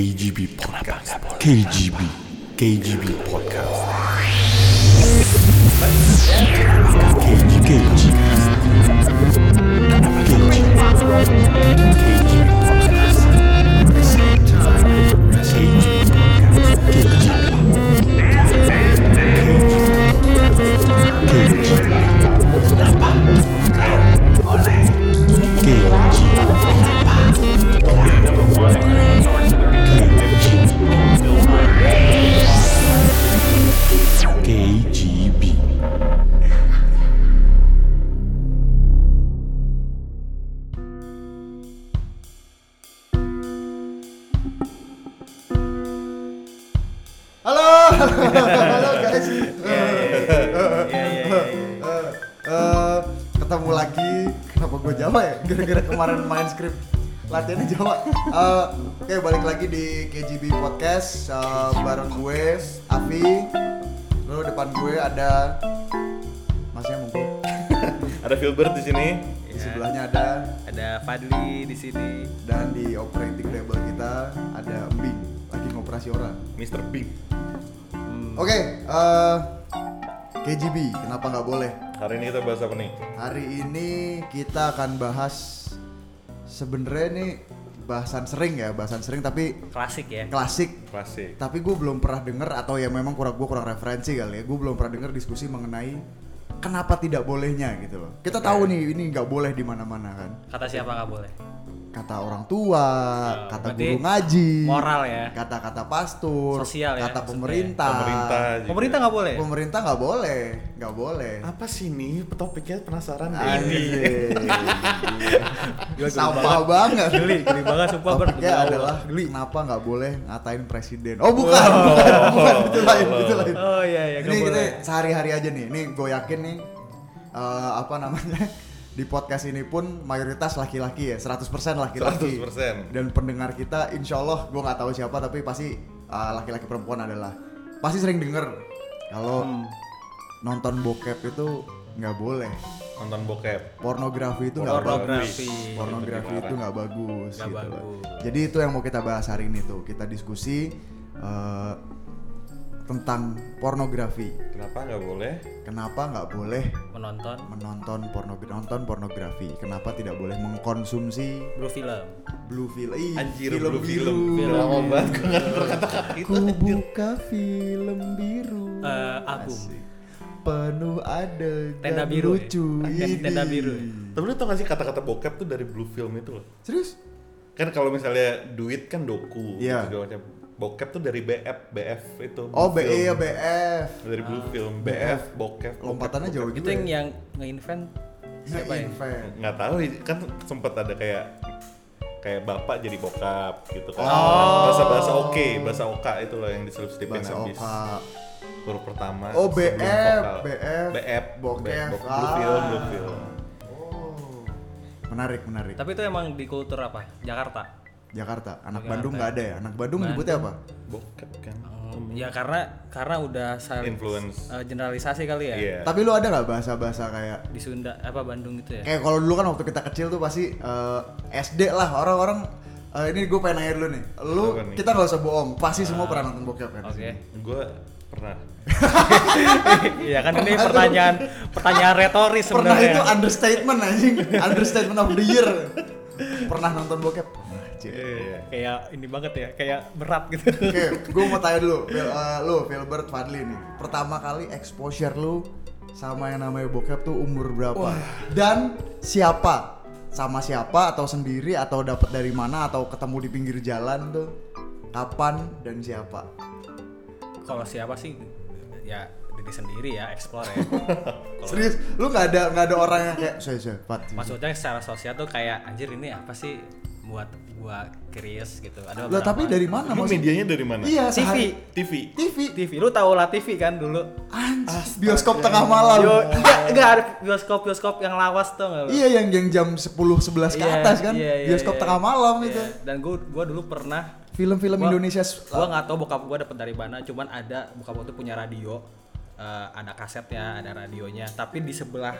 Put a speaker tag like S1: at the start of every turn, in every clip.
S1: KGB Podcast. KGB. KGB Podcast. KGB. KGB. KGB.
S2: Halo, halo guys.
S3: Iya, iya, iya, iya.
S2: Eh, eh, ketemu lagi. Kenapa gue Jawa ya? Gara-gara kemarin main skrip latihannya Jawa. Eh, Oke, balik lagi di KGB Podcast eh, bareng gue Afi. Lalu depan gue ada Masnya mungkin.
S4: Ada Filbert di sini.
S3: Iya.
S2: Di sebelahnya ada
S3: Ada Fadli di sini.
S2: dan di operating table kita ada Embing lagi ngoperasi orang.
S4: Mr. Big.
S3: Hmm.
S2: Oke, eh, KGB kenapa nggak boleh?
S4: Hari ini kita bahas apa nih?
S2: Hari ini kita akan bahas sebenarnya ini bahasan sering ya, bahasan sering tapi
S3: Klasik ya.
S2: klasik.
S4: Klasik.
S2: Tapi gue belum pernah denger atau ya memang kurang gue kurang referensi kali ya. Gue belum pernah denger diskusi mengenai kenapa tidak bolehnya gitu loh. Kita tahu nih ini nggak boleh di mana-mana kan.
S3: Kata siapa nggak boleh?
S2: Kata orang tua, kata
S3: Iya, berarti
S2: guru ngaji,
S3: moral ya.
S2: kata-kata pastor,
S3: Sosial ya
S2: kata
S3: maksudnya.
S2: pemerintah.
S4: Pemerintah juga.
S3: Pemerintah nggak boleh.
S2: Pemerintah nggak boleh, nggak boleh.
S4: Apa sih ini topiknya penasaran
S2: Ini sampah banget.
S3: Geli, geli banget sumpah Bert.
S2: Topiknya
S3: Demi Allah.
S2: adalah kenapa nggak boleh ngatain presiden? Oh bukan, bukan, itu lain, itu lain.
S3: Oh iya iya
S2: Ini
S3: nggak
S2: kita
S3: boleh.
S2: sehari-hari aja nih. Ini gue yakin nih eh, apa namanya di podcast ini pun mayoritas laki-laki ya, 100% laki-laki.
S4: 100%.
S2: Dan pendengar kita, insya Allah gue nggak tahu siapa tapi pasti eh, laki-laki perempuan adalah pasti sering denger kalau
S3: Hmm.
S2: nonton bokep itu nggak boleh
S4: Nonton bokep.
S2: pornografi itu nggak bagus
S3: Pornografi.
S2: pornografi
S4: Itu
S2: itu nggak bagus
S3: Nggak
S2: gitu loh.
S3: bagus.
S2: jadi itu yang mau kita bahas hari ini tuh kita diskusi eh, tentang pornografi
S4: Kenapa nggak boleh?
S2: kenapa nggak boleh
S3: Menonton
S2: menonton pornografi nonton pornografi kenapa tidak boleh mengkonsumsi
S3: bro film.
S2: blue film Ih,
S4: Anjir,
S2: film
S4: blue
S2: biru
S4: film. Lama banget gue nggak berkata
S2: ku buka film biru
S3: Eh, album.
S2: Asik. penuh adegan
S3: Tenda biru ya?
S2: lucu
S3: Podcast
S2: Ini.
S3: tenda biru ya?
S4: Tapi lu tau gak sih kata-kata bokep tuh dari blue film itu loh.
S2: serius
S4: Kan kalau misalnya duit kan doku.
S2: Iya.
S4: gitu segala macam. Bokep tuh dari BF, BF itu.
S2: oh
S4: blue
S2: BE ya
S4: film.
S2: BF
S4: Dari blue
S2: Ah.
S4: film, BF, bokep.
S2: lompatannya jauh
S3: Itu
S2: gitu
S3: yang
S2: ya.
S3: yang nge-invent siapa ya?
S2: Invent.
S4: Nggak tahu kan sempet ada kayak kayak bapak jadi bokap gitu kan.
S2: Oh.
S4: Bahasa-bahasa oke, bahasa oka itu loh yang diselip-selipin
S2: bahasa
S4: habis.
S2: oka
S4: huruf pertama
S2: Oh,
S4: sebelum
S2: BF,
S4: vokal.
S2: BF,
S4: BF
S2: bokep,
S4: bok-
S2: ah.
S4: blue film blue film
S2: menarik menarik
S3: Tapi itu emang di kultur apa? Jakarta.
S2: Jakarta anak
S3: Jakarta.
S2: Bandung nggak ada ya anak Bandung nyebutnya apa
S4: bokep kan
S3: Hmm, Ya karena karena udah sal-
S4: Influence.
S3: eh, generalisasi kali ya.
S4: iya
S2: tapi lu ada nggak bahasa bahasa kayak
S3: Di Sunda apa Bandung gitu ya.
S2: kayak kalau dulu kan waktu kita kecil tuh pasti eh, SD lah orang-orang eh, ini gue pengen nanya dulu nih lu
S4: Apa nih?
S2: kita nggak usah bohong pasti semua pernah nonton bokep kan di
S3: Ah. Oke.
S2: sini.
S4: gue pernah
S3: Iya kan ini pertanyaan pertanyaan retoris
S2: pernah
S3: sebenarnya.
S2: itu understatement anjing understatement of the year pernah nonton bokep Pernah, Cik.
S4: iya
S3: Kayak ini banget ya, kayak berat gitu.
S2: Oke, gue mau tanya dulu, Phil, eh, lu Filbert Fadli nih, pertama kali exposure lu sama yang namanya bokep tuh umur berapa? Dan siapa? Sama siapa atau sendiri atau dapat dari mana atau ketemu di pinggir jalan tuh? Kapan dan siapa?
S3: Kalau siapa sih ya diri sendiri ya explore ya. Kalau-
S2: Serius, lu nggak ada nggak ada orang yang kayak saya saya Fat.
S3: maksudnya secara sosial tuh kayak anjir ini apa sih buat gua curious gitu.
S2: Lah
S3: Ada beberapa-
S2: tapi dari mana
S4: lu
S2: maksudnya?
S4: medianya dari mana
S2: Iya,
S3: TV.
S2: sehari
S4: TV
S2: TV.
S3: TV lu tau lah TV kan dulu.
S2: Anjir, bioskop tengah malam.
S3: Yo, enggak enggak ada bioskop bioskop yang lawas tuh Iya, enggak.
S2: Iya yang yang jam 10 11 ke atas kan. Bioskop tengah malam
S3: gitu
S2: gitu.
S3: Dan gua gua dulu pernah
S2: Film-film
S3: Gua-
S2: Indonesia
S3: gua nggak tahu bokap gua dapet dari mana cuman ada bokap gua tuh punya radio eh, ada kasetnya ada radionya tapi di sebelah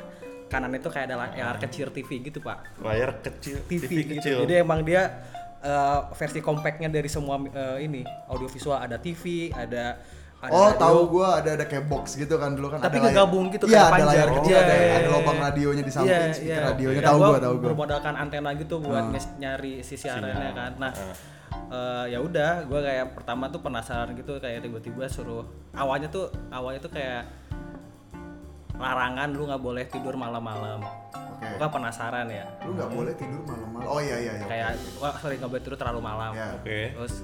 S3: kanan itu kayak ada la- layar kecil TV gitu pak
S4: layar kecil
S3: TV, gitu
S4: kecil
S3: jadi emang dia eh, eh, versi compactnya dari semua eh, ini audiovisual ada TV, ada ada
S2: oh
S3: radio.
S2: tahu gua ada ada kayak box gitu kan dulu kan
S3: Tapi
S2: ada layar-
S3: ngegabung gitu,
S2: iya
S3: kayak
S2: ada layar
S3: panjang.
S2: kecil
S3: Iya,
S2: ada,
S3: iya,
S2: ada
S3: iya.
S2: lobang radionya di samping
S3: Iya,
S2: speaker
S3: iya.
S2: radionya
S3: Dan
S2: tahu
S3: gua
S2: gua tahu gua Ah.
S3: bermodalkan antena gitu buat nge- nyari si siarannya kan nah eh, ya udah gua kayak pertama tuh penasaran gitu kayak tiba-tiba suruh awalnya tuh awalnya tuh kayak larangan lu nggak boleh tidur malam-malam
S2: Oke.
S3: gua kan penasaran ya
S2: lu nggak boleh tidur malam-malam oh iya iya iya
S3: kayak wah sorry nggak boleh tidur terlalu malam
S2: Iya.
S4: Oke.
S3: terus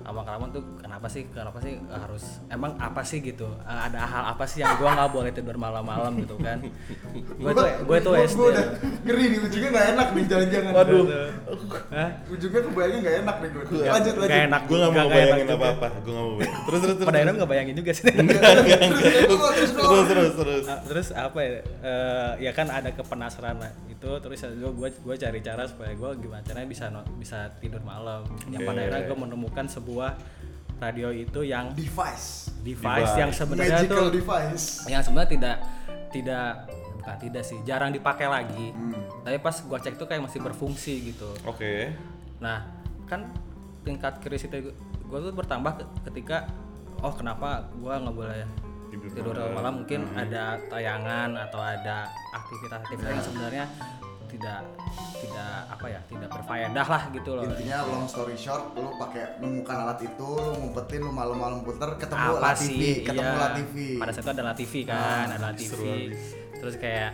S3: lama kelamaan tuh kenapa sih kenapa sih harus emang apa sih gitu Eh, ada hal apa sih yang gua nggak boleh tidur malam-malam gitu kan gue tuh gue tuh
S2: gua-
S3: SD
S2: gua udah ngeri di ujungnya nggak enak nih jangan-jangan
S4: Waduh.
S3: Hah?
S2: ujungnya kebayangnya nggak enak nih gua lanjut lanjut
S3: Nggak enak.
S4: Gue gak mau
S3: Nggak- nggak
S4: bayangin
S3: enak juga.
S4: apa-apa. Gue gak mau bayangin. Terus terus terus.
S3: gitu ya. Pada akhirnya nggak bayangin juga sih.
S4: Terus terus terus. terus.
S3: Ah, terus apa ya? eh, ya kan ada kepenasaran lah. itu terus ya gue gue gue cari cara supaya gue gimana caranya bisa no- bisa tidur malam. Yang pada
S4: Oke.
S3: akhirnya gue menemukan sebuah radio itu yang
S2: device
S3: device,
S4: Device.
S3: yang sebenarnya
S2: magical
S3: tuh
S2: device
S3: yang sebenarnya tidak tidak bukan tidak sih jarang dipakai lagi.
S2: Hmm.
S3: Tapi pas gue cek tuh kayak masih berfungsi gitu.
S4: Oke.
S3: Nah, kan tingkat curiosity gue tuh bertambah ke- ketika oh kenapa gue nggak boleh
S4: Tidur Hmm.
S3: tidur malam, mungkin ada tayangan atau ada aktivitas-aktivitas yang sebenarnya tidak tidak apa ya tidak berfaedah lah gitu loh
S2: intinya long story short lu pakai nemukan alat itu lu ngumpetin lu malam-malam puter ketemu
S3: apa
S2: lah TV
S3: sih
S2: ketemu Ah,
S3: iya.
S2: lah TV
S3: pada saat itu adalah TV kan adalah TV
S4: seru abis.
S3: terus kayak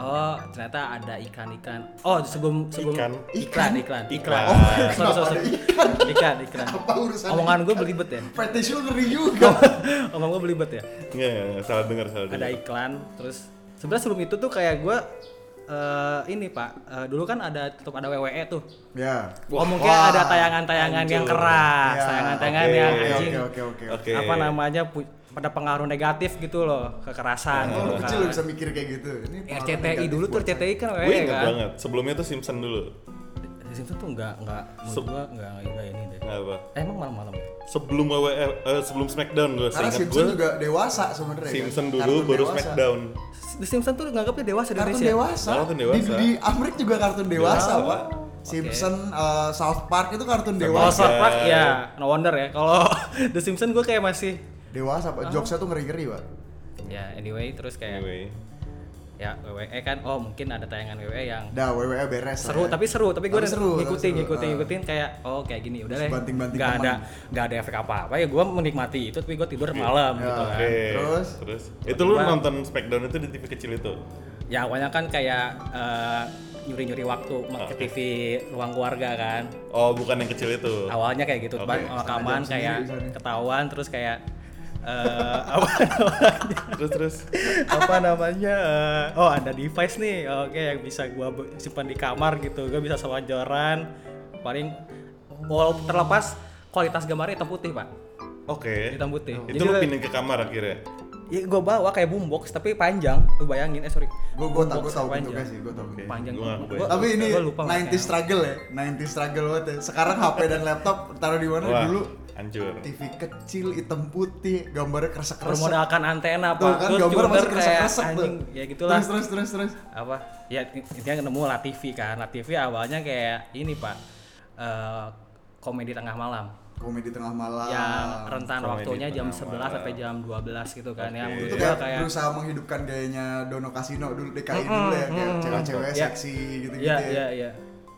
S3: oh ternyata ada ikan-ikan oh sebelum sebelum
S4: Ikan?
S3: iklan iklan iklan
S4: Oh,
S3: sorry, sorry,
S2: kenapa
S3: sorry.
S2: ada
S3: ikan ikan
S2: apa urusan
S3: omongan gue belibet ya
S2: fetish lu ngeri juga
S3: omong gue belibet ya
S4: Nggak, nggak, nggak. salah dengar salah
S3: ada
S4: dengar.
S3: iklan terus sebenarnya sebelum itu tuh kayak gue eh ini pak eh, dulu kan ada tetap ada WWE tuh
S2: ya
S3: oh mungkin
S2: Wah,
S3: ada tayangan-tayangan yang keras
S2: Ya,
S3: tayangan-tayangan
S4: oke, oke,
S3: yang
S2: oke
S3: anjing
S2: oke oke oke
S4: Oke.
S3: apa namanya pu- pada pengaruh negatif gitu loh
S2: Oh,
S3: kekerasan gitu
S2: lu
S3: kan.
S2: kecil lu bisa mikir kayak gitu. Ini pengalaman
S3: RCTI
S2: negatif
S3: dulu tuh
S2: buat
S3: RCTI kan
S4: Gue
S3: WWE
S4: ingat
S3: kan
S4: banget. Sebelumnya tuh Simpson dulu.
S3: di situ tuh nggak nggak menurut
S4: Sep-
S3: gua nggak nggak ini deh
S4: Nggak apa.
S3: Eh, emang malam-malam ya?
S4: Sebelum WWE, eh, sebelum Smackdown gue.
S2: saya. Karena
S4: Seingat
S2: Simpson
S4: gue.
S2: juga dewasa sebenarnya.
S4: Simpson
S2: kan?
S4: dulu
S2: Kartun
S4: baru
S2: dewasa.
S4: Smackdown.
S3: The Simpsons tuh nganggapnya dewasa di
S2: Kartun
S3: Indonesia
S2: dewasa.
S4: Kartun dewasa.
S2: Di, di Amerika juga kartun dewasa,
S4: Dewasa.
S2: Pak. Simpson, eh, South Park itu kartun
S3: Kalau
S2: dewasa.
S3: Oh, South Park ya no wonder ya kalau The Simpsons gue kayak masih
S2: Dewasa, Pak. Jokesnya tuh ngeri-ngeri, Pak.
S3: ya anyway terus kayak
S4: Anyway.
S3: ya WWE kan oh mungkin ada tayangan WWE yang
S2: Dah, WWE beres. lah
S3: seru
S2: ya.
S3: tapi seru tapi gue
S2: Tapi seru, tapi
S3: ngikutin
S2: seru,
S3: ngikutin
S2: ah.
S3: ngikutin kayak oh kayak gini udah deh
S2: Banting-banting
S3: nggak
S2: aman.
S3: ada nggak ada efek apa apa ya gue menikmati itu tapi gue tidur malam
S2: Ya.
S3: gitu kan
S4: Oke.
S2: Terus?
S4: Terus. Itu lu
S3: Tiba-tiba-
S4: nonton Smackdown itu di TV kecil itu.
S3: ya awalnya kan kayak eh, nyuri-nyuri waktu ma- ke TV ruang keluarga kan
S4: Oh, bukan yang kecil itu.
S3: awalnya kayak gitu
S4: Oke.
S3: okay. rekaman
S2: Sama jam
S3: kayak
S2: sendiri misalnya.
S3: ketahuan terus kayak eh, apa
S4: Terus terus.
S3: apa namanya eh, oh ada device nih oke yang bisa gua be- simpan di kamar gitu gua bisa selonjoran paling wall terlepas kualitas gambarnya hitam putih pak
S4: Oke.
S3: hitam putih
S4: Itu lu pindah ke kamar akhirnya.
S3: ya gua bawa kayak boombox tapi panjang lu bayangin eh sorry
S2: Gua gua tak gua
S3: Boombox
S2: tahu
S3: panjang.
S2: bentuknya sih, gua tahu. bentuknya.
S3: panjang
S4: Gua nggak kebayang.
S2: Tapi ini
S3: gua lupa
S2: 90
S3: makanya.
S2: struggle ya, 90 struggle banget ya. Sekarang HP dan laptop taruh di mana
S4: Wah,
S2: dulu?
S4: hancur.
S2: TV kecil, hitam putih, gambarnya kresek-kresek.
S3: bermodalkan antena
S2: Tuh
S3: pak
S2: kan
S3: terus
S2: gambar
S3: computer
S2: masih
S3: kayak
S2: kresek-kresek tuh.
S3: anjing ya gitulah
S2: Terus terus terus terus.
S3: apa ya intinya nemu lah TV kan lah TV awalnya kayak ini pak eh, komedi tengah malam
S2: Komedi tengah malam.
S3: yang
S2: Ah,
S3: rentan
S4: komedi
S3: waktunya jam
S4: tengah
S3: 11
S4: malam.
S3: sampai jam 12 gitu kan ya
S4: Oke.
S3: menurut
S2: itu
S3: gua
S2: kayak,
S3: kayak
S2: berusaha menghidupkan gayanya Dono Kasino dulu DKI dulu ya kayak cewek-cewek
S3: Ya.
S2: seksi gitu-gitu
S3: iya
S2: ya.
S3: iya iya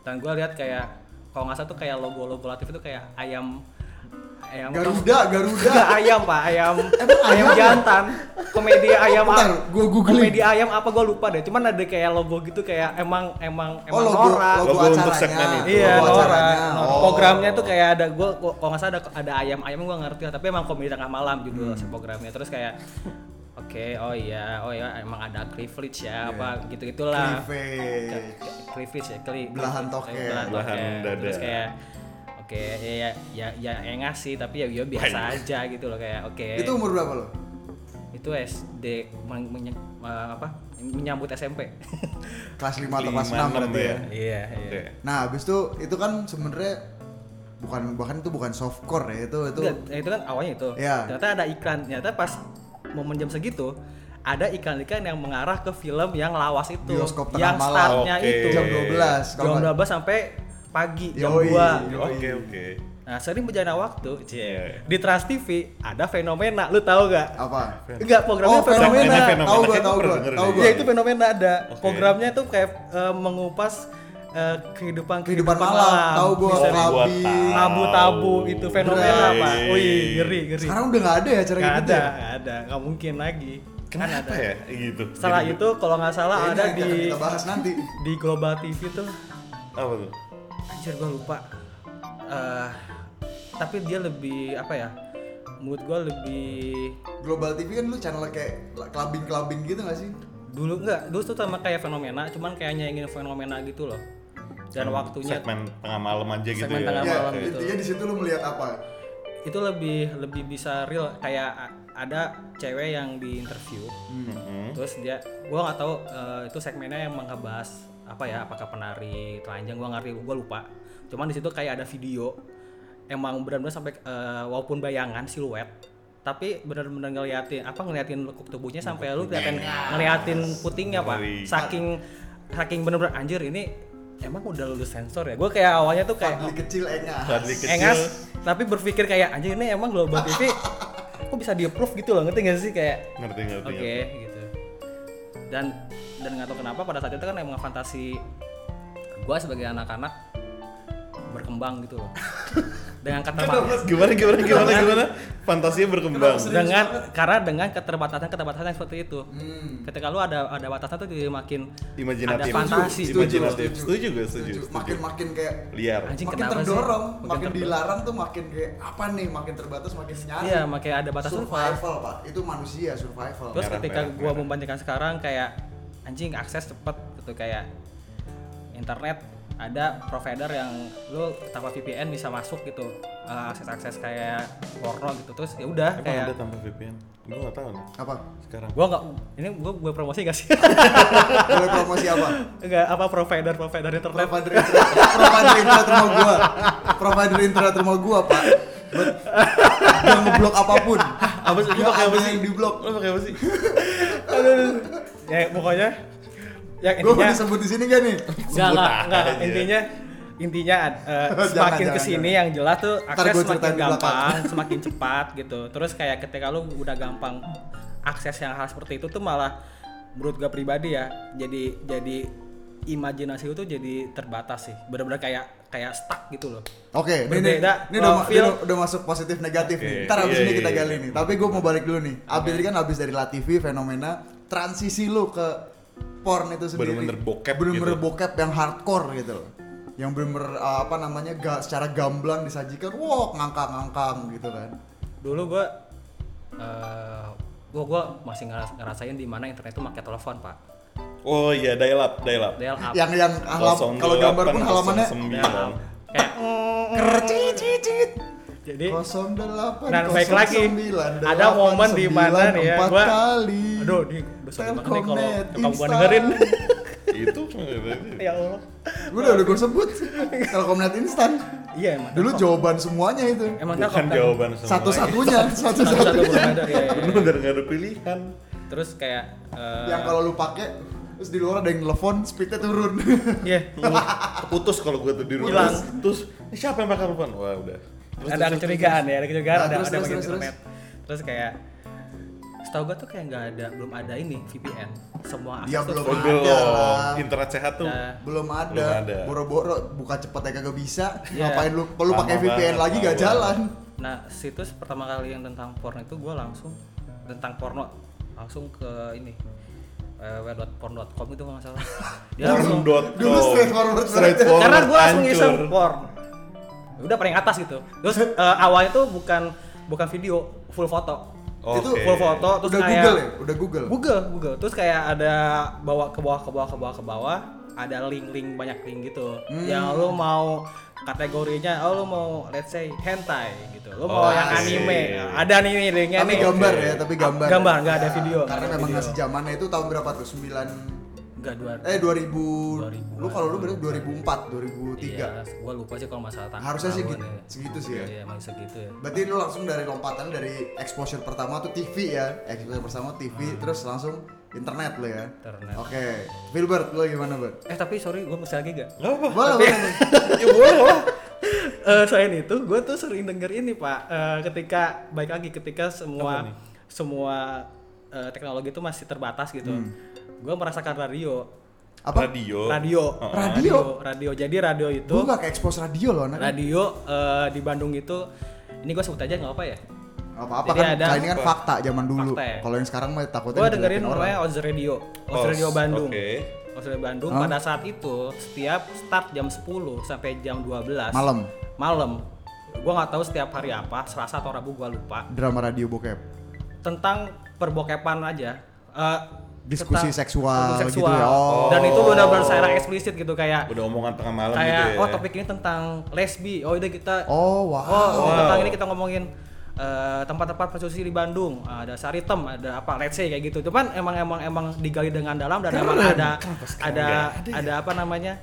S3: dan gua lihat kayak kalau nggak salah tuh kayak logo logo latif itu kayak ayam ayam
S2: Garuda, Garuda.
S3: Nggak, ayam pak ayam
S2: Emang
S3: ayam
S2: ayam ya?
S3: jantan komedi ayam
S2: Bentar, gua googling.
S3: komedi ayam apa gua lupa deh cuman ada kayak logo gitu kayak emang emang
S2: oh
S3: emang
S2: logo,
S3: norak
S2: logo,
S4: Logo untuk
S2: acaranya.
S4: segmen itu.
S3: Iya,
S2: logo acaranya.
S3: Nora.
S2: Oh.
S3: Programnya tuh kayak ada gue, kalau nggak salah ada, ada ayam-ayam gue ngerti lah, tapi emang komedi tengah malam judul
S2: Hmm.
S3: si programnya. Terus kayak, oke, oh iya, oh iya, emang ada privilege ya, apa gitu gitulah.
S2: Iya. Cleavage.
S3: Privilege ya, kli,
S2: Belahan toket.
S3: belahan,
S4: Belahan
S3: toket.
S4: dada.
S3: Terus kayak, oke, ya ya ya, ya engas sih, tapi ya, ya biasa aja gitu loh kayak, oke,
S2: Itu umur berapa lo?
S3: itu SD men- menye- eh, apa menyambut SMP.
S2: Kelas 5 atau kelas
S4: 5,
S2: 6 berarti
S4: ya.
S2: ya.
S3: Iya,
S4: Oke.
S3: iya.
S2: Nah, habis itu itu kan sebenarnya bukan bahkan itu bukan softcore ya itu itu
S3: Enggak, ya itu kan awalnya itu.
S2: Iya.
S3: Ternyata ada iklan. Ternyata pas momen jam segitu ada iklan-iklan yang mengarah ke film yang lawas itu.
S2: Bioskop tengah
S3: yang
S2: malam.
S3: startnya
S4: Oke.
S3: itu
S2: jam 12 kalau
S3: jam
S2: nggak-
S3: 12 sampai pagi jam
S2: Yoi.
S3: 2
S4: Oke Iya, oke.
S3: Nah, sering berjalan waktu, cie. Di Trans TV ada fenomena, lu tahu gak?
S2: Apa?
S3: Enggak,
S2: Oh,
S3: programnya
S2: fenomena.
S4: fenomena.
S2: Tahu gua,
S4: Itu
S2: tahu gua,
S4: pernah denger
S2: tahu
S4: deh.
S2: gua.
S3: Ya itu fenomena ada.
S4: Oke.
S3: Programnya tuh kayak eh, mengupas eh, kehidupan
S2: Kehidupan malam, tahu gua.
S3: Misalnya
S2: Malam.
S4: Gua
S2: Abi.
S4: tahu.
S3: Tabu-tabu itu fenomena
S4: Berat.
S3: apa? Wih, ngeri, ngeri.
S2: Sekarang udah nggak ada ya acara
S3: Gak
S2: kayak gitu.
S3: ada,
S2: ya?
S3: gak ada, gak mungkin lagi. Kan
S4: Kenapa ya gitu?
S3: Setelah
S4: Jadi-
S3: itu kalau nggak salah
S2: Ya,
S3: Oh, ada
S2: ini akan
S3: di
S2: kita bahas nanti.
S3: di Global TV tuh
S4: apa tuh?
S3: anjir gua lupa Eh, tapi dia lebih apa ya mood gua lebih
S2: Global TV kan lu channel kayak clubbing-clubbing gitu gak sih?
S3: dulu enggak dulu tuh sama kayak fenomena cuman kayaknya ingin fenomena gitu loh dan waktunya
S4: Segmen tengah malam aja gitu
S3: Segmen
S4: ya.
S3: tengah
S2: Ya,
S3: malam gitu.
S2: intinya di situ lu melihat apa?
S3: itu lebih lebih bisa real kayak a- ada cewek yang diinterview
S4: Mhm.
S3: terus dia gua nggak tahu eh, itu segmennya yang ngebahas apa ya apakah penari telanjang gua ngerti gua lupa cuman di situ kayak ada video emang benar-benar sampai eh, walaupun bayangan siluet tapi benar-benar ngeliatin apa ngeliatin lekuk tubuhnya sampai lu kelihatan ngeliatin putingnya pak
S4: Ngeri.
S3: saking saking benar-benar anjir ini emang udah lulus sensor ya gua kayak awalnya tuh kayak
S2: Fadli kecil enggak.
S4: Fadli kecil.
S3: engas tapi berpikir kayak anjir ini emang global TV kok bisa di approve gitu loh ngerti gak sih kayak
S4: Ngerti ngerti.
S3: oke
S4: ngerti.
S3: gitu dan dan nggak tahu kenapa pada saat itu kan emang fantasi gua sebagai anak-anak berkembang gitu loh dengan keterbatasan
S4: Gimana gimana gimana gimana? Fantasinya berkembang.
S3: dengan karena dengan keterbatasan keterbatasan yang seperti itu ketika lu ada ada batasan tuh jadi makin ada
S4: Imajinatif.
S3: fantasi
S2: Setuju.
S4: Imajinatif. Setuju gue setuju. setuju.
S2: Makin-makin kayak
S4: liar.
S3: Anjing,
S2: makin
S3: kenapa sih?
S2: terdorong,
S3: Makin
S2: makin
S3: terdorong.
S2: dilarang tuh makin kayak apa nih? Makin terbatas, makin nyari.
S3: iya makin ada batasan Pak.
S2: survival pak, itu manusia survival.
S3: Terus
S4: Merah,
S3: ketika
S4: merah,
S3: gua
S4: merah.
S3: membandingkan sekarang kayak anjing akses cepet gitu kayak internet ada provider yang lu tanpa VPN bisa masuk gitu eh, akses-akses kayak porno gitu terus ya
S4: Emang
S3: udah
S4: ada
S3: kayak
S4: tanpa VPN? Gue nggak tahu nih.
S2: Apa?
S4: Sekarang.
S3: gua nggak ini gua gue promosi gak sih
S2: Boleh promosi apa?
S3: nggak apa provider provider internet
S2: Provider internet, provider internet rumah gua, provider internet rumah gua pak. Buat yang ngeblok apapun.
S4: Apa sih? Lu
S2: Yang
S4: pakai apa
S2: ada
S4: sih?
S2: Yang diblok.
S4: Lu pakai apa sih?
S3: ya pokoknya yang
S2: Gua mau
S3: intinya
S2: disebut di sini gak nih?
S3: nggak
S4: sebut
S3: nggak nggak
S4: aja.
S3: intinya intinya eh,
S2: Iya. Jangan,
S3: semakin
S2: jangan,
S3: kesini
S2: jangan.
S3: yang jelas tuh
S2: Ntar gua
S3: akses semakin
S2: ceritain di belakang.
S3: gampang semakin cepat gitu terus kayak ketika lu udah gampang akses yang hal seperti itu tuh malah menurut gue pribadi ya jadi jadi imajinasi lu tuh jadi terbatas sih bener-bener kayak kayak stuck gitu loh
S2: Oke, ini, ini,
S3: Berbeda,
S2: ini udah,
S3: profil.
S2: ini udah masuk positif negatif nih.
S4: Oke,
S2: Ntar abis
S4: iya,
S2: ini
S4: iya,
S2: kita
S4: iya.
S2: gali nih. Tapi gue mau balik dulu nih. Abis tadi kan abis dari Latifi fenomena transisi lu ke porn itu sendiri.
S4: Bener-bener bokep
S2: Bener-bener
S4: gitu.
S2: bokep yang hardcore gitu loh. Yang bener-bener uh, apa namanya ga, secara gamblang disajikan, wow ngangkang-ngangkang gitu kan.
S3: dulu gue eh gue masih ngeras- ngerasain di mana internet tuh pakai telepon pak
S4: Oh iya dial up, dial up.
S3: dial up
S2: Yang yang alam, kalau gambar pun halamannya
S4: 08, 09.
S3: kayak
S2: kercicicit.
S3: jadi
S2: 08
S3: Dan Nah, baik lagi,
S2: 09,
S3: ada momen di mana nih ya,
S2: 894
S3: gua-
S2: kali.
S3: aduh di dosa banget nih kalau
S2: Telkomnet,
S3: kalau gua
S2: Instan.
S3: dengerin
S4: Itu
S3: ya allah
S2: Gue udah udah gue sebut Telkomnet instan.
S3: iya emang
S2: Dulu jawaban semuanya itu.
S3: emang
S4: bukan
S3: Telkom-
S4: jawaban semua.
S2: Satu-satunya,
S3: Eh, satu-satu
S2: satu-satunya.
S3: belum ada iya, iya.
S4: Lu udah nggak ada pilihan.
S3: terus kayak eh,
S2: Yang kalau lu pakai terus di luar ada yang telepon, speednya turun.
S3: iya
S4: Putus kalau gue tuh di rumah.
S3: Hilang.
S4: Terus "Ini siapa yang bakal telepon? Wah udah. Terus, terus,
S3: ada
S4: Ah,
S3: kecurigaan ya ada kecurigaan
S2: Nah,
S3: ada
S2: terus,
S3: ada
S2: terus,
S3: bagian
S2: terus,
S3: internet terus kayak setahu gua tuh kayak nggak ada belum ada ini VPN semua
S2: Dia
S3: akses tuh
S2: belum
S4: Oh,
S2: ada
S4: belum.
S2: lah.
S4: Internet sehat tuh.
S3: Nah,
S2: Belum
S4: Belum
S2: ada.
S4: ada.
S2: Boro-boro buka cepet ya kagak bisa.
S3: Iya.
S2: Ngapain lu lu pakai
S4: Lama
S2: VPN
S4: banget,
S2: lagi gak
S4: lama
S2: jalan.
S3: Nah, situs pertama kali yang tentang porno itu gue langsung tentang porno langsung ke ini eh, www.porn.com itu kalau nggak salah. Dia langsung
S4: Porn.com.
S2: Dulu straightforward
S4: Straightforward,
S3: karena gue langsung
S4: hancur.
S3: iseng porn. Udah paling atas gitu. Terus eh, awalnya tuh bukan bukan video, full foto.
S4: Oke.
S2: Itu
S3: Full foto terus
S2: Udah
S3: kayak
S2: Google ya? Udah Google.
S3: Google, Google. Terus kayak ada bawa ke bawah ke bawah ke bawah ke bawah ada link-link banyak link gitu.
S2: Hmm.
S3: Yang lu mau kategorinya, oh lu mau let's say hentai gitu. Lu mau
S4: Oh,
S3: yang
S4: asik.
S3: anime. Ada nih nih linknya
S2: Tapi
S3: nih.
S2: gambar ya, tapi gambar.
S3: Ah, Gambar, nggak ada
S2: Ya,
S3: video, nggak
S2: Karena
S3: ada
S2: memang
S3: video.
S2: ngasih zamannya itu tahun berapa tuh? 9
S3: Enggak dua.
S2: eh 2000.
S3: 2000.
S2: Lu kalau lu berarti 2004, 2003.
S3: Iya, gua lupa sih kalau masalah tahun.
S2: Harusnya sih
S3: tahun
S2: gitu-
S3: ya.
S2: segitu sih ya.
S3: Iya, emang segitu ya.
S2: Berarti lu langsung dari lompatan dari exposure pertama tuh TV ya, exposure pertama TV, terus langsung internet lo ya.
S3: Hmm. Internet.
S2: Oke, Filbert lo gimana Bert?
S3: eh tapi sorry gue masih lagi gak
S4: Apa?
S2: Boleh boleh.
S4: Ya boleh.
S3: Eh, selain itu gue tuh sering denger ini pak Eh, ketika baik lagi ketika semua semua eh, teknologi itu masih terbatas gitu gue merasakan radio
S2: Apa?
S4: Radio.
S3: radio
S4: Hmm. Oh.
S2: Radio?
S3: radio jadi radio itu
S2: Gue gak ke expose radio loh anak.
S3: radio eh, di Bandung itu ini gue sebut aja nggak apa ya
S2: Apa-apa
S3: Jadi
S2: kan,
S3: ada-
S2: kalau ini kan fakta zaman dulu.
S3: Fakta ya.
S2: Kalau yang sekarang mah takutnya
S3: gue
S2: dijelekin
S3: dengerin ya? namanya Oz Radio Oz
S4: Oz,
S3: Radio Bandung
S4: oke.
S3: Oz Radio Bandung pada saat itu setiap start jam 10 sampai jam 12
S2: Malam.
S3: malam gue nggak tahu setiap hari apa Selasa atau Rabu gue lupa
S2: drama radio bokep.
S3: tentang perbokepan aja Eh,
S2: Diskusi
S3: tentang-
S2: seksual
S3: diskusi
S2: gitu ya. Oh.
S3: dan itu udah bersarang eksplisit gitu kayak
S4: Udah omongan tengah malam
S3: kayak
S4: gitu ya.
S3: oh topik ini tentang lesbi oh udah kita
S2: Oh wah.
S3: Oh,
S4: Wow.
S3: tentang ini kita ngomongin eh, tempat-tempat prostitusi di Bandung. Ah, Ada Saritem, ada apa? Let's say kayak gitu. Cuman emang emang emang digali dengan dalam dan emang ada ada
S2: ya?
S3: ada apa namanya?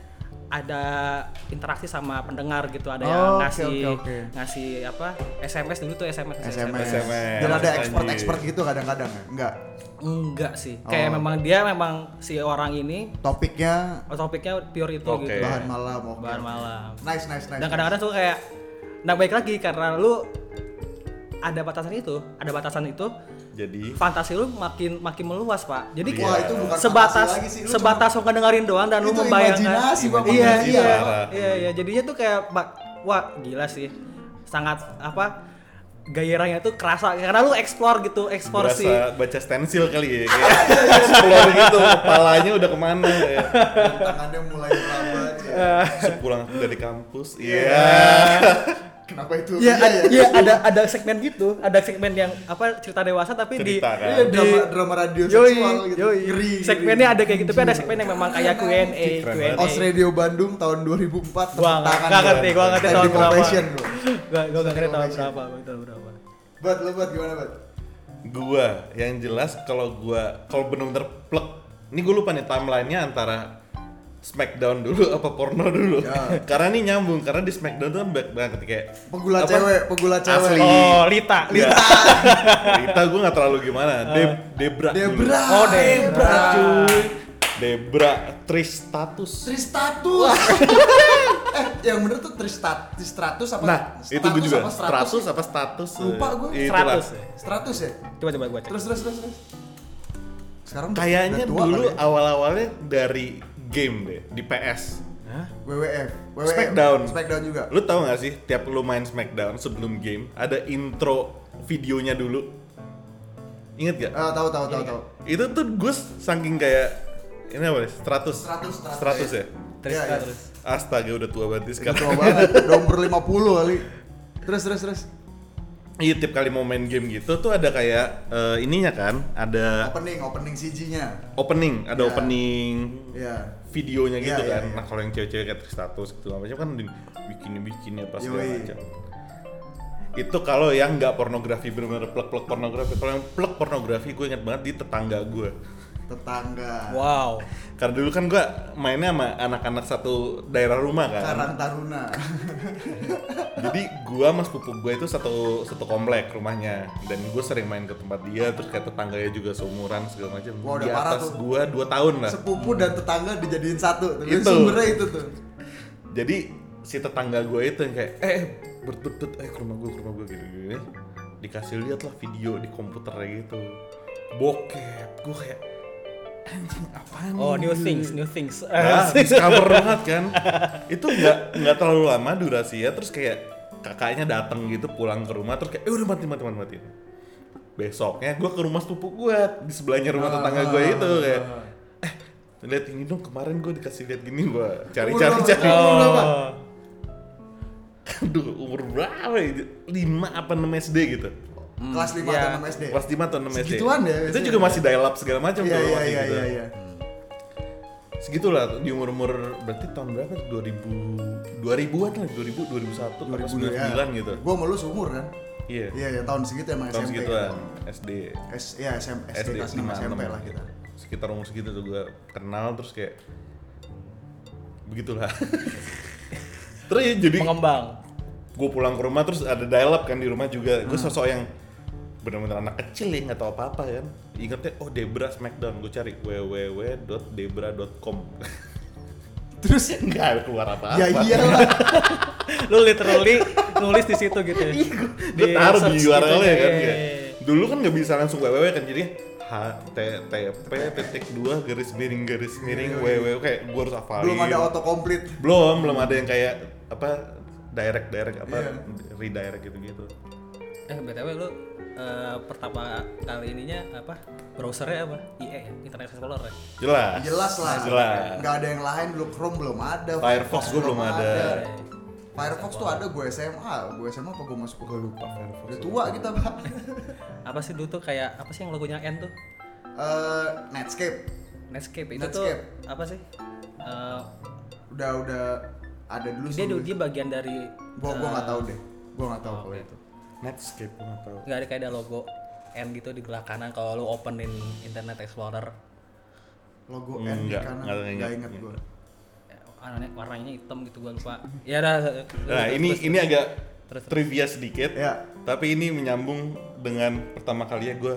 S3: Ada interaksi sama pendengar gitu. Ada yang
S2: Oh, oke,
S3: ngasih
S2: oke, oke.
S3: ngasih apa? SMS dulu tuh SMS
S2: SMS.
S4: SMS.
S2: Dan ada expert-expert gitu kadang-kadang ya? Enggak.
S3: Enggak sih.
S2: Oh.
S3: Kayak memang dia memang si orang ini
S2: Topiknya
S3: topiknya pure itu
S4: Oke.
S3: gitu.
S2: bahan malam. oke.
S3: Bahan malam.
S2: Nice nice nice.
S3: dan kadang-kadang tuh kayak nah baik lagi karena lu ada batasan itu ada batasan itu
S4: Jadi
S3: fantasi lu makin makin meluas pak jadi
S2: Wah,
S3: kayak
S2: itu bukan
S3: sebatas
S2: fantasi lagi sih, lu
S3: sebatas lu ngedengerin doang dan lu
S2: Itu
S3: membayangkan
S2: imajinasi, Bang,
S3: iya
S2: imajinasi
S3: iya
S4: parah.
S3: iya iya jadinya tuh kayak ba- wah gila sih sangat apa gairahnya tuh kerasa karena lu explore gitu explore sih
S4: berasa baca stensil kali ya. Kayak explore gitu. Kepalanya udah kemana ya.
S2: Dan tangannya mulai melambat. ya.
S4: Sepulang dari kampus. Iya.
S2: Kenapa itu?
S3: Iya,
S2: ya.
S3: ada- iya, ada ada segmen gitu, ada segmen yang apa cerita dewasa tapi di
S4: Cerita, kan?
S2: Iya, drama- drama radio seksual
S3: yoi,
S2: gitu.
S3: yoi.
S2: Ngeri,
S3: Segmennya
S2: ngeri.
S3: ada kayak gitu, tapi ada segmen yang memang kayak Q&A,
S4: Keren
S3: Q&A.
S4: banget.
S2: Os Radio Bandung tahun 2004
S3: Gua
S2: tepuk
S3: nggak-
S2: tangan
S3: nggak
S2: gua.
S3: ngerti, gua nggak ngerti
S2: Standing
S3: tahun berapa.
S2: ovation gua.
S3: Gua gua gak kira tahun
S2: Standing
S3: berapa, gua tahun berapa.
S2: Bat, lo bat gimana bat?
S4: gua yang jelas kalau gua kalau benar-benar plek ini gue lupa nih timelinenya antara Smackdown dulu apa porno dulu
S2: Ya.
S4: karena ini nyambung karena di Smackdown tuh kan banyak banget kayak
S2: Pegula
S4: apa?
S2: cewek, pegula cewek.
S4: Asli.
S3: Oh, Lita.
S4: Lita Lita gue nggak terlalu gimana De Debra dulu.
S2: Debra.
S3: Oh, Debra.
S2: cuy.
S4: Debra Tristatus
S2: Tristatus. eh, yang bener tuh Tristat, Tristratus apa?
S4: nah itu
S2: Status
S4: gue juga
S2: apa
S4: Stratus apa status
S2: Lupa gua.
S4: Eh, itulah.
S3: 100 ya.
S2: Stratus ya?
S3: Coba coba gua cek.
S2: Terus terus terus terus. Sekarang udah-
S4: kayaknya
S2: udah tua
S4: dulu
S2: kali ya.
S4: awal-awalnya dari game deh di PS
S2: WWF, WWF.
S4: Smackdown.
S2: Smackdown juga.
S4: Lu tau gak sih, tiap lu main Smackdown sebelum game, ada intro videonya dulu. Ingat gak?
S2: Eh, tahu tahu
S3: Iya.
S2: tahu tahu.
S4: Itu tuh gue saking kayak, ini apa nih, 100?
S2: 100
S4: 100 ya?
S3: Terus
S2: Iya, iya.
S3: terus.
S4: Astaga udah tua banget
S2: Tua
S4: nih sekarang.
S2: banget, nomor 50 kali. Terus terus terus.
S4: Iya tiap kali mau main game gitu tuh ada kayak eh, ininya kan, ada
S2: Opening, opening CG-nya.
S4: opening,
S2: Ya.
S4: ada opening
S2: Iya.
S4: videonya
S2: Ya,
S4: gitu
S2: ya,
S4: kan.
S2: ya.
S4: Nah kalau yang cewek-cewek kayak status gitu apa kan bikin-bikin apa segala
S2: Yoi.
S4: macam. Itu kalau yang nggak pornografi benar-benar plek-plek pornografi. Kalau yang plek pornografi gue inget banget di tetangga gue.
S2: Tetangga.
S3: Wow.
S4: Karena dulu kan gue mainnya sama anak-anak satu daerah rumah kan.
S2: Karang Taruna.
S4: Jadi gua sama sepupu gue itu satu satu komplek rumahnya dan gue sering main ke tempat dia terus kayak tetangganya juga seumuran segala macam.
S2: Wah, udah
S4: di
S2: parah
S4: atas
S2: tuh.
S4: gue dua tahun lah.
S2: Sepupu dan tetangga dijadiin satu. Tapi
S4: Itu.
S2: sumbernya itu tuh.
S4: jadi si tetangga gue itu yang kayak eh bertutut eh ke rumah gue ke rumah gue gini gini dikasih lihat lah video di komputernya gitu bokep gue kayak anjing apaan
S3: Oh, new
S4: ini?"
S3: things, new things.
S4: nah, discover banget kan itu nggak nggak terlalu lama durasinya terus kayak kakaknya datang gitu pulang ke rumah terus kayak eh udah mati mati mati mati besoknya gue ke rumah sepupu gue di sebelahnya
S2: Ah.
S4: rumah tetangga gue itu kayak eh lihat ini dong kemarin gue dikasih lihat gini gue cari
S2: Umur
S4: cari
S2: berapa?
S4: cari
S2: Umur berapa?
S4: aduh umur berapa ya? 5 apa 6 SD gitu
S2: Kelas 5 atau
S3: iya.
S2: 6 SD.
S4: kelas 5 atau 6 SD
S2: Segituan ya,
S4: itu
S2: biasanya.
S4: juga masih dial up segala macam
S2: Iya
S4: tuh
S2: iya
S4: masih
S2: iya
S4: gitu.
S2: iya iya.
S4: segitulah tuh, di umur umur berarti tahun berapa tuh? 2000 2000-an lah
S2: 2000 ya.
S4: 2000 2001 atau 99 gitu
S2: Gua melu seumur kan.
S4: iya
S2: Iya ya tahun segitu emang
S4: tahun
S2: SMP.
S4: segituan SD
S2: S ya SM, SD kelas 6
S4: lima,
S2: SMP
S4: enam
S2: lah kita.
S4: gitu. sekitar umur segitu tuh gue kenal terus kayak begitulah terus ya jadi
S3: Pengembang.
S2: Hmm.
S4: gue pulang ke rumah terus ada dial up kan di rumah juga gue sosok yang benar-benar anak kecil ya nggak tahu apa-apa kan ingetnya oh Debra Smackdown gue cari www.debra.com
S2: Terus
S4: ya nggak keluar apa-apa
S2: ya iyalah.
S3: lu literally nulis di situ gitu ya.
S4: gue taruh di
S3: search
S4: URL ya kan
S3: gitu, iya,
S4: ya.
S3: iya, iya.
S4: dulu kan nggak bisa langsung www kan jadi http titik dua garis miring garis miring www kayak gue harus hafalin
S2: Iya, Belum ada autocomplete.
S4: belum belum ada yang kayak apa direct direct apa
S2: Iya.
S4: redirect gitu gitu
S3: Eh btw lu eh, pertama kali ininya apa browsernya apa IE ya? Internet Explorer ya?
S4: jelas
S2: Jelas lah.
S4: jelas
S2: Nggak ada yang lain belum Chrome belum ada.
S4: Firefox gue belum ada.
S3: Eh,
S2: Firefox tuh ada gue SMA, gue SMA apa gue masuk gue lupa Firefox. Udah tua kita pak.
S3: apa sih dulu tuh kayak apa sih yang logonya N tuh
S2: Eh, Netscape
S3: Netscape itu
S2: Netscape.
S3: tuh apa sih Eh,
S2: udah udah ada dulu
S3: dia
S2: sebelum-
S3: dia bagian dari
S2: Gua gua nggak tahu deh. Gua nggak tahu kalau itu.
S4: Netscape gue nggak tahu
S3: nggak ada kayak ada logo N gitu di belah kanan kalau lu openin Internet Explorer
S2: Logo
S4: Hmm,
S2: N di
S4: nggak,
S2: kanan
S4: nggak ada yang
S2: nggak
S4: ingat.
S2: inget gua.
S3: eh, warnanya, warnanya hitam gitu gua lupa ya dah
S4: nah ini ini agak trivia sedikit
S2: Ya.
S4: tapi ini menyambung dengan pertama kalinya gue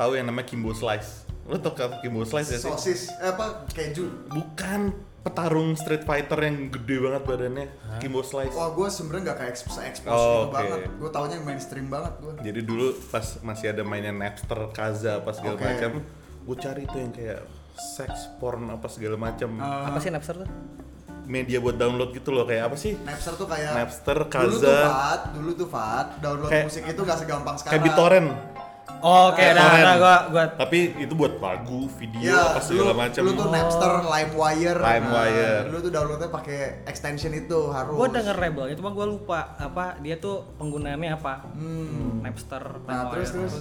S4: tahu yang namanya Kimbo Slice lo tau kan Kimbo Slice ya sih
S2: Sosis eh, apa keju.
S4: bukan petarung Street Fighter yang gede banget badannya Kimbo Slice
S2: Wah gua sebenernya nggak kayak expose expose gitu
S4: Oh, oke.
S2: banget. Gua taunya yang mainstream banget gua.
S4: jadi dulu pas masih ada mainnya Napster, Kaza apa segala
S2: Oke.
S4: macam gue cari tuh yang kayak seks porn apa segala macam
S3: apa sih Napster tuh
S4: media buat download gitu loh kayak apa sih
S2: Napster tuh kayak
S4: Napster,
S2: Dulu tuh
S4: Kaza.
S2: Fat, dulu tuh Fat, download
S4: Kayak-
S2: musik itu gak segampang sekarang.
S4: kayak BitTorrent
S3: oh, oke
S4: Kayak
S3: dah
S4: torrent.
S3: dah gua gua
S4: Eh, tapi itu buat lagu video
S2: Iya,
S4: apa
S2: dulu,
S4: segala macam
S2: dulu tuh Napster,
S3: Oh.
S2: LimeWire.
S4: LimeWire.
S2: dulu tuh downloadnya pakai extension itu harus.
S3: gua denger labelnya cuma gua lupa apa dia tuh penggunaannya apa Napster
S2: Nah,
S3: Napster,
S2: terus
S3: ya.
S2: terus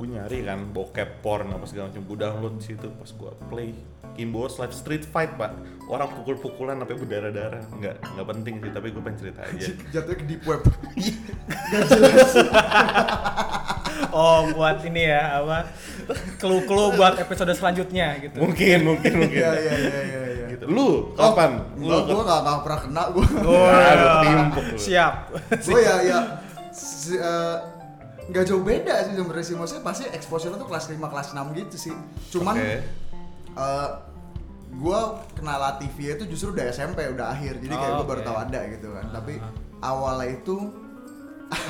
S4: gue nyari kan bokep porn apa segala macam gue download di situ pas gue play Kimbo Live Street Fight pak orang pukul-pukulan sampai berdarah-darah nggak nggak penting sih tapi gue pengen cerita aja
S2: jatuhnya ke deep web. gak jelas.
S3: oh buat ini ya apa clue-clue buat episode selanjutnya gitu
S4: mungkin mungkin mungkin
S2: Iya iya iya iya. iya.
S4: gitu. lu kapan
S2: Oh,
S4: lu
S2: gua, gua gak, gak pernah kena gua.
S4: timpuk lu.
S3: siap
S2: gua ya ya si, eh, nggak jauh beda sih sebenarnya sih maksudnya pasti exposure tuh kelas 5 kelas 6 gitu sih. Cuman
S4: Oke.
S2: eh, gua kenal Latifia itu justru udah SMP udah akhir jadi kayak gua
S3: Oh,
S2: baru
S3: oke. Ah,
S2: tahu ada gitu kan tapi awalnya itu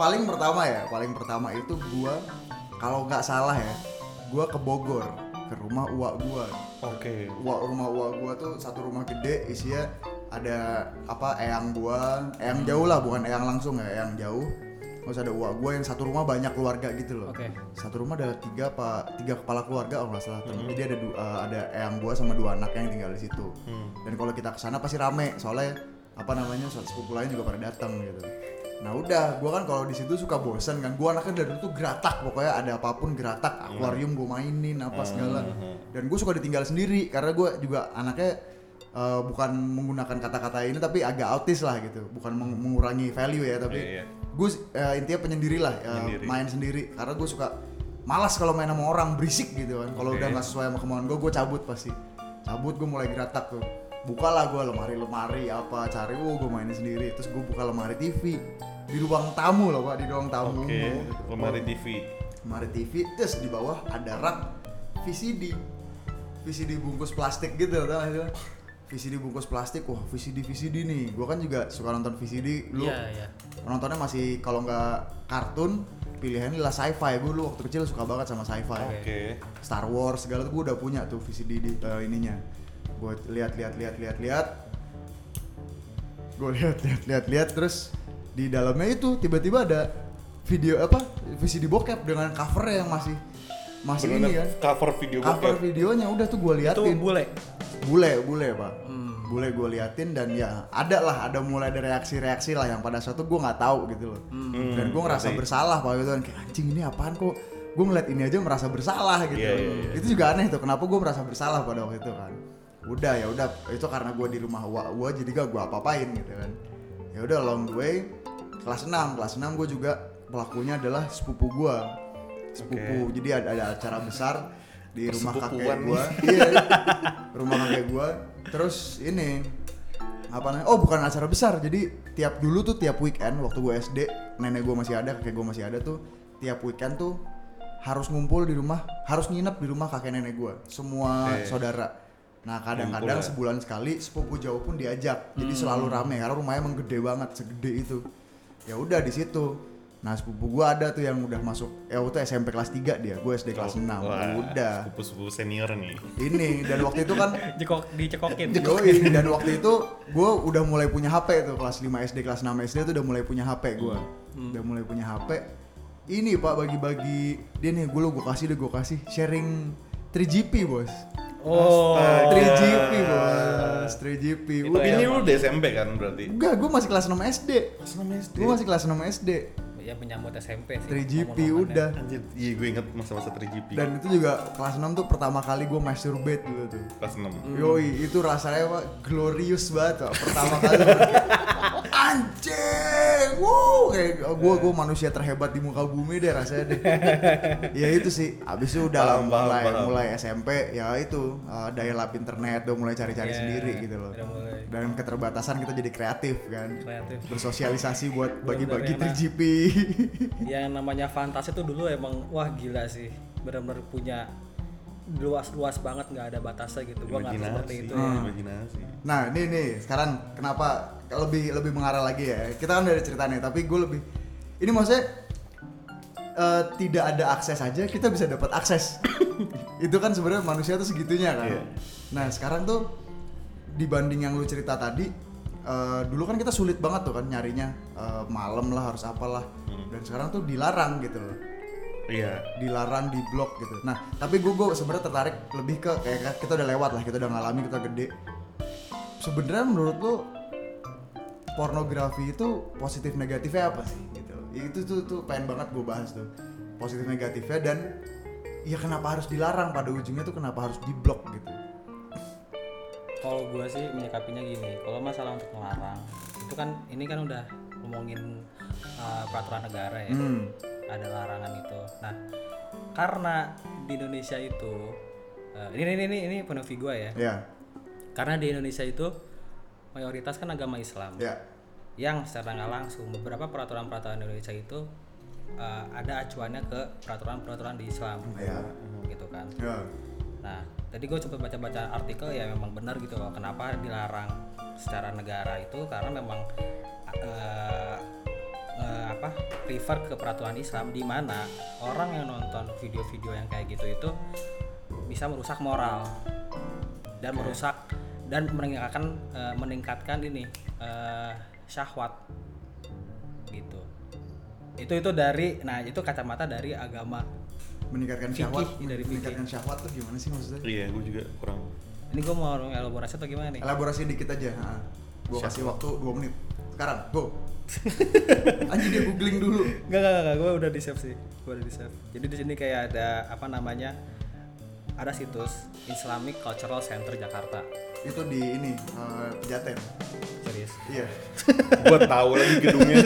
S2: paling pertama ya paling pertama itu gua kalau nggak salah ya gua ke Bogor ke rumah uak gua
S4: oke
S2: uak rumah uak gua tuh satu rumah gede isinya ada apa eyang gua eyang jauh lah bukan eyang langsung ya eyang jauh terus ada uak gua yang satu rumah banyak keluarga gitu loh
S3: Oke.
S2: satu rumah ada tiga apa tiga kepala keluarga kalau nggak salah
S4: Hmm.
S2: jadi ada du- eh, ada eyang gua sama dua anaknya yang tinggal di situ
S4: Hmm.
S2: dan kalau kita kesana pasti rame soalnya apa namanya soal sepupu lain juga pada datang gitu nah udah gua kan kalau di situ suka bosen kan gua anaknya dari dulu tuh geratak pokoknya ada apapun
S4: Hmm.
S2: geratak akuarium gua mainin apa segala dan gue suka ditinggal sendiri karena gua juga anaknya eh, bukan menggunakan kata-kata ini tapi agak autis lah gitu bukan meng- mengurangi value ya tapi
S4: Iya, iya.
S2: gue intinya penyendiri lah eh,
S4: Penyendiri.
S2: main sendiri karena gue suka malas kalau main sama orang berisik gitu kan kalau
S4: Oke.
S2: udah nggak sesuai sama kemauan gue gue cabut pasti cabut gue mulai geratak tuh bukalah gue lemari lemari apa cari wow gue mainin sendiri terus gue buka lemari TV di ruang tamu loh pak di ruang tamu
S4: oke
S2: gitu.
S4: lemari TV
S2: lemari TV terus di bawah ada rak VCD VCD bungkus plastik gitu tau gak sih lo? VCD bungkus plastik wah VCD VCD nih gue kan juga suka nonton VCD lu
S3: Iya, iya.
S2: nontonnya masih kalau nggak kartun pilihannya lah sci-fi gue lu waktu kecil suka banget sama sci-fi
S4: oke
S2: Star Wars segala tuh gue udah punya tuh VCD di eh, ininya gue lihat lihat lihat lihat lihat gue lihat lihat lihat lihat terus di dalamnya itu tiba-tiba ada video apa VCD bokep dengan covernya yang masih masih ini
S4: Bener-bener
S2: kan
S4: cover video
S2: cover
S4: bokep
S2: videonya udah tuh gue
S3: itu
S2: liatin
S3: bule
S2: bule bule pak bule gue liatin dan ya ada lah ada mulai ada reaksi-reaksi lah yang pada suatu gue nggak tahu gitu loh
S4: Hmm,
S2: dan gue ngerasa
S4: Berarti-
S2: bersalah pak gitu kan kayak anjing ini apaan kok gue ngeliat ini aja merasa bersalah gitu
S4: Iya, iya, iya.
S2: itu juga aneh tuh kenapa gue merasa bersalah pada waktu itu kan udah ya udah itu karena gue di rumah uak gue jadi gak gue apa-apain gitu kan ya udah long the way kelas 6 kelas 6 gue juga pelakunya adalah sepupu gue sepupu jadi ada, ada acara besar di rumah kakek
S4: Persepupuan
S2: gue iya rumah kakek gue terus ini apa namanya oh bukan acara besar jadi tiap dulu tuh tiap weekend waktu gue SD nenek gue masih ada kakek gue masih ada tuh tiap weekend tuh harus ngumpul di rumah, harus nginep di rumah kakek nenek gue, semua
S4: Oke.
S2: saudara. Nah kadang-kadang
S4: Ngumpul
S2: sebulan
S4: ya. Hmm.
S2: sekali sepupu jauh pun diajak, jadi selalu rame karena rumahnya emang gede banget, segede itu. Ya udah di situ. Nah sepupu gue ada tuh yang udah masuk, ya waktu itu SMP kelas 3 dia, gue SD
S4: Oh,
S2: kelas 6 Udah.
S4: Sepupu-sepupu senior nih.
S2: Ini dan waktu itu kan
S3: Jekok dicekokin.
S2: Yoi, dan waktu itu gue udah mulai punya HP tuh kelas 5 SD kelas 6 SD tuh udah mulai punya HP gue
S3: Hmm.
S2: udah mulai punya HP ini pak bagi-bagi dia nih gue lo gue kasih deh gue kasih sharing 3GP bos
S3: Oh. iya.
S2: 3GP bos 3GP
S3: Itu
S2: Udah.
S3: ya.
S4: Ini lu udah SMP kan berarti?
S2: enggak gue masih kelas 6 SD
S4: Kelas 6 SD.
S2: gue masih kelas 6 SD
S3: Ya menyambut SMP sih. ya.
S2: 3GP
S3: momen-momennya.
S2: udah
S4: Anjir, iya gue inget masa-masa
S3: ya.
S4: 3GP.
S2: dan itu juga kelas 6 tuh pertama kali gue masturbate dulu tuh
S4: kelas
S2: Hmm.
S4: 6.
S2: Yoi, itu rasanya pak glorious banget Pak. pertama kali anjing, wow kayak gue gue manusia terhebat di muka bumi deh rasanya deh. ya itu sih, abis itu udah lah,
S4: Paham, paham,
S2: mulai
S4: paham.
S2: mulai SMP ya itu uh, daya lap internet udah mulai cari-cari
S3: Iya,
S2: sendiri gitu loh.
S3: udah mulai.
S2: Dan keterbatasan kita jadi kreatif kan,
S3: Kreatif.
S2: bersosialisasi buat bagi-bagi
S3: Bener-bener enak.
S2: 3GP.
S3: Yang Ya, namanya fantasi itu dulu emang wah gila sih. Benar-benar punya luas-luas banget nggak ada batasnya gitu. Gua nggak seperti
S4: Imajinasi,
S3: itu.
S2: Hmm.
S3: ya.
S4: imajinasi.
S2: Nah, ini nih sekarang kenapa lebih lebih mengarah lagi ya? Kita kan udah ada ceritanya, tapi gue lebih ini maksudnya eh, tidak ada akses aja kita bisa dapat akses. Itu kan sebenarnya manusia tuh segitunya kan.
S4: Iya.
S2: Nah, sekarang tuh dibanding yang lu cerita tadi eh, dulu kan kita sulit banget tuh kan nyarinya eh, malam lah harus apalah dan sekarang tuh dilarang gitu loh
S4: Iya.
S2: dilarang di blok gitu. Nah, tapi gue gue sebenarnya tertarik lebih ke kayak kita udah lewat lah, kita udah ngalamin, kita gede. Sebenarnya menurut lo pornografi itu positif negatifnya apa sih gitu? Itu tuh tuh pengen banget gue bahas tuh positif negatifnya dan ya kenapa harus dilarang pada ujungnya tuh kenapa harus di blok gitu?
S3: Kalau gua sih menyikapinya gini. Kalau masalah untuk melarang itu kan ini kan udah ngomongin uh, peraturan negara ya.
S2: Hmm.
S3: ada larangan itu. Nah, karena di Indonesia itu eh, ini ini ini ini penevi gua ya.
S2: Ya,
S3: Karena di Indonesia itu mayoritas kan agama Islam.
S2: ya,
S3: Yang secara nggak langsung beberapa peraturan-peraturan Indonesia itu eh, ada acuannya ke peraturan-peraturan di Islam.
S2: Iya.
S3: Gitu kan.
S2: ya.
S3: Nah, tadi gue sempat baca-baca artikel ya memang benar gitu loh. Kenapa dilarang secara negara itu karena memang eh, eh, apa prefer ke peraturan Islam di mana orang yang nonton video-video yang kayak gitu itu bisa merusak moral dan merusak dan meningkatkan eh, meningkatkan ini eh, syahwat gitu itu itu dari nah itu kacamata dari agama
S2: Meningkatkan
S3: Fikih,
S2: syahwat,
S3: dari fikih.
S2: meningkatkan syahwat tuh gimana sih maksudnya?
S4: Iya, gue juga kurang.
S3: ini gue mau elaborasi atau gimana nih
S2: Elaborasi dikit aja. Gue kasih waktu 2 menit. Sekarang, go. Anjing dia googling dulu.
S3: Enggak, enggak, enggak, gue udah di save sih. Gue udah di save. Jadi di sini kayak ada apa namanya? Ada situs Islamic Cultural Center Jakarta.
S2: Itu di ini eh, pejaten.
S3: Serius.
S2: Iya.
S4: gue tahu lagi gedungnya.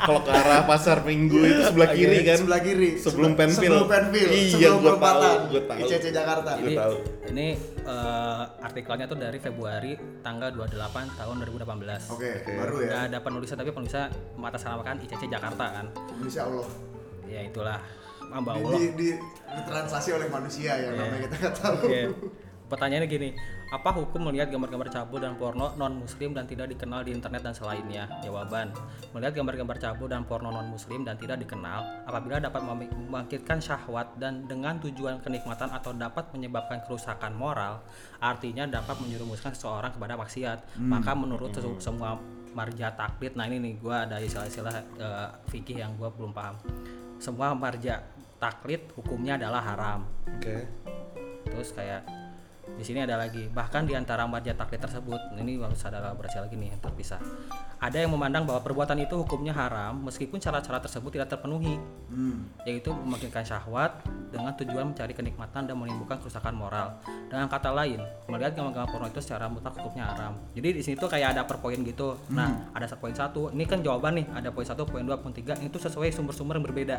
S4: Kalau ke arah pasar minggu itu sebelah kiri kan.
S2: Iya, Sebelah kiri.
S4: Sebelum
S2: Sebe-
S4: penfil.
S2: Sebelum penfil.
S4: Iya,
S2: sebelum
S4: gue tahu.
S2: perempatan.
S4: Gue tahu. Iya.
S2: ICC Jakarta.
S4: Gue
S3: Jadi
S4: tahu.
S3: ini eh, artikelnya tuh dari Februari tanggal 28 tahun 2018.
S2: Oke, baru ya.
S3: Udah ada penulisan tapi penulisan mengatasnamakan ICC Jakarta kan.
S2: Insya Allah.
S3: Ya itulah. Mamba
S2: Di,
S3: Allah.
S2: di, di, ditranslasi oleh manusia yang
S3: Iya.
S2: namanya kita nggak tahu.
S3: Oke. Pertanyaannya gini, apa hukum melihat gambar-gambar cabul dan porno non-muslim dan tidak dikenal di internet dan selainnya? Jawaban, melihat gambar-gambar cabul dan porno non-muslim dan tidak dikenal apabila dapat mem- membangkitkan syahwat dan dengan tujuan kenikmatan atau dapat menyebabkan kerusakan moral, artinya dapat menjerumuskan seseorang kepada maksiat. Maka menurut sesu- semua marja taklid, nah ini nih gua ada istilah-istilah eh, fikih yang gua belum paham. Semua marja taklid hukumnya adalah haram
S4: Oke.
S3: terus kayak di sini ada lagi bahkan di antara marja taklid tersebut ini harus ada elaborasi lagi nih yang terpisah ada yang memandang bahwa perbuatan itu hukumnya haram meskipun syarat-syarat tersebut tidak terpenuhi
S2: Hmm.
S3: yaitu memungkinkan syahwat dengan tujuan mencari kenikmatan dan menimbulkan kerusakan moral dengan kata lain melihat gambar-gambar porno itu secara mutlak hukumnya haram jadi di sini tuh kayak ada per poin gitu nah ada poin satu ini kan jawaban nih ada poin satu poin dua poin tiga itu sesuai sumber-sumber yang berbeda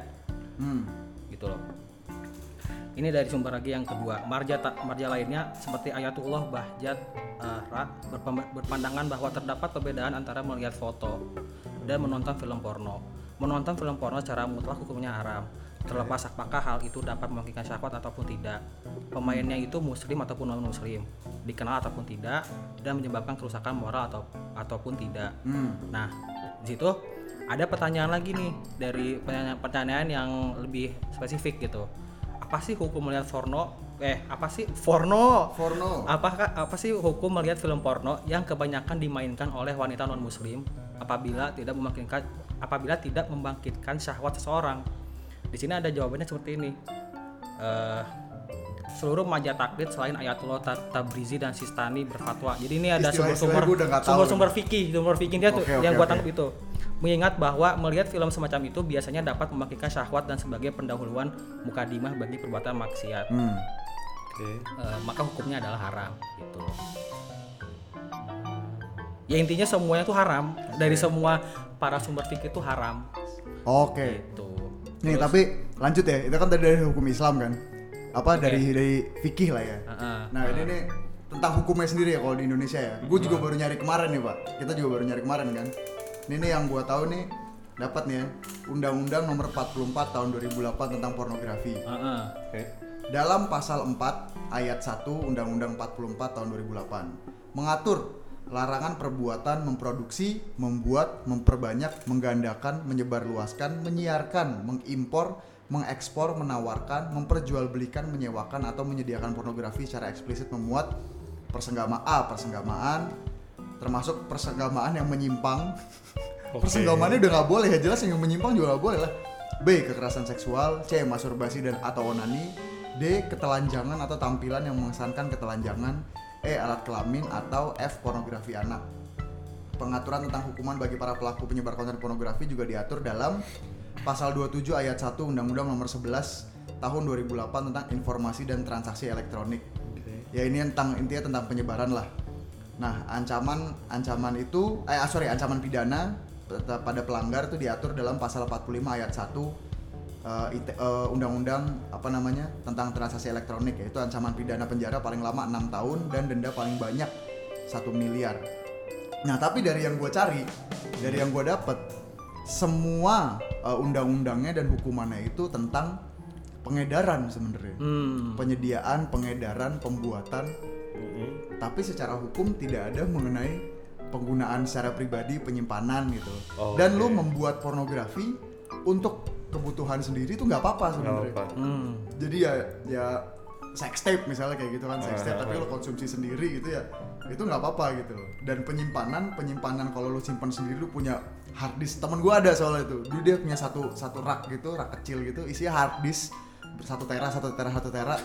S2: Hmm.
S3: gitu loh. Ini dari sumber lagi yang kedua, marja ta- marja lainnya seperti Ayatullah Bahjat eh, Ra berpem- berpandangan bahwa terdapat perbedaan antara melihat foto dan menonton film porno. Menonton film porno secara mutlak hukumnya haram. Terlepas apakah hal itu dapat merugikan syahwat ataupun tidak. Pemainnya itu muslim ataupun non muslim, dikenal ataupun tidak dan menyebabkan kerusakan moral atau ataupun tidak. Nah, di situ ada pertanyaan lagi nih dari pertanyaan-pertanyaan yang lebih spesifik gitu. Apa sih hukum melihat porno? Eh, apa sih porno?
S2: Porno.
S3: Apakah apa sih hukum melihat film porno yang kebanyakan dimainkan oleh wanita non muslim apabila tidak membangkitkan apabila tidak membangkitkan syahwat seseorang? Di sini ada jawabannya seperti ini. Eh, seluruh maja taklid selain Ayatullah Ta- Tabrizi dan Sistani berfatwa. Jadi ini ada
S2: Istilah-istilah
S3: sumber-sumber
S2: gue udah nggak tahu
S3: sumber-sumber fikih, sumber fikih dia tuh
S2: Oke, oke,
S3: yang gua
S2: oke.
S3: tangkap itu. Mengingat bahwa melihat film semacam itu biasanya dapat membangkitkan syahwat dan sebagai pendahuluan mukadimah bagi perbuatan maksiat.
S2: Hmm.
S3: Eh, maka hukumnya adalah haram gitu loh. Ya intinya semuanya itu haram dari semua para sumber fikih itu haram
S2: Oke.
S3: gitu.
S2: Nih tapi lanjut ya, itu kan tadi dari hukum Islam kan, apa dari dari fikih lah ya.
S3: Heeh.
S2: Nah ini nih tentang hukumnya sendiri ya kalau di Indonesia ya. Gue juga baru nyari kemarin nih pak, kita juga baru nyari kemarin kan. Ini nih yang gue tahu nih dapat nih ya, Undang-Undang Nomor 44 Tahun 2008 tentang pornografi.
S3: Heeh.
S4: Oke.
S2: Dalam pasal 4 ayat 1 Undang-Undang 44 tahun 2008 mengatur larangan perbuatan memproduksi, membuat, memperbanyak, menggandakan, menyebarluaskan, menyiarkan, mengimpor, mengekspor, menawarkan, memperjualbelikan, menyewakan atau menyediakan pornografi secara eksplisit memuat persenggama A, persenggamaan termasuk persenggamaan yang menyimpang.
S4: Oke.
S2: Persenggamannya udah nggak boleh ya jelas yang menyimpang juga nggak boleh lah. B kekerasan seksual, C masturbasi dan atau onani, D ketelanjangan atau tampilan yang mengesankan ketelanjangan, E alat kelamin atau F pornografi anak. Pengaturan tentang hukuman bagi para pelaku penyebar konten pornografi juga diatur dalam pasal 27 ayat 1 Undang-Undang Nomor 11 tahun 2008 tentang informasi dan transaksi elektronik ya ini tentang intinya tentang penyebaran lah nah ancaman ancaman itu eh ah, sorry ancaman pidana peta- pada pelanggar itu diatur dalam pasal 45 ayat 1 eh, IT- eh, undang-undang apa namanya tentang transaksi elektronik yaitu ancaman pidana penjara paling lama 6 tahun dan denda paling banyak 1 miliar nah tapi dari yang gue cari dari yang gue dapet semua eh, undang-undangnya dan hukumannya itu tentang pengedaran sebenarnya
S3: Hmm.
S2: penyediaan, pengedaran, pembuatan,
S4: Mm-mm.
S2: tapi secara hukum tidak ada mengenai penggunaan secara pribadi, penyimpanan gitu.
S4: Oh,
S2: Dan lu
S4: oke.
S2: membuat pornografi untuk kebutuhan sendiri itu nggak apa-apa
S4: Nggak
S2: sebenarnya.
S4: apa-apa.
S3: Hmm.
S2: Jadi ya ya sex tape misalnya kayak gitu kan sex tape, tapi lu konsumsi sendiri gitu ya itu nggak apa-apa gitu loh. Dan penyimpanan, penyimpanan kalau lu simpan sendiri lu punya hard disk. Temen gua ada soalnya itu. Dulu dia punya satu satu rak gitu, rak kecil gitu, isinya hard disk satu tera, satu tera, satu tera.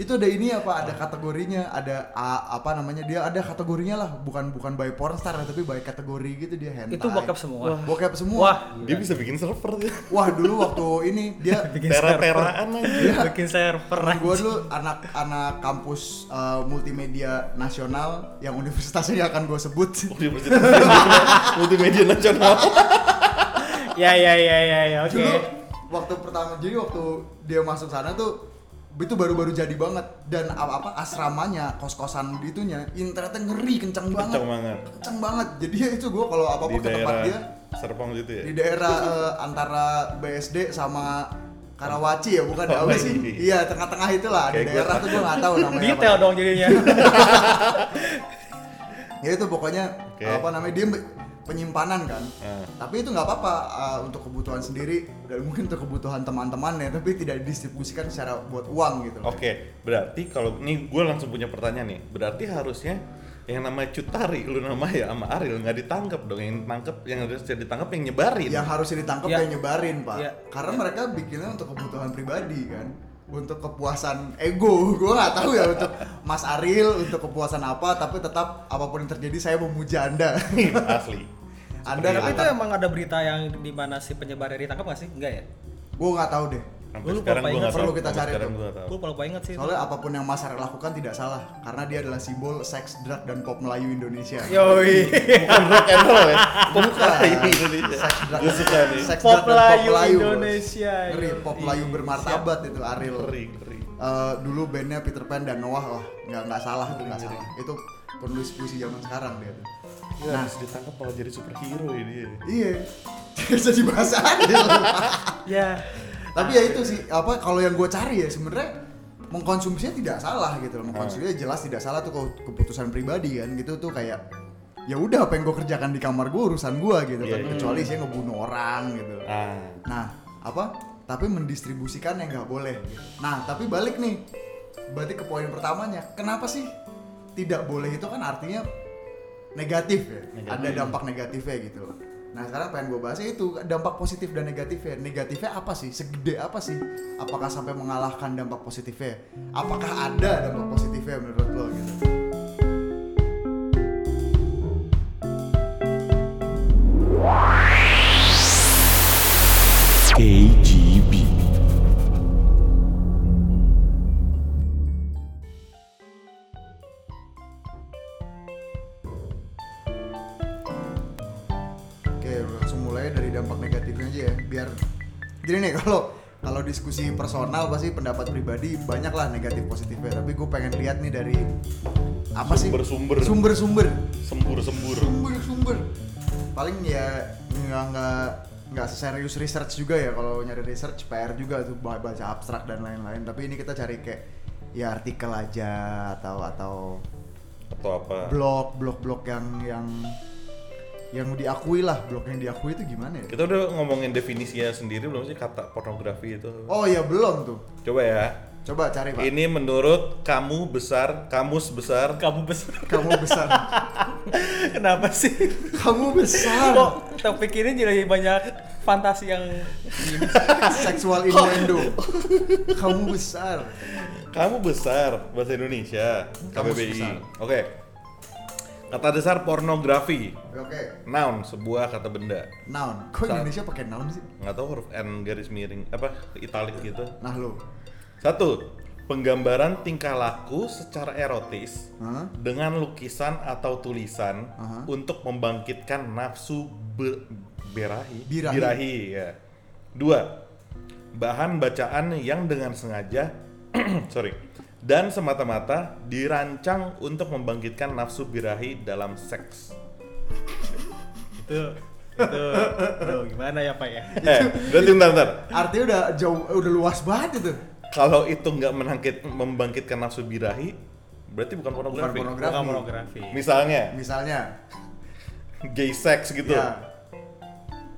S2: itu ada ini apa? Ada kategorinya, ada a- apa namanya? Dia ada kategorinya lah, bukan bukan by pornstar tapi by kategori gitu dia hentai.
S3: Itu bokep semua.
S2: Bokep semua.
S3: Wah,
S4: Dia bisa bikin server dia.
S2: Wah, dulu waktu ini dia
S4: Tera-teraan aja.
S3: bikin server
S2: gue dulu anak-anak kampus uh, multimedia nasional yang universitasnya nggak akan gue sebut
S4: Universitas Multimedia Nasional.
S3: ya ya ya ya ya oke
S2: dulu waktu pertama jadi waktu dia masuk sana tuh itu baru-baru jadi banget dan apa apa asramanya kos-kosan itunya internetnya ngeri kenceng banget
S4: Kenceng banget.
S2: kenceng banget jadi ya itu gue kalau apa apa
S4: Di
S2: ke tempat
S4: daerah
S2: dia
S4: Serpong gitu ya.
S2: di daerah eh, antara BSD sama Karawaci ya bukan
S4: Oh,
S2: apa sih
S4: ini.
S2: iya tengah-tengah itulah di
S4: Kayak gua
S2: daerah tuh gue nggak tahu namanya apa.
S3: detail dong jadinya
S2: ya itu pokoknya
S4: Oke.
S2: apa namanya dia me- penyimpanan kan
S4: Ah.
S2: tapi itu nggak apa-apa uh, untuk kebutuhan sendiri dan mungkin untuk kebutuhan teman-temannya tapi tidak didistribusikan secara buat uang gitu
S4: Oke, berarti kalau ini gue langsung punya pertanyaan nih. Berarti harusnya yang namanya Cutari, lu nama ya sama Ariel nggak ditangkap dong. Yang tangkap, yang harusnya ditangkap yang nyebarin.
S2: yang harus ditangkap
S3: Ya.
S2: yang nyebarin pak
S3: Ya.
S2: karena mereka bikinnya untuk kebutuhan pribadi kan untuk kepuasan ego gue nggak tahu ya untuk Mas Aril untuk kepuasan apa tapi tetap apapun yang terjadi saya memuja anda
S4: Asli.
S2: anda
S3: tapi itu
S2: kata-
S3: emang ada berita yang di mana si penyebarnya ditangkap gak sih enggak ya
S2: gue nggak tahu deh
S4: Sampai
S3: Lu lupa
S4: sekarang
S3: apa
S4: gue
S3: ingat?
S4: nggak tahu.
S2: Perlu kita
S4: Sampai
S2: cari
S4: sekarang
S2: tuh.
S4: gua nggak tahu.
S3: gue lupa inget sih itu.
S2: soalnya apapun yang Mas Aril lakukan tidak salah karena dia adalah simbol seks drug dan pop Melayu Indonesia
S3: yoi
S4: Bukan rock and roll ya.
S2: Bukan.
S4: Bukan ini Indonesia.
S2: Seks drug-
S4: Gue suka nih.
S2: seks
S3: Pop
S2: drug dan
S3: Melayu
S2: bos.
S3: Indonesia,
S2: Ngeri,
S3: yoi.
S2: pop Melayu bermartabat itu Ariel.
S4: Kering, kering.
S2: Eh, dulu bandnya Peter Pan dan Noah lah, nggak nggak salah, tuh, nggak salah. Itu penulis puisi zaman sekarang dia. tuh.
S4: ya Gila, harus ditangkap malah jadi superhero ini.
S2: Iya. Gak bisa dibahas adil.
S3: ya
S2: Tapi ya itu sih apa kalau yang gue cari ya sebenarnya mengkonsumsinya tidak salah gitu loh. Mengkonsumsinya jelas tidak salah tuh ke- keputusan pribadi kan gitu tuh kayak ya udah apa yang gue kerjakan di kamar gue urusan gue gitu kan
S4: Iya, iya.
S2: kecuali saya ngebunuh orang gitu.
S4: Ah.
S2: Nah, apa? Tapi mendistribusikan yang nggak boleh. Nah, tapi balik nih. Berarti ke poin pertamanya, kenapa sih tidak boleh itu kan artinya negatif ya. Ada dampak negatifnya gitu loh. Nah, sekarang pengen gue bahasnya itu dampak positif dan negatifnya. Negatifnya apa sih? Segede apa sih? Apakah sampai mengalahkan dampak positifnya? Apakah ada dampak positifnya menurut lo gitu?
S1: KGB
S2: Oke, langsung mulai dari dampak negatifnya aja ya. Biar jadi nih kalau kalau diskusi personal pasti pendapat pribadi banyak lah negatif positifnya. Tapi gue pengen lihat nih dari apa sih
S4: Sumber-sumber.
S2: sumber-sumber
S4: Sembur-sembur.
S2: sumber-sumber paling ya nggak nggak nggak seserius research juga ya kalau nyari research PR juga tuh ba- baca abstrak dan lain-lain tapi ini kita cari kayak ya artikel aja atau atau
S4: Atau apa?
S2: blog blog blog yang yang yang diakui lah blog yang diakui itu gimana ya
S4: Kita udah ngomongin definisinya sendiri belum sih kata pornografi itu?
S2: Oh ya belum tuh.
S4: Coba ya.
S2: Coba cari pak.
S4: Ini menurut kamu besar, kamus besar.
S3: kamu besar
S2: Kamu besar.
S3: kenapa sih
S2: Kamu besar.
S3: kok topik ini jadi banyak fantasi yang ini?
S2: Seksual innuendo. Kamu besar.
S4: Kamu besar bahasa Indonesia.
S2: Kamus
S4: KBBI.
S2: besar.
S4: Oke. Kata dasar pornografi.
S2: Oke.
S4: Noun, sebuah kata benda.
S2: Noun. Kok
S4: Besar.
S2: Indonesia pakai noun sih?
S4: Nggak tahu huruf N garis miring apa italik gitu.
S2: Nah lo.
S4: Satu, penggambaran tingkah laku secara erotis
S2: Hah?
S4: dengan lukisan atau tulisan
S2: Aha.
S4: untuk membangkitkan nafsu be- berahi,
S2: Birahi.
S4: ya. Dua, bahan bacaan yang dengan sengaja, sorry, dan semata-mata dirancang untuk membangkitkan nafsu birahi dalam seks.
S3: itu itu aduh, gimana ya pak ya
S4: Eh, berarti bentar, bentar.
S2: Artinya udah jauh, udah luas banget itu.
S4: Kalau itu nggak menangkit, membangkitkan nafsu birahi, berarti bukan pornografi.
S2: pornografi.
S3: bukan pornografi
S4: Misalnya,
S2: Misalnya.
S4: gay sex gitu.
S2: Ya.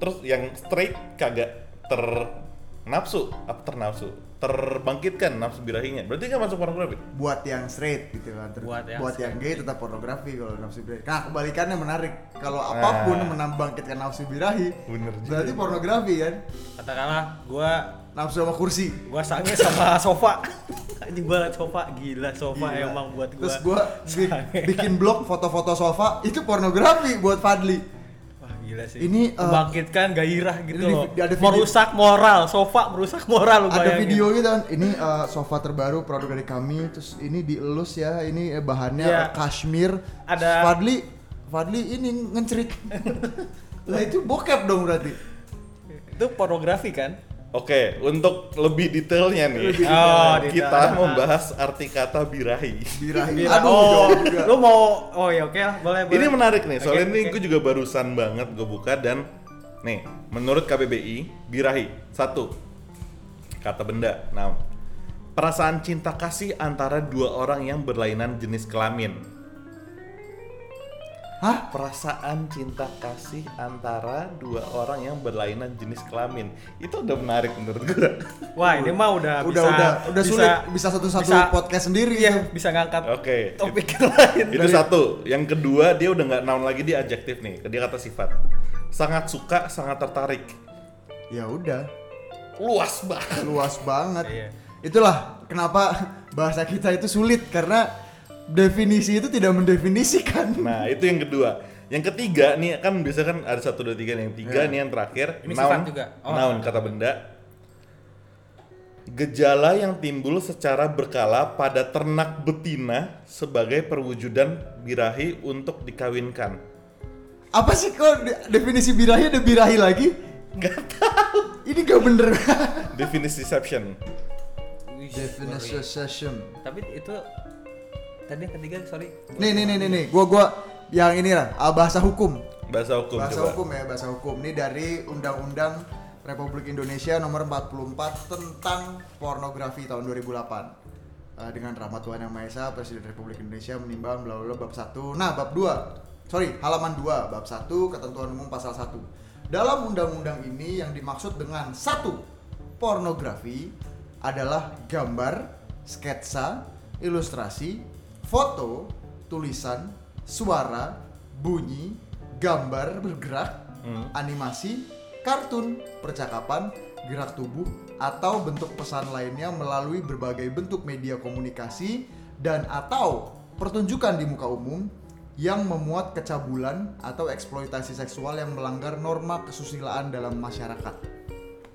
S4: Terus yang straight kagak ternafsu, apa ternafsu? Terbangkitkan nafsu birahinya. Berarti kan masuk pornografi.
S2: Buat yang straight gitu kan. Ter-
S3: Buat yang
S2: gay tetap pornografi kalau nafsu birahi. Nah kebalikannya menarik. Kalau apapun menambangkitkan nafsu birahi.
S4: Bener juga.
S2: Berarti pornografi kan.
S3: katakanlah gua
S2: Nafsu sama kursi.
S3: gua sange sama sofa anjing gua liat sofa gila sofa
S2: Gila.
S3: emang buat gua
S2: Terus gua bi-
S3: sange.
S2: bikin blog foto-foto sofa itu pornografi buat Fadli.
S3: Wah gila sih.
S2: Ini, eh,
S3: membangkitkan gairah gitu
S2: ini di-
S3: loh.
S2: ada video-
S3: merusak moral, sofa merusak moral lu
S2: Ada
S3: bayangin.
S2: video gitu kan. Ini eh, sofa terbaru produk dari kami. Terus ini dielus ya. Ini eh, bahannya
S3: Iya.
S2: eh, kashmir.
S3: Ada-
S2: Fadli Fadli ini ngencerit. lah itu bokep dong berarti.
S3: Itu pornografi kan?
S4: Oke, untuk lebih detailnya nih.
S3: Lebih detail. Oh,
S4: kita
S3: detail.
S4: membahas arti kata birahi.
S2: Birahi.
S3: Gila.
S2: Aduh,
S3: oh,
S2: jauh juga.
S3: lu mau oh ya oke lah, boleh boleh.
S4: Ini menarik nih,
S3: Oke,
S4: soalnya ini
S3: oke.
S4: gue juga barusan banget gue buka dan nih, menurut KBBI, birahi satu kata benda. Nah, perasaan cinta kasih antara dua orang yang berlainan jenis kelamin.
S2: Hah?
S4: perasaan cinta kasih antara dua orang yang berlainan jenis kelamin itu udah menarik menurut gue
S3: Wah, ini mah udah
S2: Udah
S3: bisa,
S2: udah udah
S3: bisa-
S2: sulit bisa satu-satu
S3: bisa-
S2: podcast sendiri
S3: Iya,
S2: itu.
S3: bisa ngangkat
S4: oke
S3: topik yang lain.
S4: itu satu yang kedua dia udah nggak noun lagi dia adjektif nih dia kata sifat sangat suka sangat tertarik
S2: Ya udah,
S4: luas banget
S2: luas banget.
S3: Iya.
S2: Itulah kenapa bahasa kita itu sulit karena definisi itu tidak mendefinisikan.
S4: nah itu yang kedua yang ketiga nih kan biasa kan ada satu dua tiga yang tiga nih yang terakhir
S3: Ini sifat
S4: noun
S3: juga. Oh.
S4: noun kata benda gejala yang timbul secara berkala pada ternak betina sebagai perwujudan birahi untuk dikawinkan
S2: apa sih kok de- definisi birahi ada birahi lagi?
S4: Gak
S2: Ini gak bener.
S4: definisi deception
S3: Wih,
S2: definisi session.
S3: Tapi itu tadi yang ketiga sorry.
S2: Nih nih nih nih nih, gua gua yang ini lah ah, bahasa hukum.
S4: Bahasa hukum
S2: bahasa
S4: coba.
S2: hukum ya bahasa hukum ini dari Undang-Undang Republik Indonesia nomor 44 tentang pornografi tahun 2008 Eh, dengan rahmat Tuhan yang Maha Esa Presiden Republik Indonesia menimbang bla bla bla, bab 1 nah bab 2 sorry halaman 2 bab 1 ketentuan umum pasal 1 dalam undang-undang ini yang dimaksud dengan satu pornografi adalah gambar sketsa ilustrasi foto tulisan suara bunyi gambar bergerak, animasi, kartun, percakapan, gerak tubuh, atau bentuk pesan lainnya melalui berbagai bentuk media komunikasi dan atau pertunjukan di muka umum yang memuat kecabulan atau eksploitasi seksual yang melanggar norma kesusilaan dalam masyarakat.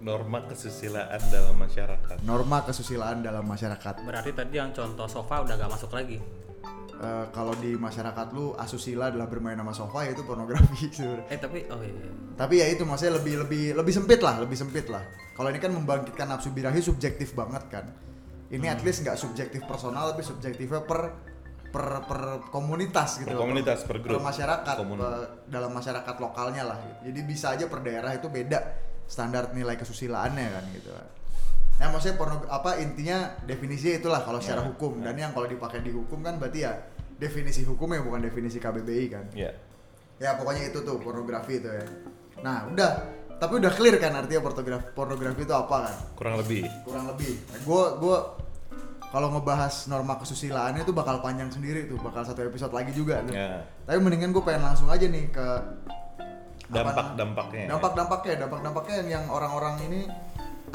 S4: Norma kesusilaan dalam masyarakat.
S2: Norma kesusilaan dalam masyarakat.
S5: Berarti tadi yang contoh sofa udah gak masuk lagi.
S2: Eh, kalau di masyarakat lu asusila adalah bermain sama sofa yaitu pornografi sebenarnya.
S5: Eh tapi oh iya. iya.
S2: tapi ya itu maksudnya lebih lebih lebih sempit lah lebih sempit lah kalau ini kan membangkitkan nafsu birahi subjektif banget kan ini
S4: Hmm.
S2: at least nggak subjektif personal tapi subjektifnya per per per komunitas gitu
S4: Per
S2: loh.
S4: komunitas, per grup.
S2: masyarakat eh.
S4: Komun-
S2: per- dalam masyarakat lokalnya lah jadi bisa aja per daerah itu beda standar nilai kesusilaannya kan gitu kan Nah, maksudnya porno apa intinya definisinya itulah kalau secara hukum dan yang kalau dipakai di hukum kan berarti ya definisi hukumnya bukan definisi KBBI kan
S4: Ya.
S2: ya pokoknya itu tuh pornografi itu ya nah udah tapi udah clear kan artinya pornografi pornografi itu apa kan
S4: Kurang lebih.
S2: kurang lebih gue gue kalau ngebahas norma kesusilaannya itu bakal panjang sendiri tuh bakal satu episode lagi juga tuh.
S4: Ya.
S2: tapi mendingan gue pengen langsung aja nih ke apa
S4: Dampak-dampaknya.
S2: namanya? dampak-dampaknya dampak-dampaknya yang- yang orang-orang ini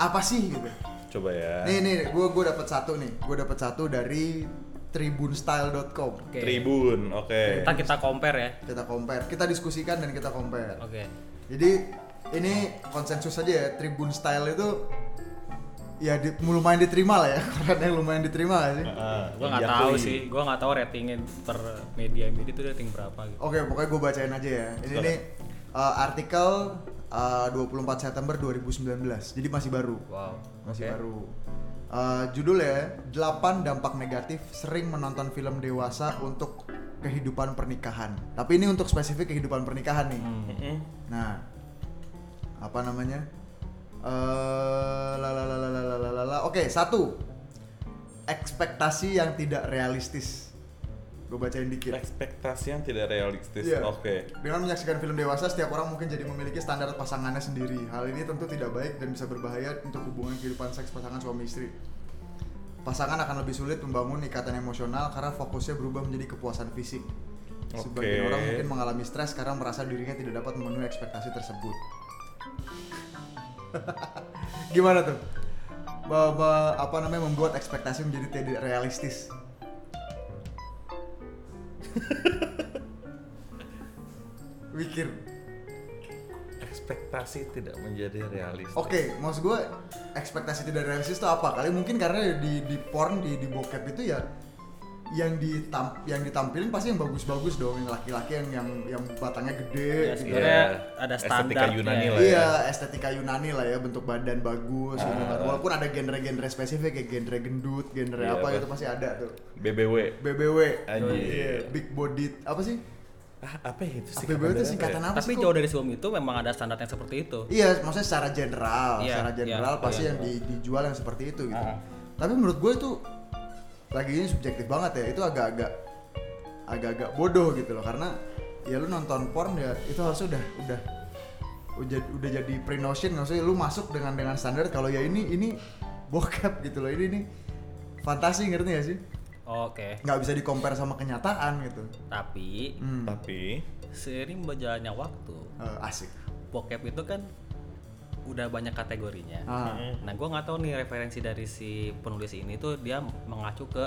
S2: apa sih gitu
S4: Coba ya.
S2: nih nih gue gue dapet satu nih gue dapet satu dari tribunstyle.com
S5: Oke.
S4: Tribun, oke.
S5: Kita kita compare ya.
S2: kita compare kita diskusikan dan kita compare
S5: Oke.
S2: Jadi ini konsensus aja ya Tribun style itu ya di, lumayan diterima lah ya karena lumayan diterima gak sih.
S4: Ah,
S5: Gua nggak
S4: Jakri.
S5: tahu sih, gua nggak tahu ratingnya per media media itu rating berapa gitu.
S2: Oke pokoknya gue bacain aja ya. Ini
S4: Silakan.
S2: nih uh, artikel uh, 24 September 2019 jadi masih baru.
S5: Wow.
S2: Masih
S5: Oke.
S2: baru. Uh, judulnya 8 dampak negatif sering menonton film dewasa untuk kehidupan pernikahan. Tapi ini untuk spesifik kehidupan pernikahan nih.
S4: Mm-mm.
S2: Nah, apa namanya? Eh, la la la la la la la la, la. Oke, satu. Ekspektasi yang tidak realistis. Gue bacain
S4: Iya.
S2: dikit.
S4: Ekspektasi yang tidak realistis.
S2: Iya.
S4: Oke.
S2: Dengan menyaksikan film dewasa, setiap orang mungkin jadi memiliki standar pasangannya sendiri. Hal ini tentu tidak baik dan bisa berbahaya untuk hubungan kehidupan seks pasangan suami istri. Pasangan akan lebih sulit membangun ikatan emosional karena fokusnya berubah menjadi kepuasan fisik. Sebagian
S4: Oke.
S2: orang mungkin mengalami stres karena merasa dirinya tidak dapat memenuhi ekspektasi tersebut. Gimana tuh? Bahwa apa namanya membuat ekspektasi menjadi tidak realistis. Mikir.
S4: Ekspektasi tidak menjadi realistis.
S2: Oke, maksud gue ekspektasi tidak realistis itu apa? Kali mungkin karena di di porn di di bokep itu ya yang ditam yang ditampilin pasti yang bagus-bagus dong, yang laki-laki yang yang yang batangnya
S3: Ya,
S2: gede. gitu.
S3: sebenarnya
S4: Iya.
S3: ada
S4: Estetika
S3: standar
S4: Yunani lah. ya.
S2: Iya, estetika Yunani lah ya, bentuk badan bagus gitu kan. Walaupun ada genre-genre spesifik kayak genre gendut, genre
S4: Iya,
S2: apa
S4: apa.
S2: gitu pasti ada tuh.
S4: BBW.
S2: BBW.
S4: Anjir.
S2: Iya, big body apa sih?
S4: Ah, apa ya itu sih? ya?
S2: BBW itu singkatan apa sih?
S3: tapi
S2: Kok?
S3: jauh dari sebelum itu memang ada standar yang seperti itu
S2: Iya, maksudnya secara general,
S3: Iya,
S2: secara general
S3: iya,
S2: pasti
S3: iya.
S2: yang di- dijual yang seperti itu gitu.
S4: Ah.
S2: Tapi menurut gue itu lagi ini subjektif banget ya. Itu agak-agak agak-agak bodoh gitu loh karena ya lu nonton porn ya itu harusnya udah udah udah, udah jadi pre notion maksudnya lu masuk dengan dengan standar kalau ya ini ini bokep gitu loh. Ini ini fantasi ngerti gak sih?
S3: oke
S2: nggak bisa dikompar sama kenyataan gitu.
S3: tapi
S2: Hmm.
S4: Tapi
S3: seiring berjalannya waktu
S2: Eh, asik.
S3: bokep itu kan udah banyak kategorinya
S2: Ah.
S3: Nah, gue nggak tahu nih referensi dari si penulis ini tuh dia mengacu ke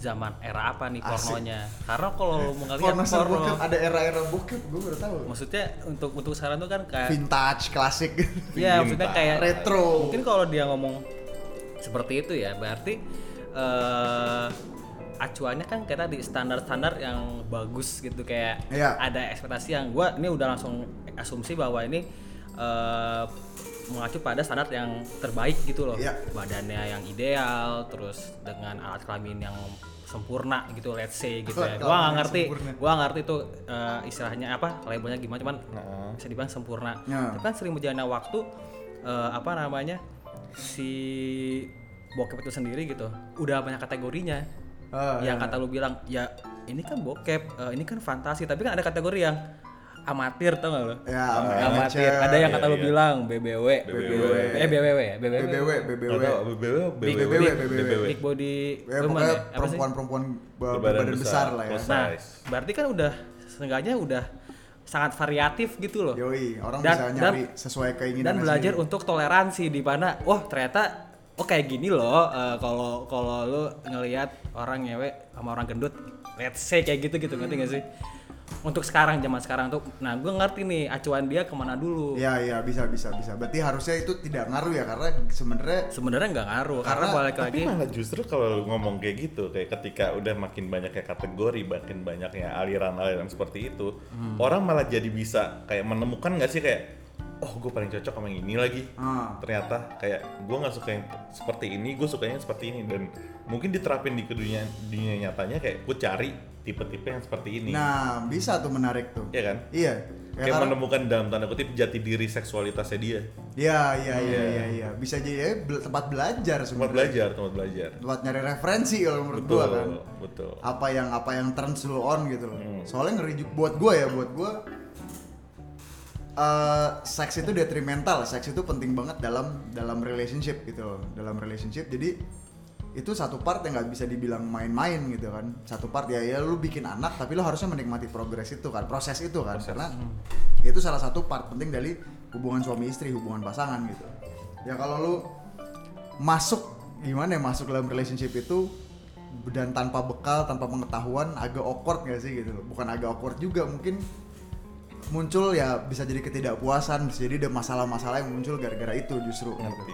S3: zaman era apa nih
S2: Asik.
S3: pornonya. Karena kalau lu mau ngeliat
S2: Porno sama
S3: porno,
S2: bokep ada era-era bokep gue baru tahu.
S3: maksudnya untuk untuk sekarang tuh kan kayak,
S2: vintage klasik
S3: ya maksudnya kayak
S2: Gitu, retro
S3: Mungkin kalau dia ngomong seperti itu ya, berarti eh acuannya kan kayak tadi standar-standar yang bagus gitu kayak
S2: Iya.
S3: ada ekspektasi yang gua ini udah langsung asumsi bahwa ini eh, mengacu pada standar yang terbaik gitu loh
S2: Iya.
S3: badannya yang ideal terus dengan alat kelamin yang sempurna gitu let's say gitu
S2: Kelakuan
S3: ya. Gua nggak
S2: yang
S3: ngerti,
S2: sempurna.
S3: gua nggak ngerti itu eh, istilahnya apa, labelnya gimana cuman
S4: Nah.
S3: bisa dibilang sempurna.
S2: Nah.
S3: Tapi kan sering berjalannya waktu eh, apa namanya? si bokep itu sendiri gitu. Udah banyak kategorinya.
S2: Ah,
S3: yang kata lu bilang, ya ini kan bokep, eh, ini kan fantasi, tapi kan ada kategori yang amatir tau gak lu?
S2: Ya,
S3: amatir.
S2: amatir.
S3: Ada yang
S4: Iya,
S3: kata lu
S4: iya.
S3: bilang BBW,
S4: BBW.
S3: eh BBW ya, BBW.
S2: BBW, BBW.
S4: Nggak tahu, BBW,
S3: Big-
S4: BBW,
S3: big-
S4: BBW.
S3: Big body
S2: Ya, pokoknya
S3: women ya? Apa sih?
S2: perempuan-perempuan ber- berbadan besar lah ya.
S4: plus
S3: Nah,
S4: size.
S3: berarti kan udah setengahnya udah sangat variatif gitu loh.
S2: Yoi, orang
S3: Dan-
S2: bisa
S3: dan-
S2: nyari sesuai keinginan
S3: Dan belajar untuk toleransi di mana wah ternyata oh kayak gini loh eh, kalau kalau lu ngelihat orang nyewe sama orang gendut let's say kayak gitu gitu ngerti gak sih? Untuk sekarang zaman sekarang tuh nah gue ngerti nih acuan dia kemana dulu.
S2: Ya, ya bisa bisa bisa. Berarti harusnya itu tidak ngaruh ya karena sebenarnya
S3: Sebenarnya nggak ngaruh karena,
S2: Karena-
S3: balik
S4: Tapi
S3: lagi
S4: malah justru kalau lu ngomong kayak gitu, kayak ketika udah makin banyaknya kategori, makin banyaknya aliran-aliran seperti itu,
S2: Hmm.
S4: orang malah jadi bisa kayak menemukan nggak sih kayak, oh gue paling cocok sama yang ini lagi.
S2: Ah.
S4: Ternyata kayak gue nggak suka yang seperti ini, gue sukanya yang seperti ini dan mungkin diterapin di dunia dunia nyatanya kayak gue cari tipe-tipe yang seperti ini.
S2: nah bisa tuh menarik tuh.
S4: Iya kan?
S2: Iya. Ya,
S4: kayak
S2: karena-
S4: menemukan dalam tanda kutip jati diri seksualitasnya dia.
S2: Iya, iya, iya, iya, iya. Bisa jadi ya, bel- tempat belajar
S4: Tempat
S2: sebenarnya.
S4: belajar, tempat belajar.
S2: Tempat nyari referensi kalau menurut
S4: Betul,
S2: gua Hmm. kan.
S4: betul.
S2: Apa yang apa yang turns lu on gitu loh.
S4: Hmm.
S2: Soalnya ngeri juga buat gua ya, buat gua eh seks itu detrimental, seks itu penting banget dalam dalam relationship gitu loh, dalam relationship. Jadi itu satu part yang nggak bisa dibilang main-main gitu kan. Satu part ya ya lu bikin anak tapi lu harusnya menikmati progres itu kan, proses itu kan. Karena itu salah satu part penting dari hubungan suami istri, hubungan pasangan gitu. Ya kalau lu masuk gimana ya masuk dalam relationship itu dan tanpa bekal, tanpa pengetahuan agak awkward gak sih gitu. loh. Bukan agak awkward juga mungkin muncul ya bisa jadi ketidakpuasan bisa jadi ada masalah-masalah yang muncul gara-gara itu justru
S4: Ngerti.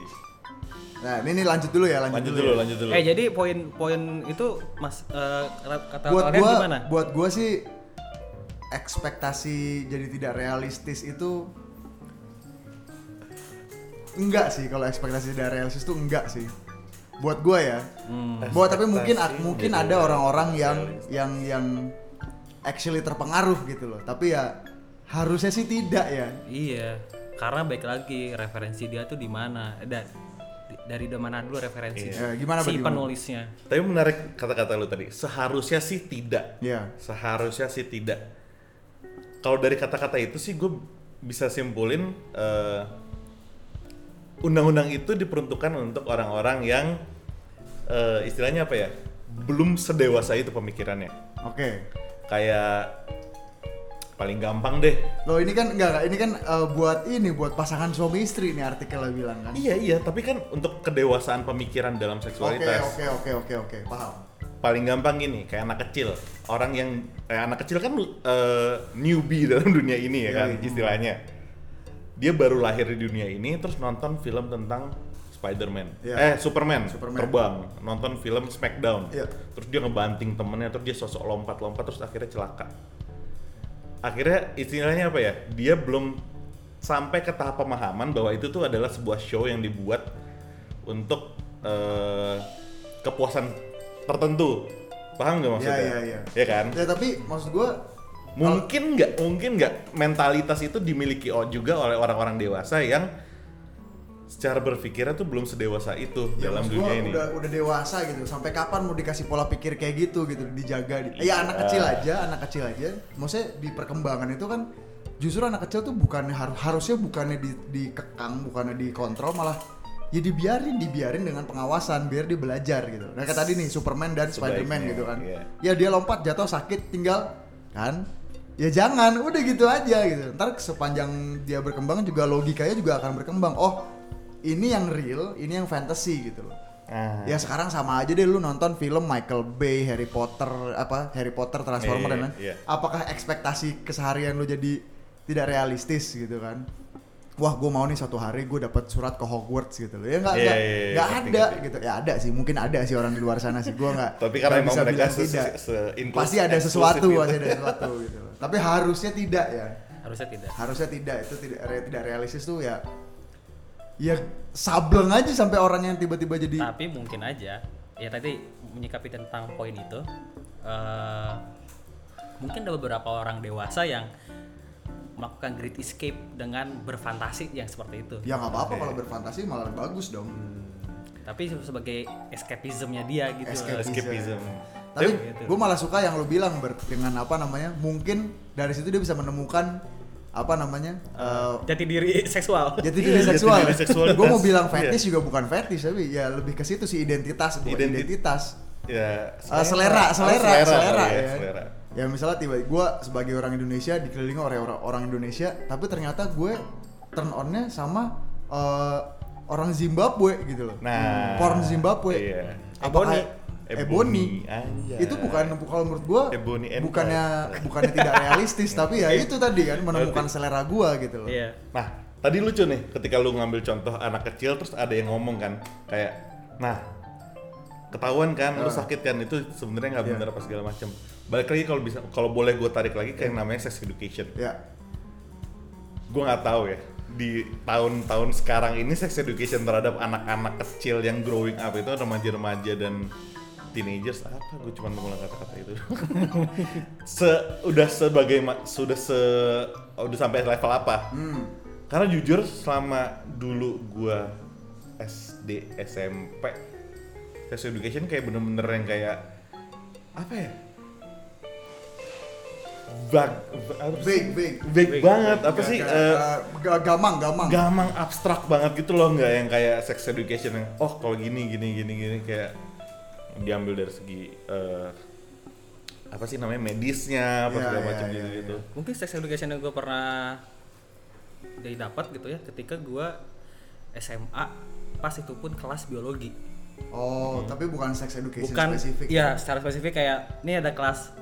S2: nah ini, ini lanjut dulu ya lanjut,
S4: Lanjut dulu,
S2: ya.
S4: lanjut dulu.
S3: Eh jadi poin-poin itu mas eh, kata
S2: buat
S3: kalian
S2: gua
S3: gimana?
S2: buat gua sih ekspektasi jadi tidak realistis itu enggak sih kalau ekspektasi tidak realistis itu enggak sih buat gua ya buat tapi mungkin
S4: Hmm. Ekspektasi
S2: mungkin
S4: tidak
S2: ada orang-orang yang yang yang actually terpengaruh gitu loh tapi ya harusnya sih tidak ya
S3: Iya, karena baik lagi referensi dia tuh di mana dan di- dari di mana dulu referensi
S2: Iya. Eh, gimana,
S3: si
S2: Pak, gimana?
S3: penulisnya.
S4: Tapi menarik kata-kata lu tadi. Seharusnya sih tidak.
S2: Iya.
S4: Seharusnya sih tidak. Kalau dari kata-kata itu sih gue bisa simpulin eh, undang-undang itu diperuntukkan untuk orang-orang yang eh, istilahnya apa ya? Belum sedewasa itu pemikirannya.
S2: oke
S4: Kayak paling gampang deh.
S2: Loh ini kan enggak, enggak, ini kan eh, buat ini buat pasangan suami istri nih artikelnya bilang kan.
S4: Iya iya, tapi kan untuk kedewasaan pemikiran dalam
S2: Oke,
S4: seksualitas.
S2: oke, oke, oke, oke, paham.
S4: paling gampang gini kayak anak kecil orang yang kayak anak kecil kan eh, newbie dalam dunia ini
S2: Iya,
S4: ya kan
S2: iya.
S4: istilahnya dia baru lahir di dunia ini terus nonton film tentang Spider-Man
S2: Iya.
S4: eh Superman,
S2: Superman.
S4: terbang nonton film Smackdown
S2: Iya.
S4: terus dia ngebanting temennya terus dia sosok lompat-lompat terus akhirnya celaka akhirnya istilahnya apa ya dia belum sampai ke tahap pemahaman bahwa itu tuh adalah sebuah show yang dibuat untuk eh, kepuasan tertentu paham nggak maksudnya
S2: Iya, iya, iya.
S4: Ya kan
S2: Ya tapi maksud gua
S4: mungkin nggak mungkin nggak mentalitas itu dimiliki o- juga oleh orang-orang dewasa yang secara berpikirnya tuh belum sedewasa itu
S2: ya
S4: dalam
S2: maksud
S4: dunia
S2: gua
S4: ini
S2: udah udah dewasa gitu. Sampai kapan mau dikasih pola pikir kayak gitu gitu dijaga
S4: Iya.
S2: di- Ya anak kecil aja, anak kecil aja. Maksudnya di perkembangan itu kan justru anak kecil tuh bukannya har- harusnya bukannya di, dikekang, bukannya dikontrol malah ya dibiarin, dibiarin dengan pengawasan biar dia belajar gitu. Nah kayak tadi nih Superman dan Spider-Man
S4: Sebaiknya,
S2: gitu kan.
S4: iya.
S2: ya dia lompat jatuh sakit tinggal kan ya jangan udah gitu aja gitu ntar sepanjang dia berkembang juga logikanya juga akan berkembang oh ini yang real ini yang fantasy gitu loh
S4: Ah.
S2: ya sekarang sama aja deh lu nonton film Michael Bay Harry Potter apa Harry Potter Transformer
S4: Iya,
S2: dan lain
S4: iya.
S2: apakah ekspektasi keseharian lu jadi tidak realistis gitu kan wah gue mau nih suatu hari gue dapat surat ke Hogwarts gitu loh ya nggak
S4: Iya,
S2: nggak
S4: iya, iya,
S2: nggak
S4: ngerti,
S2: ada
S4: ngerti.
S2: gitu ya ada sih mungkin ada sih orang di luar sana sih gue nggak
S4: Tapi
S2: nggak
S4: karena emang
S2: bisa
S4: mereka
S2: bilang
S4: se-
S2: tidak.
S4: se- se-
S2: pasti ada
S4: inklusif
S2: sesuatu
S4: gitu.
S2: pasti ada sesuatu gitu loh. tapi harusnya tidak ya
S3: Harusnya tidak.
S2: harusnya tidak itu tidak re- tidak realistis tuh ya ya sableng aja sampai orang yang tiba-tiba jadi
S3: Nah.
S5: Tapi mungkin aja ya tadi menyikapi tentang poin itu eh, mungkin ada beberapa orang dewasa yang melakukan great escape dengan berfantasi yang seperti itu
S2: ya nggak apa-apa kalau berfantasi malah bagus dong
S5: tapi se- sebagai escapismnya dia gitu
S2: Escape.
S4: Eh, escapism.
S2: tapi gue malah suka yang lo bilang Ber, dengan apa namanya mungkin dari situ dia bisa menemukan apa namanya eh,
S5: jati diri seksual
S2: jati diri seksual.
S4: diri Iya, seksualitas. Iya.
S2: gue mau bilang fetish juga bukan fetish tapi ya lebih ke situ sih identitas, bukan
S4: Identi-
S2: identitas.
S4: Ya,
S2: Eh, selera, selera, selera,
S4: kali
S2: ya.
S4: ya, selera.
S2: Ya, misalnya tiba gue sebagai orang Indonesia dikelilingi oleh orang orang Indonesia, tapi ternyata gue turn onnya sama eh, orang Zimbabwe gitu loh.
S4: Nah,
S2: porn Zimbabwe.
S4: iya.
S2: Apakah-
S4: Ebony.
S2: Ebony.
S4: Anjay.
S5: Iya.
S2: Itu bukan kalau menurut gue
S4: Ebony and
S2: bukannya bukannya tidak realistis, tapi
S4: Iya.
S2: ya itu tadi kan menemukan selera gue gitu loh.
S5: Iya.
S4: Nah, tadi lucu nih ketika lu ngambil contoh anak kecil terus ada yang ngomong kan kayak nah ketahuan kan lu sakit kan itu sebenarnya nggak benar apa segala macam. Balik lagi kalau bisa kalau boleh gue tarik lagi ke yang namanya sex education.
S2: Ya,
S4: Gue nggak tahu ya di tahun-tahun sekarang ini sex education terhadap anak-anak kecil yang growing up itu remaja-remaja dan teenagers apa gue cuma mengulang kata-kata itu se udah sebagai sudah se udah sampai level apa karena jujur selama dulu gua SD SMP sex education kayak bener-bener yang kayak apa ya Bag, apa
S2: Vague,
S4: sih?
S2: vague.
S4: Vague banget apa sih eh,
S2: Ga- gamang, gamang.
S4: gamang abstrak banget gitu loh nggak yang kayak sex education yang oh kalau gini gini gini gini kayak diambil dari segi eh, apa sih namanya medisnya apa
S2: Iya,
S4: segala
S2: iya,
S4: macam
S2: iya,
S4: gitu gitu
S5: mungkin sex education yang gue pernah dari dapat gitu ya ketika gue SMA pas itu pun kelas biologi
S2: Oh, tapi bukan sex education
S5: bukan
S2: spesifik.
S5: ya secara spesifik kayak ini ada kelas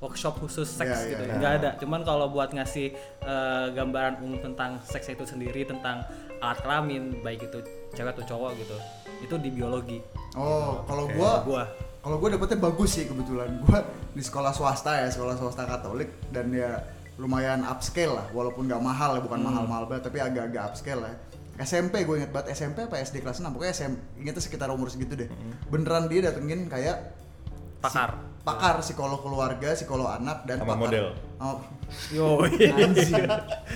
S5: workshop khusus
S2: Ya,
S5: seks
S2: ya,
S5: gitu
S2: ya.
S5: nggak ada cuman kalau buat ngasih eh, gambaran umum tentang seks itu sendiri tentang alat kelamin baik itu cewek atau cowok gitu itu di biologi
S2: Oh, kalau gua
S5: gua
S2: kalau gua dapetnya bagus sih kebetulan gua di sekolah swasta ya, sekolah swasta Katolik dan ya lumayan upscale lah, walaupun nggak mahal ya, bukan mahal-mahal banget tapi agak-agak upscale lah. SMP gue inget banget SMP apa SD kelas 6 pokoknya SMP ingetnya sekitar umur segitu deh beneran dia datengin kayak
S5: pakar
S2: pakar psikolog keluarga psikolog anak dan
S4: Sama
S2: pakar
S4: model.
S2: Oh,
S5: yo
S2: Anjing.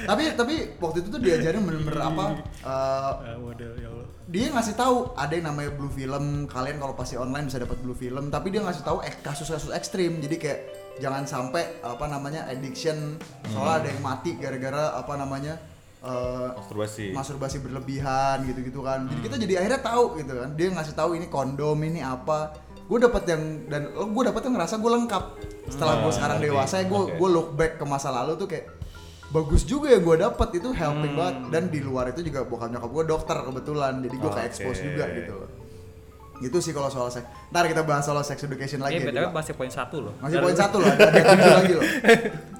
S2: tapi tapi waktu itu tuh diajarin bener-bener apa eh,
S5: model ya Allah
S2: dia ngasih tahu ada yang namanya blue film kalian kalau pasti online bisa dapat blue film tapi dia ngasih tahu ek- kasus-kasus ekstrim jadi kayak jangan sampai apa namanya addiction soalnya ada yang mati gara-gara apa namanya eh,
S4: masturbasi
S2: masturbasi berlebihan gitu-gitu kan.
S4: Hmm.
S2: Jadi kita jadi akhirnya tahu gitu kan. Dia ngasih tahu ini kondom ini apa. Gue dapat yang dan oh, gue dapat yang ngerasa gue lengkap. Setelah gue
S4: Ah,
S2: sekarang
S4: ngerti.
S2: dewasa, gue
S4: Oke.
S2: gue look back ke masa lalu tuh kayak bagus juga ya gue dapat itu helping
S4: Hmm.
S2: banget dan di luar itu juga bokap nyokap gue dokter kebetulan jadi gue kayak expose
S4: Oke.
S2: juga gitu loh gitu sih kalau soal seks ntar kita bahas soal sex education lagi
S5: eh
S4: Iya,
S2: ya,
S5: btw
S2: Dipa.
S5: masih poin satu loh
S2: Masih poin satu loh, ada yang kedua lagi loh.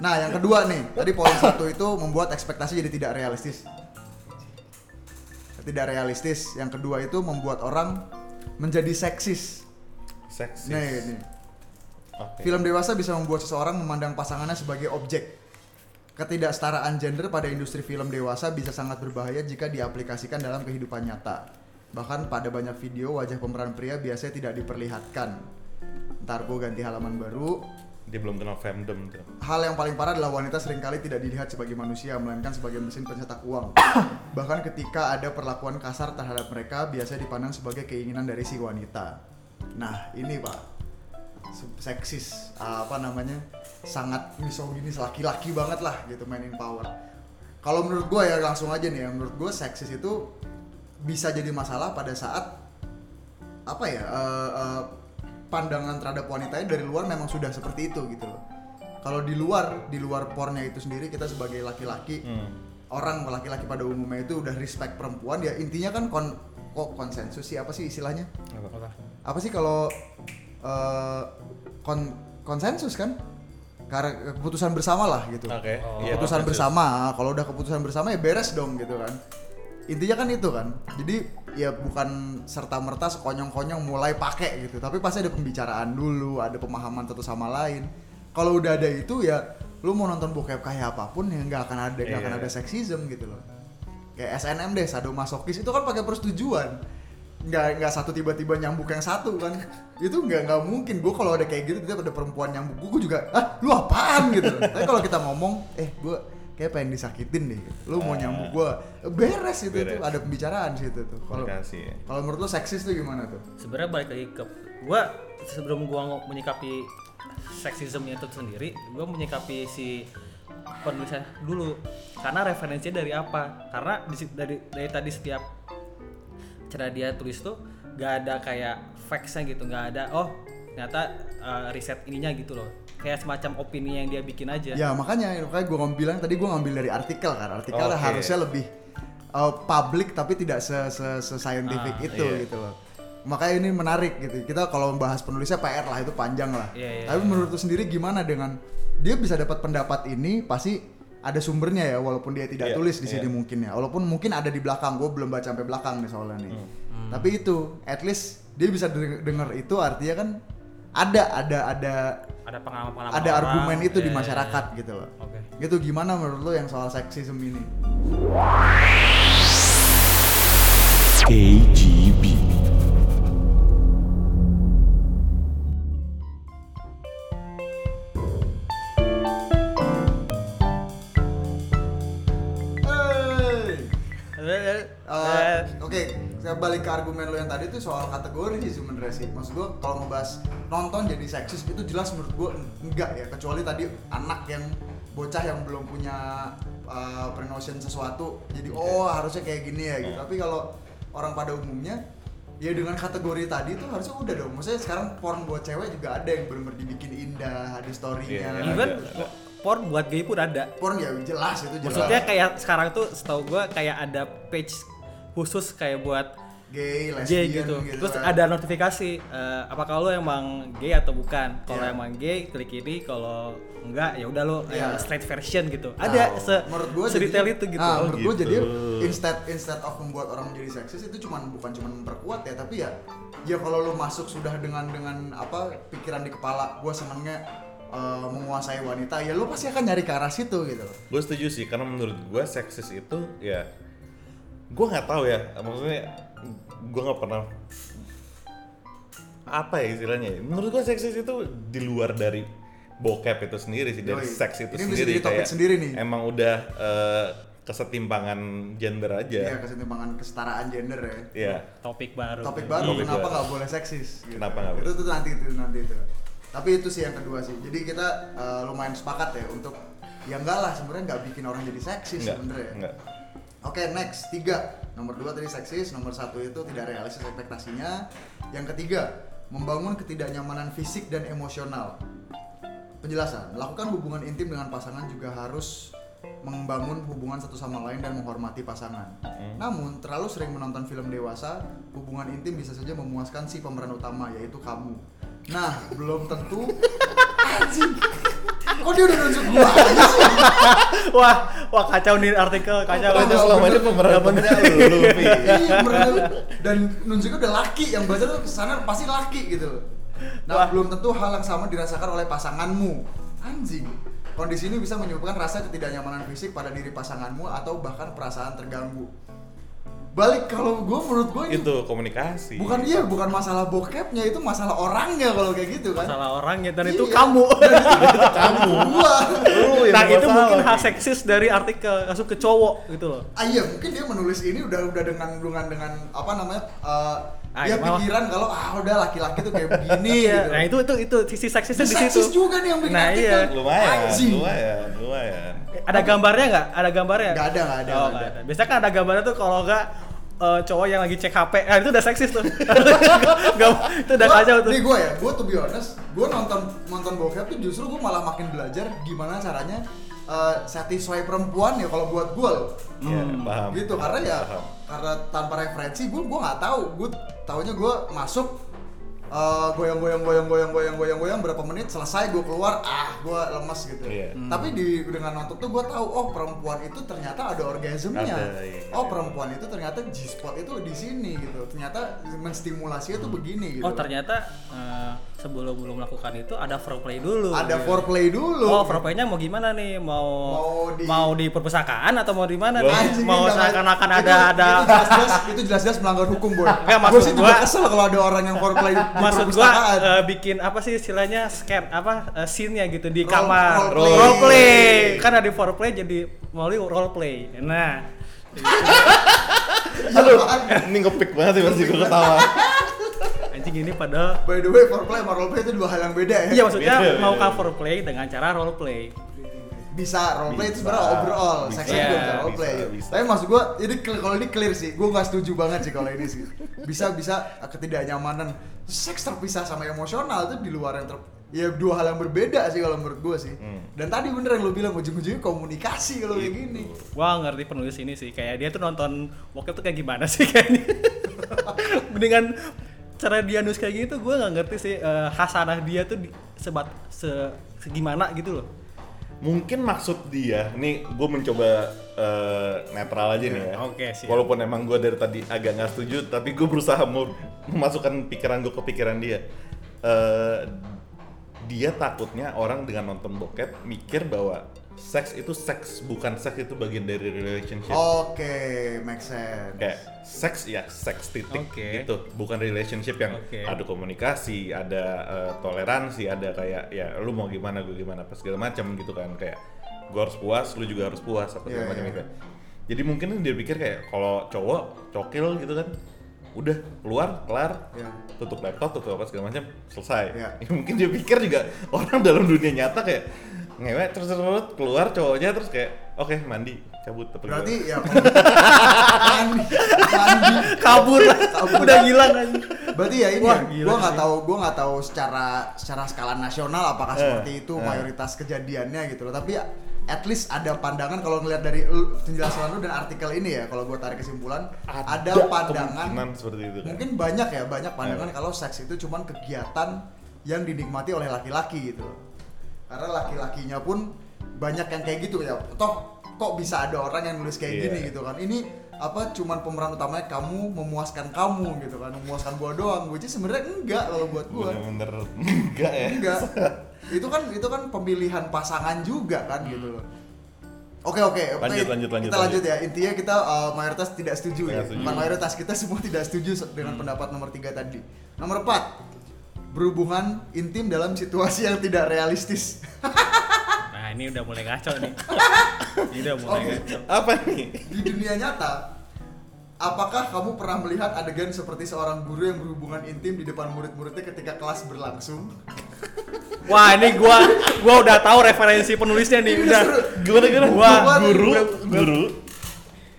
S2: Nah, yang kedua nih, tadi poin satu itu membuat ekspektasi jadi tidak realistis. Tidak realistis. Yang kedua itu membuat orang menjadi seksis.
S4: seksis
S2: Nih, nih.
S4: Oke.
S2: Film dewasa bisa membuat seseorang memandang pasangannya sebagai objek. Ketidaksetaraan gender pada industri film dewasa bisa sangat berbahaya jika diaplikasikan dalam kehidupan nyata. Bahkan pada banyak video wajah pemeran pria biasanya tidak diperlihatkan. Ntar gue ganti halaman baru.
S4: dia belum kenal fandom tuh
S2: Hal yang paling parah adalah wanita seringkali tidak dilihat sebagai manusia, melainkan sebagai mesin pencetak uang. Bahkan ketika ada perlakuan kasar terhadap mereka, biasa dipandang sebagai keinginan dari si wanita. Nah, ini pak, Se- seksis, apa namanya, sangat misoginis, laki-laki banget lah gitu mainin power. Kalau menurut gue ya langsung aja nih, ya, menurut gue seksis itu bisa jadi masalah pada saat apa ya eh, eh, pandangan terhadap wanitanya dari luar memang sudah seperti itu gitu loh kalau di luar di luar pornya itu sendiri kita sebagai laki-laki orang laki-laki pada umumnya itu udah respect perempuan ya intinya kan kon kok konsensus sih apa sih istilahnya
S4: apa
S2: apa sih kalau eh, kon konsensus kan karena keputusan bersama lah gitu
S4: oke iya,
S2: keputusan
S4: konsensus.
S2: bersama kalau udah keputusan bersama ya beres dong gitu kan intinya kan itu kan jadi ya bukan serta merta sekonyong-konyong mulai pakai gitu tapi pasti ada pembicaraan dulu ada pemahaman satu sama lain kalau udah ada itu ya lu mau nonton bokep kayak apapun ya nggak akan ada nggak akan
S4: Iya.
S2: ada seksism gitu loh kayak SNM deh sadomasokis itu kan pakai persetujuan nggak nggak satu tiba-tiba nyambuk yang satu kan itu nggak nggak mungkin gue kalau ada kayak gitu kita ada perempuan nyambuk gue, gue juga ah lu apaan gitu tapi kalau kita ngomong eh gue kayak pengen disakitin deh lu mau nyambuk gue beres itu itu
S4: Beres.
S2: ada pembicaraan situ tuh kalau
S4: Komunikasi ya.
S2: kalau menurut lu seksis tuh gimana tuh
S3: sebenarnya balik lagi ke gua sebelum gua ngo- menyikapi seksismenya itu sendiri gua menyikapi si penulisan dulu karena referensinya dari apa karena di si- dari dari tadi setiap cara dia tulis tuh gak ada kayak factsnya gitu gak ada oh ternyata uh, riset ininya gitu loh kayak semacam opini yang dia bikin aja
S2: Ya makanya, makanya gue bilang tadi gue ngambil dari artikel kan, artikel
S4: Oke.
S2: harusnya lebih uh, public tapi tidak se se, se- scientific itu
S4: iya.
S2: gitu loh. Makanya ini menarik gitu. Kita kalau membahas penulisnya PR lah itu panjang lah.
S3: Iya, iya,
S2: tapi menurut lu sendiri gimana dengan dia bisa dapat pendapat ini pasti ada sumbernya ya walaupun dia tidak
S4: Iya,
S2: tulis di
S4: iya.
S2: sini mungkin ya. Walaupun mungkin ada di belakang, gue belum baca sampai belakang nih soalnya nih. Tapi itu at least dia bisa deng- denger itu artinya kan ada ada ada
S3: ada pengalaman-pengalaman
S2: ada
S3: orang.
S2: argumen itu di
S3: Iya, iya, iya.
S2: masyarakat gitu loh.
S3: Oke.
S2: Gitu gimana menurut lo yang soal seksisme ini?
S1: KGB.
S2: Hey!
S3: Eh, eh,
S2: Uh, Oke, saya balik ke argumen lo yang tadi tuh soal kategori sih sebenarnya sih. Maksud gue kalau ngebahas nonton jadi seksis itu jelas menurut gue enggak ya. Kecuali tadi anak yang bocah yang belum punya uh, prenotion sesuatu, jadi oh harusnya kayak gini ya gitu.
S3: Iya.
S2: Tapi kalau orang pada umumnya ya dengan kategori tadi tuh harusnya udah dong. Maksudnya sekarang porn buat cewek juga ada yang bener-bener dibikin indah, ada storynya.
S4: Iya,
S3: eh, even
S2: eh,
S4: Ada, ada.
S3: porn buat gay pun ada
S2: Porn ya jelas itu jelas.
S3: Maksudnya kayak sekarang tuh setahu gua kayak ada page khusus kayak buat
S2: gay, lesbian
S3: gay gitu. Terus
S2: kan.
S3: ada notifikasi eh, apakah lo emang gay atau bukan. Kalau
S2: Iya.
S3: emang gay klik ini, kalau enggak ya udah lo
S2: Iya.
S3: yang straight version gitu.
S2: Nah,
S3: Ada se
S2: menurut gua
S3: sedetail
S2: jadinya-
S3: itu gitu.
S2: Nah,
S3: Oh,
S2: menurut gue
S4: gitu.
S2: jadi instead instead of membuat orang menjadi seksis itu cuman bukan cuman memperkuat ya, tapi ya ya kalau lu masuk sudah dengan dengan apa pikiran di kepala, gua senangnya eh, menguasai wanita, ya lu pasti akan nyari ke arah situ gitu. loh.
S4: gue setuju sih karena menurut gue seksis itu ya gue nggak tahu ya maksudnya gue nggak pernah apa ya istilahnya ya? menurut gue seksis itu di luar dari bokep itu sendiri sih dari
S2: Yoi.
S4: seks itu
S2: Ini bisa
S4: sendiri
S2: jadi topik sendiri nih.
S4: emang udah eh, kesetimbangan gender aja
S2: Iya, kesetimbangan kesetaraan gender ya.
S4: Iya.
S3: topik baru.
S2: Topik baru
S4: Iya.
S2: kenapa nggak boleh seksis? gitu.
S4: Kenapa nggak
S2: Itu
S4: boleh?
S2: tuh nanti itu nanti itu. Tapi itu sih yang kedua sih. Jadi kita eh, lumayan sepakat ya untuk ya enggak lah sebenarnya nggak bikin orang jadi seksis
S4: Enggak,
S2: sebenarnya.
S4: enggak.
S2: Oke next tiga nomor dua tadi seksis nomor satu itu tidak realistis ekspektasinya yang ketiga membangun ketidaknyamanan fisik dan emosional penjelasan melakukan hubungan intim dengan pasangan juga harus membangun hubungan satu sama lain dan menghormati pasangan. Namun terlalu sering menonton film dewasa, hubungan intim bisa saja memuaskan si pemeran utama yaitu kamu. Nah, belum tentu. Anjing. Kok dia udah nunjuk gua?
S3: wah, wah kacau nih artikel, kacau.
S2: Oh,
S4: Pokoknya
S3: kacau.
S2: bener.
S4: selama ini pemeran-pemerannya lu, Pi.
S2: iya bener. dan nunjuknya udah laki yang baca tuh kesana pasti laki gitu loh nah
S3: Wah.
S2: belum tentu hal yang sama dirasakan oleh pasanganmu anjing kondisi ini bisa menyebabkan rasa ketidaknyamanan fisik pada diri pasanganmu atau bahkan perasaan terganggu balik kalau gue menurut gue ini
S4: itu komunikasi
S2: bukan iya bukan masalah bokepnya itu masalah orangnya kalau kayak gitu kan
S3: Salah orangnya dan itu
S2: Iya.
S3: kamu.
S2: kamu gua
S4: Lu yang
S3: nah,
S4: bermasalah,
S3: itu mungkin hal
S4: Pi.
S3: seksis dari artikel langsung ke cowok gitu loh.
S2: Ah iya mungkin dia menulis ini udah udah dengan dengan dengan apa namanya eh,
S3: Ah,
S2: dia
S3: iya, malah.
S2: pikiran kalau ah udah laki-laki tuh kayak begini
S3: Iya.
S2: gitu.
S3: Nah, itu itu itu sisi seksisnya di
S2: Nah, Seksis
S3: situ.
S2: juga nih yang bikin
S3: Nah,
S2: artikel.
S3: iya.
S4: lumayan
S2: Anjing.
S4: lumayan lumayan
S3: Ada gambarnya nggak? Ada gambarnya?
S2: Nggak ada, nggak ada,
S3: Oh,
S2: nggak
S3: nggak
S2: ada.
S3: ada. Biasanya kan ada gambarnya tuh kalau nggak eh, cowok yang lagi cek HP. Nah, itu udah seksis tuh. Gak, itu udah
S2: Gua-
S3: kacau tuh.
S2: Nih gue ya, gue to be honest, gue nonton nonton bokep tuh justru gue malah makin belajar gimana caranya eh, satisfy perempuan ya kalau buat gue loh.
S4: Iya, paham
S2: Gitu karena ya
S4: Paham.
S2: karena tanpa referensi gue gue nggak tahu. Gue taunya gue masuk eh, goyang goyang goyang goyang goyang goyang goyang berapa menit selesai gue keluar ah gue lemes gitu.
S4: Iya.
S5: Hmm.
S2: Tapi di dengan nonton tuh gue tahu oh perempuan itu ternyata ada orgasmenya.
S4: Ada, iya.
S2: Oh perempuan itu ternyata G
S5: Oh,
S2: spot itu di sini gitu. Ternyata menstimulasinya tuh begini gitu.
S3: Oh, ternyata eh,
S5: sebelum belum melakukan itu ada foreplay dulu.
S2: Ada
S4: Iya.
S5: gitu.
S2: foreplay dulu.
S5: Oh, foreplaynya mau gimana nih? Mau
S2: Mau di-
S5: mau di perpustakaan atau mau di mana nih?
S2: Anjing,
S5: Mau
S2: ini namanya-
S5: seakan-akan
S2: itu-
S5: ada ada
S2: itu jelas-jelas itu jelas-jelas melanggar hukum boy.
S5: Nggak, maksud
S2: Gue sih juga
S5: gua-
S2: kesel kalau ada orang yang foreplay di
S5: maksud gua
S2: perpustakaan.
S5: eh, bikin apa sih istilahnya scan apa eh, scene-nya gitu di
S2: Role-
S5: kamar
S2: role play.
S5: role play kan ada foreplay jadi melalui role play nah
S2: Ya, apaan?
S4: ini ngepick banget sih pasti gue ketawa
S5: anjing ini padahal
S2: By the way, foreplay sama roleplay itu dua hal yang beda ya.
S5: iya maksudnya
S4: Beda, beda,
S5: mau
S4: beda.
S5: cover play dengan cara role play
S2: Bisa roleplay itu
S4: Bisa,
S2: sebenarnya overall,
S4: bisa,
S2: seksnya juga bisa
S5: bisa,
S2: roleplay.
S4: bisa.
S2: Tapi maksud gua ini clear- kalau ini clear sih, gua nggak setuju banget sih kalau ini sih. Bisa bisa ketidaknyamanan seks terpisah sama emosional itu di luar yang ter ya dua hal yang berbeda sih kalau menurut gua sih.
S4: Hmm.
S2: Dan tadi bener yang lo bilang ujung-ujungnya komunikasi kalau
S4: Gitu.
S2: kayak gini.
S5: gua ngerti penulis ini sih kayak dia tuh nonton waktu tuh kayak gimana sih kayaknya dengan cara dia nulis kayak gitu gua nggak ngerti sih eh, khasanah dia tuh di, sebat se, segimana gitu loh
S4: mungkin maksud dia nih gue mencoba eh, netral aja nih ya
S5: Oke, siap.
S4: walaupun emang gue dari tadi agak nggak setuju tapi gue berusaha mau memasukkan pikiran gue ke pikiran dia Eh, dia takutnya orang dengan nonton bokep mikir bahwa seks itu seks bukan seks itu bagian dari relationship
S2: Oke, make sense.
S4: kayak seks ya seks titik
S5: Oke.
S4: gitu bukan relationship yang
S5: Oke.
S4: ada komunikasi ada eh, toleransi ada kayak ya lu mau gimana gue gimana apa segala macam gitu kan kayak gue harus puas lu juga harus puas apa
S2: Iya,
S4: segala macam
S2: iya,
S4: gitu jadi mungkin dia pikir kayak kalau cowok cokil gitu kan udah keluar kelar
S2: Iya.
S4: tutup laptop tutup apa segala macam selesai
S2: Iya.
S4: Ya, mungkin dia pikir juga orang dalam dunia nyata kayak ngewek terus terus terus, keluar cowoknya terus kayak oke mandi cabut apa gimana.
S2: Berarti ya mandi, mandi,
S5: kabur lah
S2: Kabur.
S5: udah hilang aja
S2: Berarti ya ini
S5: Wah,
S2: ya,
S5: gila
S2: gua nggak
S5: sih. Eh,
S2: tahu gua nggak tahu secara secara skala nasional apakah seperti itu mayoritas kejadiannya gitu loh. Tapi ya, at least ada pandangan kalau ngelihat dari lu- penjelasan lu dan artikel ini ya kalau gua tarik kesimpulan ada,
S4: kemungkinan
S2: pandangan
S4: seperti itu kan. Iya.
S2: mungkin banyak ya banyak pandangan kalau seks itu cuman kegiatan yang dinikmati oleh laki-laki gitu karena laki-lakinya pun banyak yang kayak gitu ya toh kok bisa ada orang yang nulis kayak
S4: Iya.
S2: gini gitu kan ini apa cuman pemeran utamanya kamu memuaskan kamu gitu kan memuaskan gua doang which is sebenarnya enggak kalau buat gua
S4: bener-bener enggak ya
S2: enggak itu kan itu kan pemilihan pasangan juga kan gitu loh Oke oke, oke.
S4: Hmm. Lanjut, lanjut, lanjut,
S2: kita lanjut ya. Intinya kita uh, mayoritas tidak setuju
S4: Tidak
S2: ya.
S4: setuju. Hmm.
S2: Bukan mayoritas kita semua tidak setuju se- dengan pendapat nomor tiga tadi. Nomor empat, berhubungan intim dalam situasi yang tidak realistis.
S5: nah ini udah mulai ngaco nih ini udah mulai
S2: Oke.
S5: ngaco
S4: apa nih
S2: Di dunia nyata, apakah kamu pernah melihat adegan seperti seorang guru yang berhubungan intim di depan murid-muridnya ketika kelas berlangsung?
S5: wah ini gua gua udah tahu referensi penulisnya nih udah
S4: gimana gimana
S5: Gua-
S4: guru
S2: gua-
S4: guru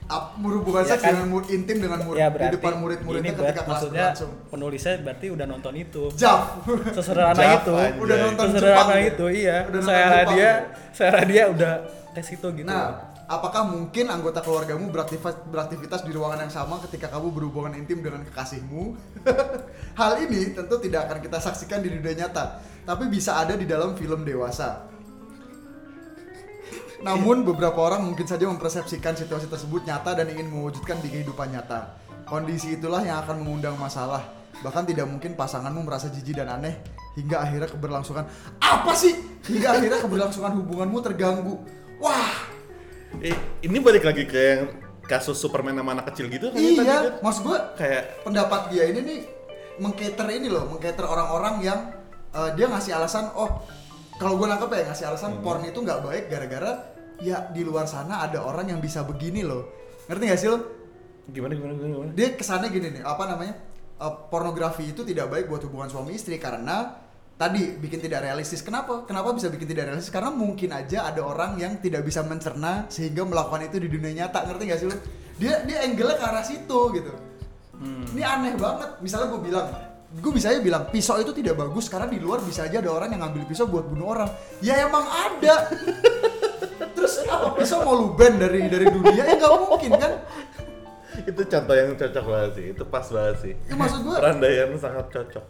S2: Ap- berhubungan
S5: Ya
S2: seks
S5: kan?
S2: dengan murid intim dengan murid
S5: ya
S2: di
S5: berarti
S2: depan murid-muridnya
S5: ini
S2: ketika
S5: ber-
S2: kelas
S5: maksudnya
S2: berlangsung.
S5: penulisnya berarti udah nonton itu
S2: Jaf.
S5: sesederhana
S4: Jaf,
S5: itu
S4: anjay.
S2: Udah nonton
S5: sesederhana
S2: Jepang,
S5: itu
S2: ya?
S5: iya
S2: Udah nonton
S5: saya
S2: Jepang,
S5: dia
S2: ya?
S5: saya dia udah tes itu gitu
S2: Nah, apakah mungkin anggota keluargamu beraktivitas, beraktivitas di ruangan yang sama ketika kamu berhubungan intim dengan kekasihmu? Hal ini tentu tidak akan kita saksikan di dunia nyata, tapi bisa ada di dalam film dewasa. Namun beberapa orang mungkin saja mempersepsikan situasi tersebut nyata dan ingin mewujudkan di kehidupan nyata. Kondisi itulah yang akan mengundang masalah. Bahkan tidak mungkin pasanganmu merasa jijik dan aneh hingga akhirnya keberlangsungan apa sih? Hingga akhirnya keberlangsungan hubunganmu terganggu. Wah,
S4: Eh, ini balik lagi ke yang kasus Superman sama anak kecil gitu kan ya tadi kan?
S2: Iya, maksud gue
S4: kayak
S2: pendapat dia ini nih mengcater ini loh, mengcater orang-orang yang eh, dia ngasih alasan, oh kalau gue nangkep ya ngasih
S4: Hmm.
S2: alasan porn itu nggak baik gara-gara ya di luar sana ada orang yang bisa begini loh, ngerti gak sih lo?
S4: gimana gimana gimana, gimana?
S2: Dia kesannya gini nih, apa namanya? eh, pornografi itu tidak baik buat hubungan suami istri karena tadi bikin tidak realistis. Kenapa? Kenapa bisa bikin tidak realistis? Karena mungkin aja ada orang yang tidak bisa mencerna sehingga melakukan itu di dunia nyata. Ngerti gak sih lo? Dia dia angle-nya ke arah situ gitu. Ini aneh banget. Misalnya gue bilang, gue bisa aja bilang pisau itu tidak bagus karena di luar bisa aja ada orang yang ngambil pisau buat bunuh orang. Ya emang ada. Terus apa pisau mau lu ban dari dari dunia? Ya nggak mungkin kan?
S4: itu contoh yang cocok banget sih itu pas banget sih
S2: Ya, maksud gua-
S4: Randaian sangat cocok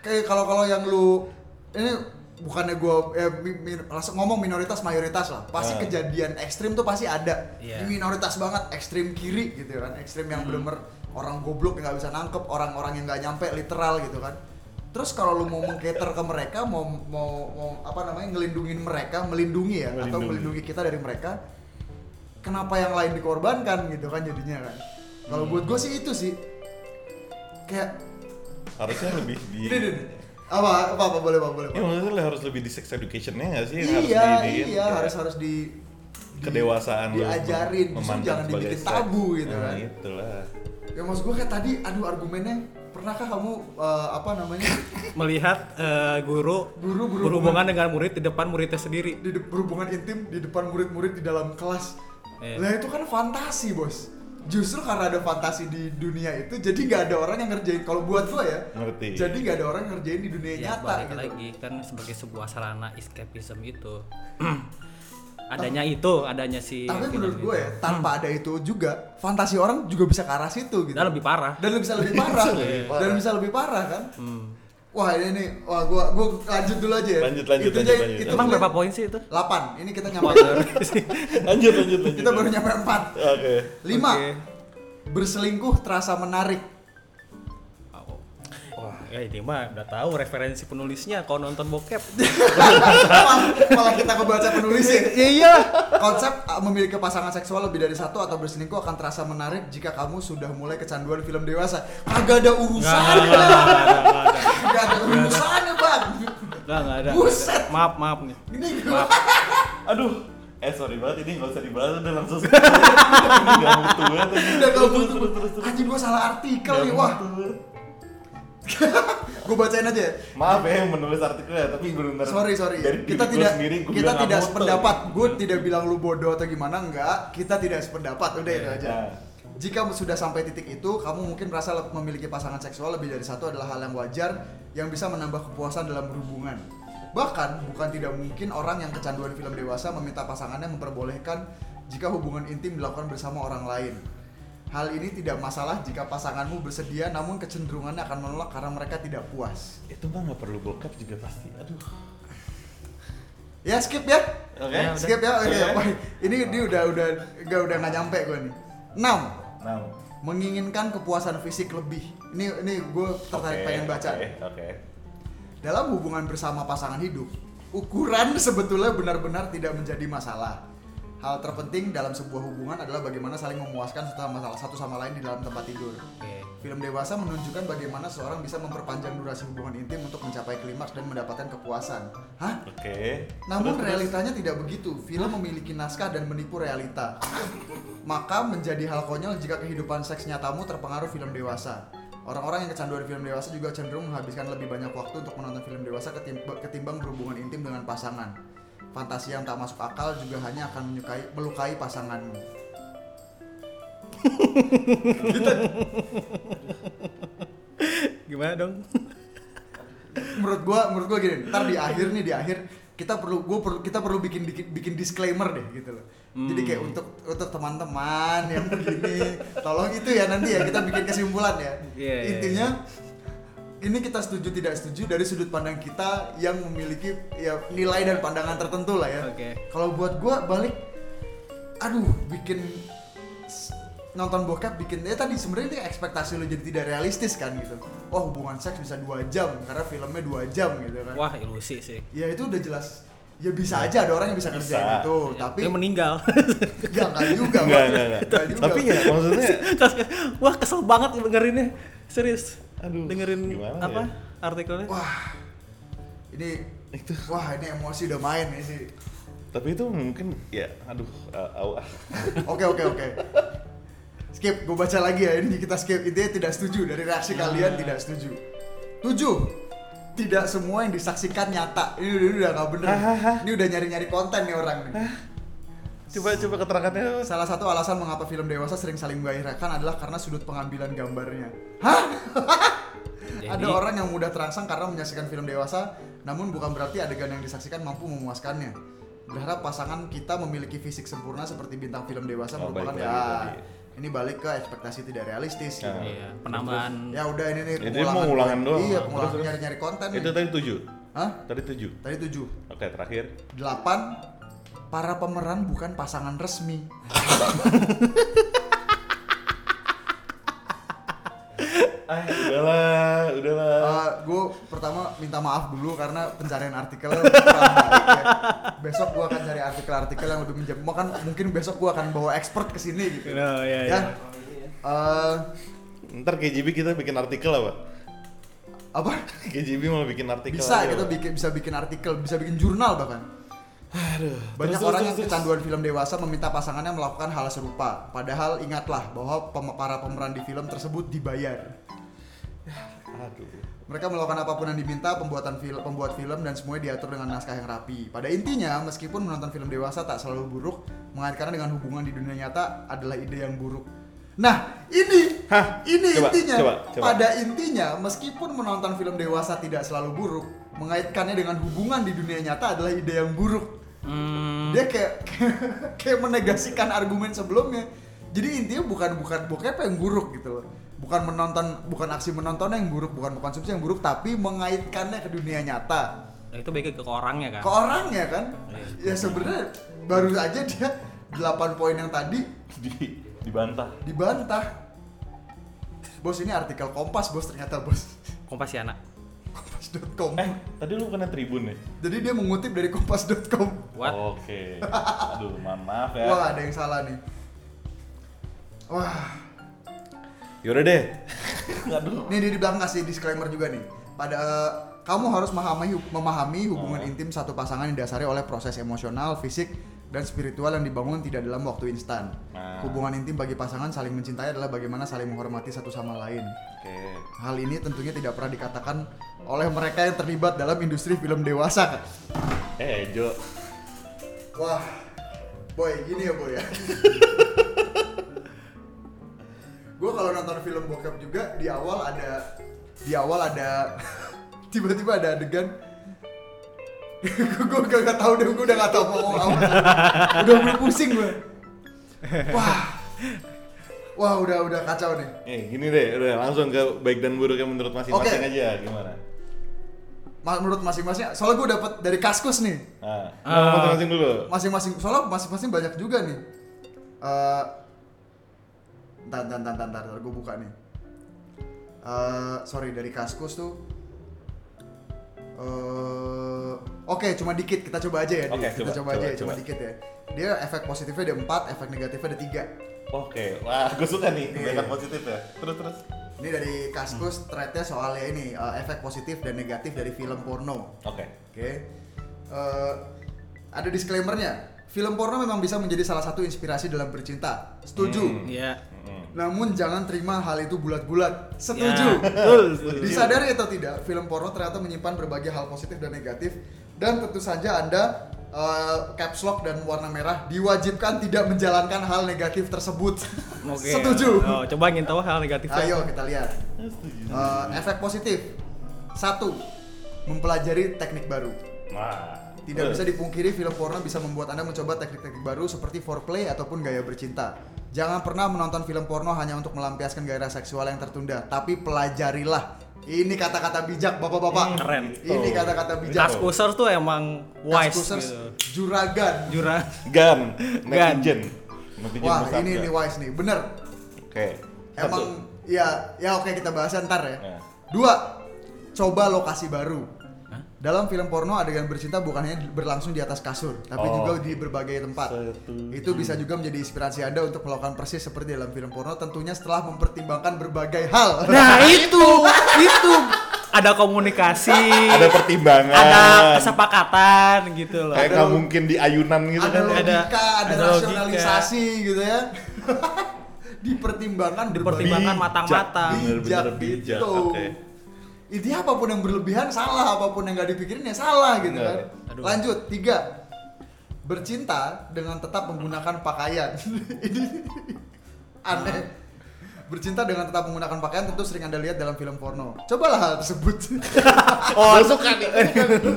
S2: Kayak Eh, kalau kalau yang lu ini bukannya gue eh, mi- mi- langsung ngomong minoritas mayoritas lah pasti
S4: Ah.
S2: kejadian ekstrim tuh pasti ada
S5: Iya.
S2: Ini minoritas banget ekstrim kiri gitu kan
S4: Hmm.
S2: ekstrim yang bener-bener orang goblok yang nggak bisa nangkep orang-orang yang nggak nyampe literal gitu kan Terus kalau lu mau mengcater ke mereka, mau mau mau apa namanya ngelindungin mereka, melindungi ya atau
S4: Melindungi.
S2: melindungi kita dari mereka, kenapa yang lain dikorbankan gitu kan jadinya kan? Kalau
S4: Hmm.
S2: buat gue sih itu sih kayak
S4: harusnya lebih di
S2: ini deh, apa apa apa boleh apa boleh. Pak.
S4: ya maksudnya lu harus lebih di sex educationnya nggak sih Yang
S2: iya
S4: harus diiniin,
S2: iya
S4: kayak
S2: harus harus di di-
S4: kedewasaan lu
S2: diajarin justru
S4: memandang
S2: jangan
S4: sebagai
S2: dibikin
S4: seks.
S2: tabu gitu
S4: Nah,
S2: kan
S4: itulah
S2: ya maksud gue kayak tadi aduh argumennya pernahkah kamu eh, apa namanya
S5: Melihat eh, guru,
S2: Guru, guru
S5: berhubungan dengan murid di depan muridnya sendiri.
S2: di de- berhubungan intim di depan murid-murid di dalam kelas
S5: Iya.
S2: lah itu kan fantasi bos justru karena ada fantasi di dunia itu jadi nggak ada orang yang ngerjain kalau buat gue ya
S4: Ngerti.
S2: jadi nggak ada orang yang ngerjain di dunia
S5: Ya,
S2: nyata
S5: balik
S2: gitu
S5: lagi kan sebagai sebuah sarana escapism itu. adanya itu, adanya si
S2: tapi
S5: film
S2: menurut
S5: itu.
S2: gue ya tanpa ada itu juga fantasi orang juga bisa ke arah situ
S5: Hmm.
S2: gitu
S5: Dan lebih parah.
S2: dan bisa lebih parah dan bisa lebih parah kan
S4: Hmm.
S2: wah ini nih wah gua gua lanjut dulu aja ya
S4: Lanjut, lanjut,
S2: itu
S4: lanjut,
S2: aja-
S4: lanjut.
S2: itu
S5: Emang
S2: boleh-
S5: berapa poin sih itu?
S2: 8 ini kita nyampe
S4: lanjut lanjut lanjut
S2: kita baru nyampe 4
S4: oke
S2: 5 berselingkuh terasa menarik
S5: Wah, ya ini mah udah tahu referensi penulisnya kalau nonton bokep.
S2: malah, malah kita kebaca penulisnya
S5: iya.
S2: konsep ah, memiliki pasangan seksual lebih dari satu atau berselingkuh akan terasa menarik jika kamu sudah mulai kecanduan film dewasa kagak ada urusannya kagak ada urusannya bang
S5: Enggak, enggak ada.
S2: Buset.
S5: Maaf, maaf nih.
S2: ini
S4: aduh eh sorry banget ini nggak usah dibahas udah langsung nggak butuh banget ini.
S2: udah gak
S4: Terus, terus, terus,
S2: butuh
S4: terus.
S2: anjing gua salah artikel
S4: Nggak
S2: nih wah
S4: butuh.
S2: gua bacain aja ya
S4: maaf ya yang menulis artikelnya tapi benar-benar
S2: sorry sorry
S4: dari
S2: kita
S4: diri gua
S2: tidak
S4: sendiri, gua
S2: kita
S4: bilang
S2: tidak
S4: nggak butuh.
S2: sependapat gue tidak bilang lu bodoh atau gimana enggak kita tidak sependapat udah itu aja
S4: Nah.
S2: jika sudah sampai titik itu kamu mungkin merasa le- memiliki pasangan seksual lebih dari satu adalah hal yang wajar yang bisa menambah kepuasan dalam berhubungan bahkan bukan tidak mungkin orang yang kecanduan film dewasa meminta pasangannya memperbolehkan jika hubungan intim dilakukan bersama orang lain Hal ini tidak masalah jika pasanganmu bersedia, namun kecenderungannya akan menolak karena mereka tidak puas.
S4: itu mah nggak perlu bokap juga pasti aduh
S2: Ya skip ya.
S4: oke
S5: Ya, udah.
S2: skip ya oke
S4: Iya.
S2: apa- ini dia udah udah gak udah nggak nyampe gue nih 6
S4: nah
S2: menginginkan kepuasan fisik lebih ini ini gue tertarik
S4: oke,
S2: pengen baca
S4: oke, oke
S2: dalam hubungan bersama pasangan hidup ukuran sebetulnya benar-benar tidak menjadi masalah hal terpenting dalam sebuah hubungan adalah bagaimana saling memuaskan serta masalah satu sama lain di dalam tempat tidur Film dewasa menunjukkan bagaimana seorang bisa memperpanjang durasi hubungan intim untuk mencapai klimaks dan mendapatkan kepuasan. Hah?
S4: oke
S2: Namun realitanya tidak begitu. Film memiliki naskah dan menipu realita. Maka menjadi hal konyol jika kehidupan seks nyatamu terpengaruh film dewasa. Orang-orang yang kecanduan film dewasa juga cenderung menghabiskan lebih banyak waktu untuk menonton film dewasa ketim- ketimbang berhubungan intim dengan pasangan. Fantasi yang tak masuk akal juga hanya akan menyukai, melukai pasanganmu.
S5: Gimana dong?
S2: Menurut gua, menurut gua gini, ntar di akhir nih di akhir kita perlu gua perlu kita perlu bikin bikin, bikin disclaimer deh gitu loh. Jadi
S5: Hmm.
S2: kayak untuk untuk teman-teman yang begini, tolong itu ya nanti ya kita bikin kesimpulan ya.
S5: Iya, iya,
S2: Intinya ini kita setuju tidak setuju dari sudut pandang kita yang memiliki ya nilai dan pandangan tertentu lah ya.
S5: Oke.
S2: Kalau buat gua balik aduh bikin s- nonton bokep bikin ya tadi sebenarnya ini ekspektasi lo jadi tidak realistis kan gitu. Wah hubungan seks bisa dua jam karena filmnya dua jam gitu kan.
S5: Wah, ilusi sih.
S2: Ya itu udah jelas. Ya bisa aja ada orang yang bisa kerjain
S4: Bisa.
S2: itu,
S3: Ya,
S2: tapi
S5: Tapi dia meninggal.
S2: enggak enggak juga.
S4: enggak
S2: Bang.
S4: enggak enggak
S2: Nggak juga.
S4: tapi ya maksudnya
S5: Terus, Wah, kesel banget dengerinnya. Serius.
S4: Aduh,
S5: dengerin
S4: gimana
S5: apa?
S4: ya?
S5: Artikelnya.
S2: wah. Ini
S4: Itu.
S2: wah ini emosi udah main nih sih.
S4: tapi itu mungkin ya aduh awal
S2: Oke oke oke. Skip, gue baca lagi ya. Ini kita skip. Intinya tidak setuju dari reaksi kalian tidak setuju. Tujuh. Tidak semua yang disaksikan nyata. Ini udah, ini udah gak bener. Ini udah nyari-nyari konten nih orang nih.
S4: coba coba keterangannya
S2: Salah satu alasan mengapa film dewasa sering saling menggairahkan adalah karena sudut pengambilan gambarnya. Hah? Ada orang yang mudah terangsang karena menyaksikan film dewasa, namun bukan berarti adegan yang disaksikan mampu memuaskannya. Berharap pasangan kita memiliki fisik sempurna seperti bintang film dewasa
S4: Oh,
S2: merupakan
S4: balik lagi
S2: Ah,
S4: tadi.
S2: ini balik ke ekspektasi tidak realistis. gitu.
S5: Iya, penambahan
S2: Ya udah ini nih
S4: Nah. Jadi mau ulangan doang.
S2: Iya,
S4: Terus,
S2: pengulangan
S4: terus.
S2: nyari-nyari konten.
S4: itu
S2: nih.
S4: tadi tujuh
S2: Hah?
S4: tadi tujuh
S2: Tadi tujuh.
S4: oke terakhir
S2: Delapan. Para pemeran bukan pasangan resmi.
S4: ah udahlah udahlah
S2: Eh, gue pertama minta maaf dulu karena pencarian artikelnya kurang baik ya. Besok gue akan cari artikel-artikel yang lebih menjadi Makan mungkin besok gue akan bawa expert ke sini gitu.
S4: Iya,
S5: No, ya,
S2: ya.
S5: ya.
S2: Eh,
S4: Ntar KJB kita bikin artikel apa?
S2: apa?
S4: KJB mau bikin artikel
S2: Bisa gitu,
S4: aja,
S2: kita
S4: Pak.
S2: bikin bisa bikin artikel, bisa bikin jurnal bahkan.
S4: Aduh,
S2: Banyak
S4: terus,
S2: orang
S4: terus,
S2: yang
S4: terus,
S2: kecanduan film dewasa meminta pasangannya melakukan hal serupa. Padahal ingatlah bahwa pem- para pemeran di film tersebut dibayar.
S4: terus. Aduh.
S2: Mereka melakukan apapun yang diminta pembuatan film, pembuat film dan semuanya diatur dengan naskah yang rapi. Pada intinya, meskipun menonton film dewasa tak selalu buruk, mengaitkannya dengan hubungan di dunia nyata adalah ide yang buruk. Nah, ini,
S4: Hah?
S2: ini
S4: Coba,
S2: intinya.
S4: coba, coba.
S2: Pada intinya, meskipun menonton film dewasa tidak selalu buruk, mengaitkannya dengan hubungan di dunia nyata adalah ide yang buruk.
S4: Hmm.
S2: Dia kayak kayak menegasikan argumen sebelumnya. Jadi intinya bukan bukan bokep yang buruk gitu loh. Bukan menonton bukan aksi menontonnya yang buruk, bukan konsumsi yang buruk, tapi mengaitkannya ke dunia nyata
S5: Nah, itu baiknya ke orangnya kan.
S2: ke orangnya kan
S4: Iya.
S2: ya sebenarnya baru aja dia 8 poin yang tadi
S4: Di, dibantah.
S2: dibantah bos ini artikel kompas bos ternyata bos
S5: Kompasiana.
S2: kompas.com
S4: Eh, tadi lu kena tribun ya?
S2: jadi dia mengutip dari kompas.com
S5: What?
S4: Oke. Aduh, mohon maaf ya.
S2: wah ada yang salah nih wah
S4: Yaudah deh. Aduh.
S2: Nih di, di belakang kasih disclaimer juga nih. Pada eh, kamu harus memahami memahami hubungan intim satu pasangan yang didasari oleh proses emosional, fisik, dan spiritual yang dibangun tidak dalam waktu instan.
S4: Nah.
S2: Hubungan intim bagi pasangan saling mencintai adalah bagaimana saling menghormati satu sama lain.
S4: Oke.
S2: Hal ini tentunya tidak pernah dikatakan oleh mereka yang terlibat dalam industri film dewasa. Kak.
S4: Eh, Jo.
S2: Wah, boy, gini ya boy ya. gue kalau nonton film bokep juga di awal ada di awal ada tiba-tiba ada adegan gue gak, gak tau deh gue udah gak tau mau ngomong apa udah mulai pusing gue wah wah udah udah kacau nih
S4: Eh, gini deh, udah langsung ke baik dan buruknya menurut masing-masing
S2: Oke.
S4: aja gimana?
S2: Ma- menurut masing-masing soalnya gue dapet dari kaskus nih
S4: Nah, lu masing-masing dulu.
S2: masing-masing soalnya masing-masing banyak juga nih Eh ntar ntar ntar ntar, ntar, ntar gue buka nih Eh sorry dari kaskus tuh eh oke cuma dikit kita coba aja ya Di.
S4: Oke,
S2: kita
S4: coba,
S2: coba, aja
S4: coba,
S2: ya, cuma
S4: coba.
S2: dikit ya dia efek positifnya ada empat efek negatifnya ada tiga
S4: Oke, wah gue suka nih,
S2: Iya.
S4: banyak positif ya. Terus terus.
S2: ini dari
S4: Hmm.
S2: kaskus threadnya soalnya ini eh, efek positif dan negatif dari film porno
S4: Oke.
S2: Oke. Eh, ada disclaimernya. Film porno memang bisa menjadi salah satu inspirasi dalam bercinta. Setuju.
S5: Iya.
S4: Mm-mm.
S2: Namun jangan terima hal itu bulat-bulat. Setuju.
S5: Ya, betul, setuju.
S2: Disadari atau tidak, film porno ternyata menyimpan berbagai hal positif dan negatif. Dan tentu saja anda eh, caps lock dan warna merah diwajibkan tidak menjalankan hal negatif tersebut.
S5: Oke.
S2: Setuju.
S5: Oh, gitu. coba ingin tahu hal negatifnya.
S2: Ayo kita lihat. Eh, efek positif. Satu, mempelajari teknik baru.
S4: Wah.
S2: Tidak
S5: Eh.
S4: Terus.
S2: bisa dipungkiri film porno bisa membuat Anda mencoba teknik-teknik baru seperti foreplay ataupun gaya bercinta. Jangan pernah menonton film porno hanya untuk melampiaskan gairah seksual yang tertunda, tapi pelajarilah. Ini kata-kata bijak bapak-bapak.
S5: Hmm, Keren.
S2: Ini kata-kata bijak.
S5: Tas kusers tuh emang wise
S2: Kaskusers,
S5: gitu.
S2: juragan.
S5: Jurang.
S4: Gun,
S5: Gun.
S4: netizen. Netizen
S2: Wah,
S4: bersabda.
S2: ini ini wise nih, bener.
S4: Oke. Satu.
S2: Emang ya ya oke kita bahas ntar ya.
S4: Ya.
S2: Dua, coba lokasi baru. Dalam film porno adegan bercinta bukan hanya berlangsung di atas kasur, tapi
S4: Oh.
S2: juga di berbagai tempat.
S4: Setuju.
S2: Itu bisa juga menjadi inspirasi Anda untuk melakukan persis seperti dalam film porno tentunya setelah mempertimbangkan berbagai hal.
S5: Nah, itu, itu ada komunikasi,
S4: Ada pertimbangan.
S5: ada kesepakatan gitu loh.
S4: Kayak
S2: Ada
S4: nggak
S2: lo-
S4: mungkin di ayunan gitu
S2: ada
S4: kan.
S5: lo-
S2: logika, ada,
S5: ada logika.
S2: rasionalisasi gitu ya. Dipertimbangkan berbagai
S5: Dipertimbangkan matang-matang.
S4: Bijak,
S2: bijak,
S4: Bener-bener bijak.
S2: gitu.
S4: Oke.
S2: Intinya apapun yang berlebihan salah, apapun yang gak dipikirin ya salah gitu kan.
S4: Bener.
S5: Aduh.
S2: Lanjut tiga, bercinta dengan tetap menggunakan pakaian. Ini aneh. Bercinta dengan tetap menggunakan pakaian tentu sering anda lihat dalam film porno. Cobalah hal tersebut. kan
S4: Oh, suka nih.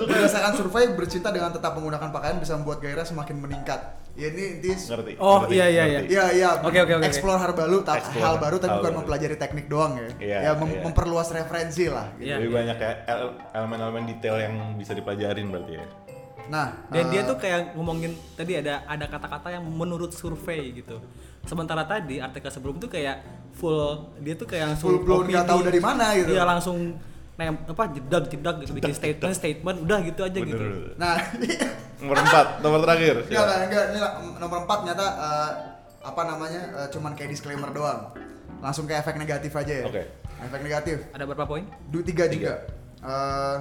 S2: Berdasarkan survei, bercinta dengan tetap menggunakan pakaian bisa membuat gairah semakin meningkat. Ya ini intinya
S4: Ngerti.
S5: Oh,
S4: ngerti,
S5: iya, iya, iya.
S4: ngerti.
S2: Iya iya.
S5: Oke, oke, oke.
S2: Explore hal baru, ta-
S4: Explore
S2: hal baru tapi
S4: hal
S2: bukan
S4: baru.
S2: mempelajari teknik doang ya.
S4: Iya,
S2: ya mem-
S4: iya.
S2: memperluas referensi lah. gitu.
S5: Iya,
S4: Lebih
S5: iya.
S4: banyak ya el- elemen-elemen detail yang bisa dipelajarin berarti ya.
S2: Nah,
S5: Dan
S2: eh,
S5: dia tuh kayak ngomongin tadi ada ada kata-kata yang menurut survei gitu. Sementara tadi artikel sebelum tuh kayak full dia tuh kayak langsung
S2: Full blown, nggak tahu dari mana gitu.
S5: Dia langsung nem apa jedag jedag gitu bikin statement statement udah gitu aja
S4: Bener,
S5: gitu
S4: bener.
S2: Nah,
S4: Nomor empat, nomor terakhir.
S2: enggak lah, enggak ini lah, nomor 4 nyata eh, apa namanya? eh, cuman kayak disclaimer doang. Langsung ke efek negatif aja ya.
S4: Oke.
S2: Efek negatif.
S5: ada berapa poin
S2: Du tiga juga. Eh,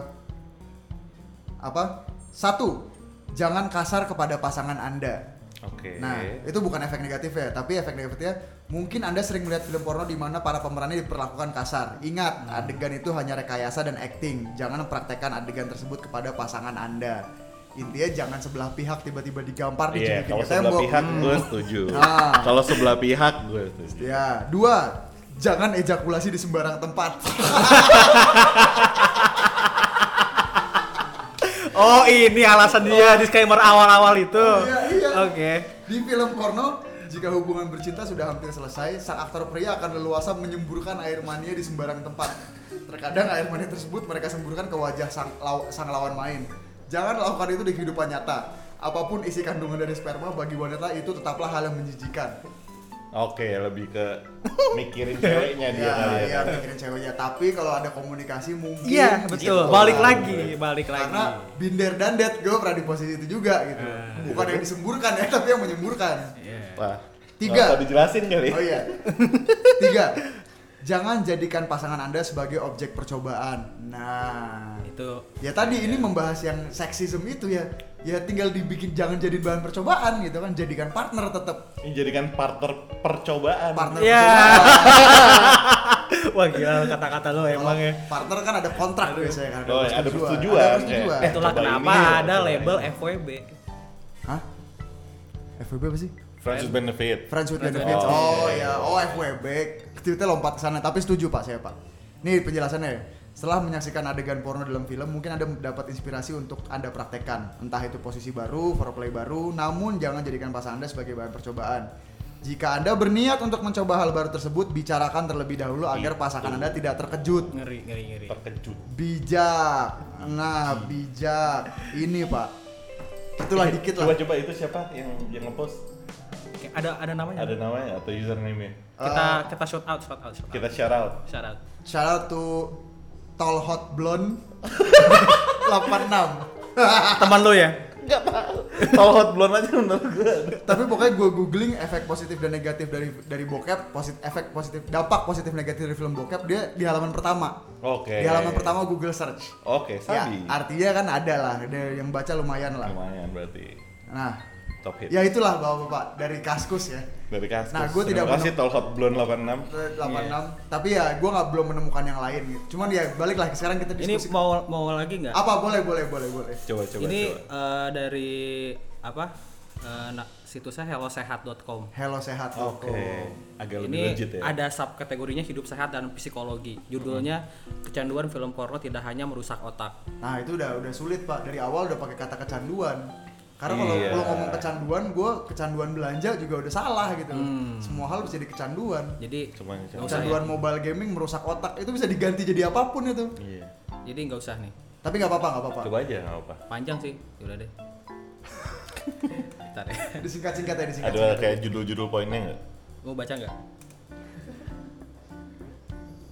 S2: apa? Satu, jangan kasar kepada pasangan Anda.
S4: Oke. Iya,
S2: Nah, itu bukan efek negatif ya, tapi efek negatifnya mungkin Anda sering melihat film porno di mana para pemerannya diperlakukan kasar. Ingat,
S4: Hmm.
S2: adegan itu hanya rekayasa dan acting. Jangan mempraktekkan adegan tersebut kepada pasangan Anda. Intinya jangan sebelah pihak tiba-tiba digampar
S4: Iya,
S2: dijejekin
S4: kalau
S2: ke
S4: sebelah
S2: tembok.
S4: pihak gue setuju.
S2: Ah.
S4: Kalau sebelah pihak gue setuju.
S2: Ya, dua, jangan ejakulasi di sembarang tempat.
S5: oh ini alasan dia disclaimer awal-awal itu
S2: Iya, iya.
S5: oke
S2: Di film porno, jika hubungan bercinta sudah hampir selesai, sang aktor pria akan leluasa menyemburkan air mania di sembarang tempat. Terkadang air mania tersebut mereka semburkan ke wajah sang, law- sang lawan main. Jangan lakukan itu di kehidupan nyata. Apapun isi kandungan dari sperma bagi wanita itu tetaplah hal yang menjijikan.
S4: Oke, lebih ke mikirin ceweknya dia
S2: Ya,
S4: kali ya.
S2: iya, mikirin ceweknya. Tapi kalau ada komunikasi mungkin
S5: iya
S2: bisa
S5: betul
S2: ditolak.
S5: balik lagi balik
S2: Karena
S5: lagi
S2: binder dan dead gue pernah di posisi itu juga gitu. Bukan yang disemburkan ya, tapi yang menyemburkan.
S4: Wah.
S2: Tiga.
S4: Kalau dijelasin kali. ya.
S2: Oh iya. Tiga. Jangan jadikan pasangan Anda sebagai objek percobaan. Nah,
S5: itu
S2: ya tadi ini membahas yang seksisme itu ya. Ya tinggal dibikin jangan jadi bahan percobaan gitu kan. Jadikan partner tetap
S4: Ini jadikan partner percobaan.
S2: partner
S5: Ya.
S2: percobaan.
S5: wah gila kata-kata lo
S2: Kalau
S5: emang ya
S2: Partner kan ada kontrak biasanya kan.
S4: Oh, ada persetujuan.
S2: Ada
S4: Oke.
S2: persetujuan.
S4: Eh,
S5: itulah
S4: coba
S5: kenapa
S4: ini,
S5: ada
S4: coba
S5: label
S4: ini.
S5: FWB
S2: Hah? FWB apa sih?
S4: Friends with benefit.
S2: Friends with
S5: Friends with
S2: Benefits.
S4: benefits.
S2: Oh, iya, oh FWB. Kita lompat ke sana, tapi setuju Pak saya Pak. Nih penjelasannya. ya. Setelah menyaksikan adegan porno dalam film, mungkin Anda mendapat inspirasi untuk Anda praktekkan. Entah itu posisi baru, foreplay baru, namun jangan jadikan pasangan Anda sebagai bahan percobaan. Jika Anda berniat untuk mencoba hal baru tersebut, bicarakan terlebih dahulu agar pasangan Anda tidak terkejut.
S5: ngeri ngeri ngeri
S4: Terkejut.
S2: Bijak. Nah, bijak. Ini, Pak. Itulah dikit lah.
S4: Iya. Coba coba itu siapa yang yang ngepost?
S5: Oke, ada ada namanya
S4: Ada namanya atau username-nya?
S5: kita kita shout out shout out shout out
S4: Kita share out.
S5: shout out
S2: Shout out to Tall Hot Blonde 86
S5: teman lo ya
S4: Enggak tahu. Tahu hot blonde aja menurut gue.
S2: Tapi pokoknya gue googling efek positif dan negatif dari dari bokep posit- Efek positif, dampak positif negatif dari film bokep Dia di halaman pertama
S4: Oke.
S2: Di halaman pertama Google search
S4: Oke, sabi.
S2: Ya, artinya kan ada lah ada Yang baca lumayan lah
S4: Lumayan berarti
S2: Nah,
S4: top hit.
S2: ya itulah bapak-bapak Dari Kaskus ya
S4: Dari kasus.
S2: Nah, gua tidak
S4: Terima kasih
S2: menem-
S4: Tall Hot Blonde 86.
S2: 86
S4: Iya.
S2: Tapi ya gue nggak belum menemukan yang lain gitu. Cuman ya baliklah sekarang kita
S5: ini
S2: diskusi
S5: mau mau lagi nggak
S2: Apa boleh boleh boleh boleh
S4: Coba coba
S5: ini
S4: coba.
S5: eh, dari apa eh, na- situsnya hellosehat.com
S2: Hello sehat Toko.
S4: Oke. Agak
S5: Oh,
S4: lebih
S5: ini
S4: legit ya.
S5: ada subkategorinya hidup sehat dan psikologi judulnya
S4: Hmm.
S5: kecanduan film porno tidak hanya merusak otak
S2: Nah itu udah udah sulit pak dari awal udah pakai kata kecanduan. Karena kalau
S4: Iya.
S2: kalau ngomong kecanduan, gue kecanduan belanja juga udah salah gitu. loh.
S4: Hmm.
S2: Semua hal bisa jadi kecanduan.
S5: jadi
S4: Cuma-
S5: nggak
S4: cuma-
S5: usah ya.
S2: Kecanduan mobile gaming merusak otak itu bisa diganti jadi apapun itu.
S4: Iya.
S5: jadi nggak usah nih
S2: Tapi nggak apa-apa nggak apa-apa.
S4: Coba aja enggak apa.
S5: panjang sih yaudah deh Bentar ya.
S2: Disingkat-singkat ya disingkat.
S4: Ada kayak judul-judul poinnya enggak?
S5: mau baca nggak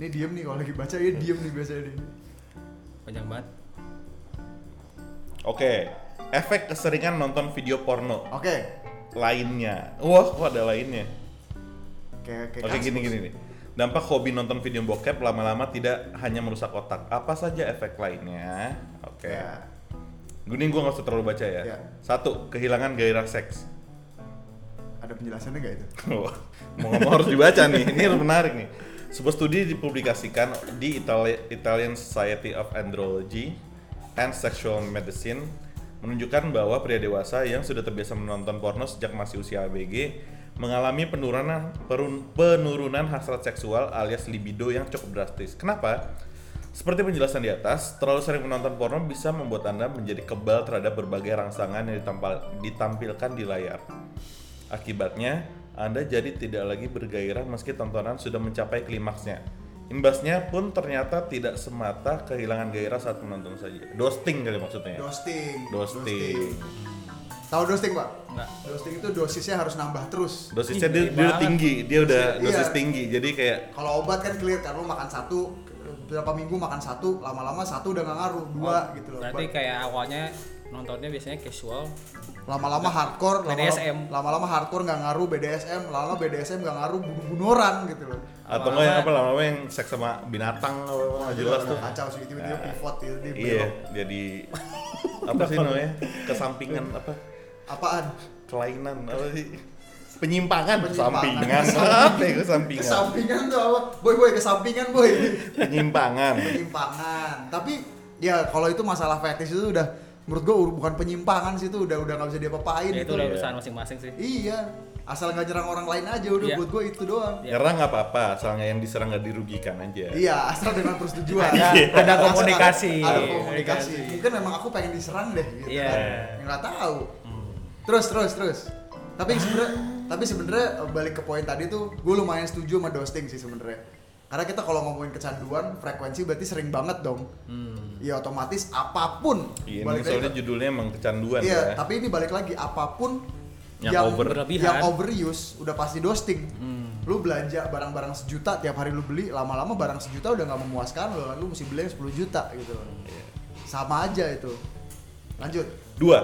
S2: Ini diem nih kalau lagi baca ya diem nih biasanya nih.
S5: panjang banget
S4: Oke. Efek keseringan nonton video porno
S2: Oke.
S4: lainnya. Wah, kok ada lainnya.
S2: Kayak kayak
S4: Oke,
S2: kasus.
S4: gini gini nih. Dampak hobi nonton video bokep lama-lama tidak hanya merusak otak. Apa saja efek lainnya? Oke.
S2: Ya.
S4: Gini gue gak usah terlalu baca ya.
S2: Ya.
S4: Satu, kehilangan gairah seks.
S2: Ada penjelasannya nggak itu?
S4: Wah, mau ngomong harus dibaca nih. Ini harus menarik nih. Sebuah studi dipublikasikan di Itali- Italian Society of Andrology and Sexual Medicine menunjukkan bahwa pria dewasa yang sudah terbiasa menonton porno sejak masih usia ABG mengalami penurunan perun- penurunan hasrat seksual alias libido yang cukup drastis. Kenapa? Seperti penjelasan di atas, terlalu sering menonton porno bisa membuat Anda menjadi kebal terhadap berbagai rangsangan yang ditampal- ditampilkan di layar. Akibatnya, Anda jadi tidak lagi bergairah meski tontonan sudah mencapai klimaksnya. Imbasnya pun ternyata tidak semata kehilangan gairah saat menonton saja. Dosting kali maksudnya. ya?
S2: Dosting.
S4: Dosting.
S2: Tahu dosing pak?
S5: Enggak.
S2: Dosing itu dosisnya harus nambah terus.
S4: Dosisnya
S5: Ih,
S4: dia,
S5: gede
S4: dia
S5: banget.
S4: tinggi, dia udah
S2: Iya.
S4: dosis tinggi. Jadi kayak
S2: Kalau obat kan clear kan lo makan satu berapa minggu makan satu lama-lama satu udah nggak ngaruh dua gitu loh.
S5: Oh, Berarti kayak awalnya nontonnya biasanya casual.
S2: lama-lama hardcore, lama-
S5: BDSM.
S2: lama-lama hardcore nggak ngaruh BDSM, lama-lama BDSM nggak ngaruh bunuh-bunuh orang gitu loh.
S4: atau enggak yang apa lama-lama yang seks sama binatang apa nggak jelas tuh.
S2: Kacau sih tiba-tiba pivot gitu dia
S4: Iya,
S2: belok.
S4: jadi apa sih namanya? Kesampingan apa?
S2: Apaan?
S4: Kelainan apa sih? Penyimpangan,
S2: Penyimpangan.
S4: sampingan. Apa ya kesampingan?
S2: Kesampingan tuh apa? Boy boy kesampingan boy.
S4: Penyimpangan.
S2: penyimpangan. Tapi ya kalau itu masalah fetish itu udah menurut gua ur- bukan penyimpangan sih itu udah udah nggak bisa diapa-apain
S5: Ya itu
S2: gitu.
S5: udah urusan masing-masing sih.
S2: Iya, asal nggak nyerang orang lain aja udah
S5: Iya.
S2: buat gua itu doang.
S4: Nyerang nggak apa-apa, asalnya yang diserang nggak dirugikan aja.
S2: Iya, asal dengan persetujuan.
S5: Ada-
S2: Iya.
S5: ada
S2: Asal
S5: komunikasi.
S2: Ada, ada komunikasi. Mungkin memang aku pengen diserang deh gitu
S5: Iya.
S2: kan. Enggak tahu. Terus terus terus. Tapi sebenarnya tapi sebenarnya eh, balik ke poin tadi tuh gue lumayan setuju sama dosing sih sebenarnya. Karena kita kalau ngomongin kecanduan, frekuensi berarti sering banget dong.
S5: Hmm.
S2: Ya otomatis apapun
S4: Iya, ini
S2: balik lagi
S4: soalnya
S2: ke-
S4: judulnya emang kecanduan
S2: Iya,
S4: ya.
S2: tapi ini balik lagi apapun
S4: Yang over. Hmm.
S5: Berlebihan.
S2: yang overuse udah pasti dosting. Lu belanja barang-barang sejuta tiap hari lu beli, lama-lama barang sejuta udah nggak memuaskan lu, lu mesti beli yang 10 juta gitu loh.
S4: Iya.
S2: Sama aja itu. Lanjut.
S4: Dua,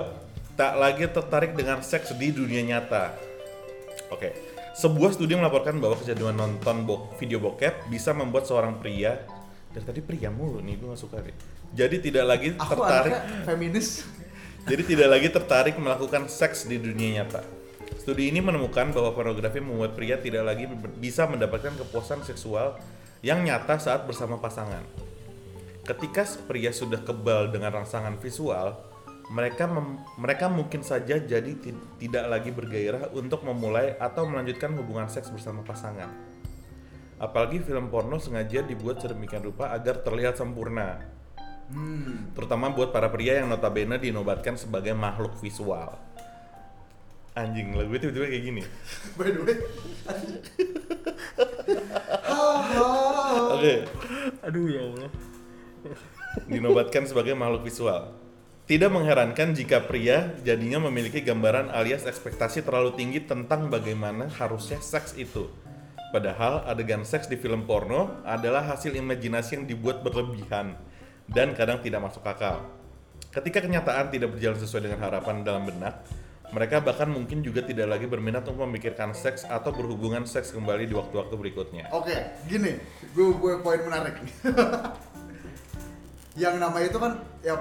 S4: tak lagi tertarik dengan seks di dunia nyata. Oke, sebuah studi melaporkan bahwa kecanduan nonton bo- video bokep bisa membuat seorang pria dari tadi pria mulu nih, gue gak suka deh. Jadi tidak lagi
S2: Aku
S4: tertarik,
S2: anaknya feminis.
S4: jadi tidak lagi tertarik melakukan seks di dunia nyata. Studi ini menemukan bahwa pornografi membuat pria tidak lagi ber- bisa mendapatkan kepuasan seksual yang nyata saat bersama pasangan. Ketika pria sudah kebal dengan rangsangan visual, mereka mem- mereka mungkin saja jadi ti- tidak lagi bergairah untuk memulai atau melanjutkan hubungan seks bersama pasangan. Apalagi film porno sengaja dibuat sedemikian rupa agar terlihat sempurna. Terutama buat para pria yang notabene dinobatkan sebagai makhluk visual. Anjing, lagu gue tiba-tiba kayak gini.
S2: By the way.
S4: Oke.
S5: Aduh ya Allah.
S4: dinobatkan sebagai makhluk visual. Tidak mengherankan jika pria jadinya memiliki gambaran alias ekspektasi terlalu tinggi tentang bagaimana harusnya seks itu. Padahal adegan seks di film porno adalah hasil imajinasi yang dibuat berlebihan dan kadang tidak masuk akal. Ketika kenyataan tidak berjalan sesuai dengan harapan dalam benak, mereka bahkan mungkin juga tidak lagi berminat untuk memikirkan seks atau berhubungan seks kembali di waktu-waktu berikutnya.
S2: Oke, gini, gue gue poin menarik. yang namanya itu kan ya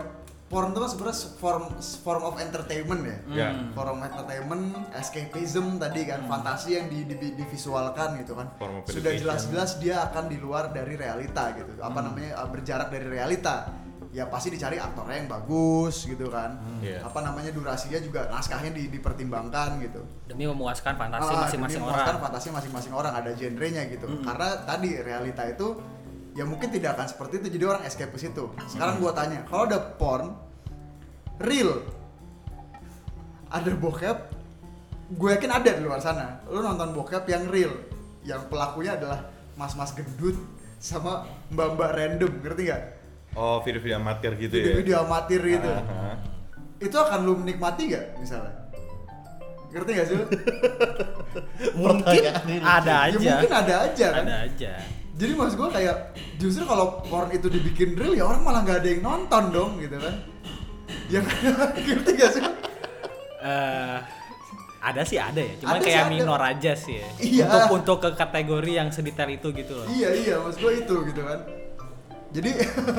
S2: porn itu kan sebenarnya form form of entertainment ya.
S4: Ya. Hmm.
S2: Form of entertainment, escapism tadi kan, fantasi yang di, di- divisualkan gitu kan.
S4: Form of
S2: Sudah
S4: education. Hmm.
S2: jelas-jelas dia akan di luar dari realita gitu. Apa namanya eh, berjarak dari realita. Ya pasti dicari aktornya yang bagus gitu kan.
S4: Iya.
S2: Apa namanya durasinya juga naskahnya di- dipertimbangkan gitu
S5: Demi memuaskan fantasi
S2: ah,
S5: masing-masing
S2: demi memuaskan
S5: orang. Hmm.
S2: fantasi masing-masing orang ada genrenya gitu. Karena tadi realita itu ya mungkin tidak akan seperti itu jadi orang escape ke situ.
S5: Hmm.
S2: Sekarang gua tanya, kalau ada porn real ada bokep gue yakin ada di luar sana. Lu nonton bokep yang real yang pelakunya adalah mas-mas gendut sama mbak-mbak random, ngerti nggak?
S4: Oh, video-video amatir gitu ya. Ah.
S2: Video-video amatir gitu.
S4: Aha.
S2: Itu akan lu menikmati nggak misalnya? Ngerti gak sih lu?
S5: Mungkin ada
S2: Ya
S5: aja.
S2: mungkin ada aja kan?
S5: Ada aja.
S2: jadi maksud gue kayak justru kalau porn itu dibikin real ya orang malah nggak ada yang nonton dong gitu kan yang ngerti gak sih
S5: Eh ada sih ada ya, cuma
S2: Ada sih
S5: kayak
S2: ada.
S5: minor aja sih ya.
S2: Iya.
S5: Untuk untuk ke kategori yang sedetail itu gitu loh.
S2: iya iya maksud gue itu gitu kan jadi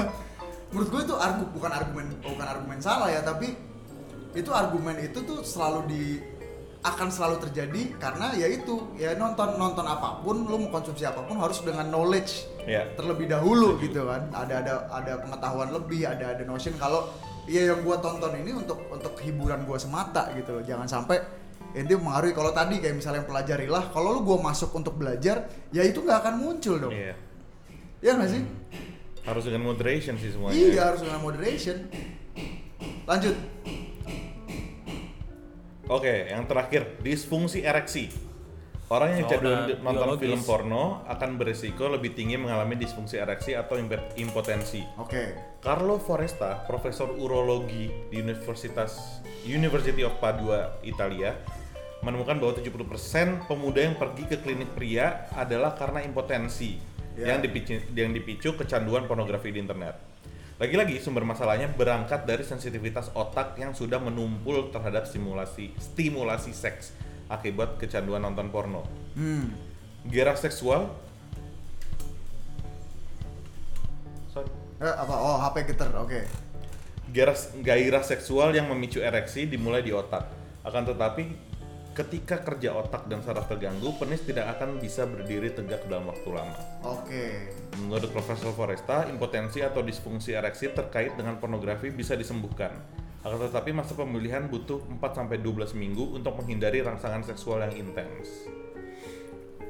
S2: menurut gue itu argu, bukan argumen bukan argumen salah ya tapi itu argumen itu tuh selalu di akan selalu terjadi karena ya itu ya nonton nonton apapun lu mau konsumsi apapun harus dengan knowledge
S4: Iya.
S2: terlebih dahulu gitu kan ada ada ada pengetahuan lebih ada ada notion kalau ya yang gua tonton ini untuk untuk hiburan gua semata gitu loh jangan sampai itu mengaruhi kalau tadi kayak misalnya yang pelajarilah kalau lu gua masuk untuk belajar ya itu nggak akan muncul dong
S4: Iya.
S2: ya nggak sih
S4: Harus dengan moderation sih semuanya.
S2: iya harus dengan moderation lanjut
S4: Oke, yang terakhir, disfungsi ereksi. Orang yang
S5: Oh, udah
S4: cenderung di- nonton
S5: biologis.
S4: film porno akan berisiko lebih tinggi mengalami disfungsi ereksi atau impe- impotensi.
S2: Oke.
S4: Carlo Foresta, profesor urologi di Universitas University of Padua, Italia, menemukan bahwa 70% pemuda yang pergi ke klinik pria adalah karena impotensi
S2: Ya.
S4: yang, dipicu, yang dipicu kecanduan pornografi di internet. Lagi-lagi sumber masalahnya berangkat dari sensitivitas otak yang sudah menumpul terhadap simulasi stimulasi seks akibat kecanduan nonton porno.
S2: Hmm.
S4: Gairah seksual Sorry.
S2: Eh, apa? Oh, HP geter. Oke.
S4: gairah, gairah seksual yang memicu ereksi dimulai di otak. Akan tetapi, ketika kerja otak dan saraf terganggu, penis tidak akan bisa berdiri tegak dalam waktu lama.
S2: Oke.
S4: Menurut Profesor Foresta, impotensi atau disfungsi ereksi terkait dengan pornografi bisa disembuhkan. Akan tetapi, masa pemulihan butuh 4-12 minggu untuk menghindari rangsangan seksual yang intens.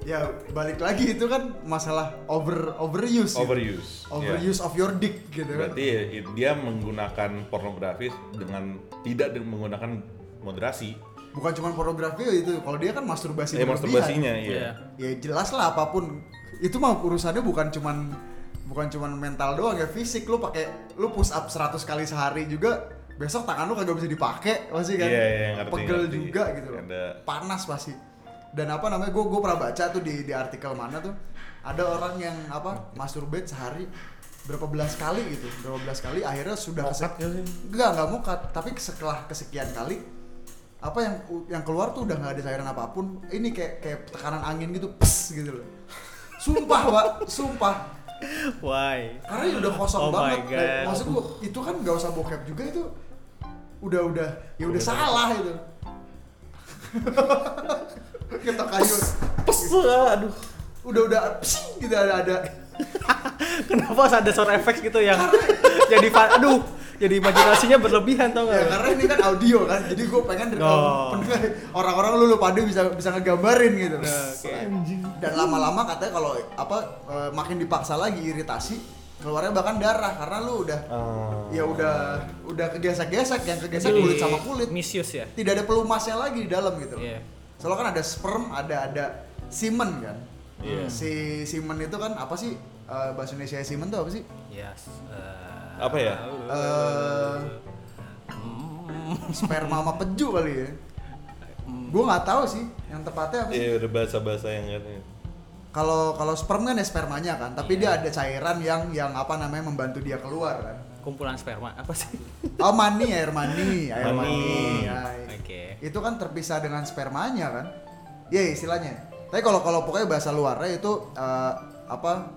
S2: Ya, balik lagi itu kan masalah over overuse. gitu.
S4: Overuse. ya.
S2: Overuse of your dick gitu kan.
S4: Berarti ya, i- dia menggunakan pornografi dengan tidak de- menggunakan moderasi.
S2: Bukan cuma pornografi itu. Kalau dia kan masturbasi.
S4: Eh,
S2: berlebihan.
S4: masturbasinya, iya.
S5: Iya.
S2: Ya jelas lah apapun. Itu mah urusannya bukan cuman bukan cuman mental doang ya, fisik lu pakai lu push up 100 kali sehari juga besok tangan lu kagak bisa dipakai pasti kan.
S4: Iya, iya, ngerti,
S2: Pegel
S4: ngerti.
S2: juga gitu loh.
S4: Ada-
S2: Panas pasti. Dan apa namanya? Gue gue pernah baca tuh di di artikel mana tuh ada orang yang apa masturbate sehari berapa belas kali gitu, berapa belas kali akhirnya sudah kesek- Enggak, enggak mukat, tapi setelah kesekian kali apa yang yang keluar tuh udah nggak ada cairan apapun. Ini kayak kayak tekanan angin gitu, pes gitu loh. Sumpah, Pak, sumpah.
S5: Why?
S2: Karena ya udah
S5: Oh
S2: kosong
S5: my
S2: banget.
S5: God.
S2: Eh, Maksud gua itu kan nggak usah bokep juga itu. Udah udah ya udah salah itu. Ketok kayu.
S5: aduh.
S2: Udah udah psing gitu ada ada.
S5: Kenapa harus ada sound effect gitu yang jadi fa- aduh, jadi imajinasinya berlebihan tau gak?
S2: Ya karena ini kan audio kan. Jadi gua pengen dari-
S5: Oh.
S2: pendengar- orang-orang lu lu pada bisa bisa ngegambarin gitu.
S4: Anjing.
S2: dan lama-lama katanya kalau apa eh, makin dipaksa lagi iritasi keluarnya bahkan darah karena lu udah ya udah udah kegesek-gesek yang kegesek
S5: Jadi
S2: kulit sama kulit
S5: Misuse ya.
S2: tidak ada pelumasnya lagi di dalam gitu
S5: Iya.
S2: soalnya kan ada sperm ada ada semen kan
S5: Iya.
S2: si semen itu kan apa sih Eh, bahasa Indonesia semen tuh apa sih
S5: Yes. eh,
S4: Apa ya?
S2: Eh, sperma sama peju kali ya gue nggak tahu sih yang tepatnya apa sih?
S4: Iya udah bahasa-bahasa yang kan
S2: kalau kalau sperm kan ya spermanya kan tapi dia ada cairan yang yang apa namanya membantu dia keluar kan
S5: kumpulan sperma apa sih?
S2: oh mani air mani air
S4: Mani.
S2: mani, ay.
S5: Oke.
S2: itu kan terpisah dengan spermanya kan iya istilahnya tapi kalau kalau pokoknya bahasa luarnya itu eh, apa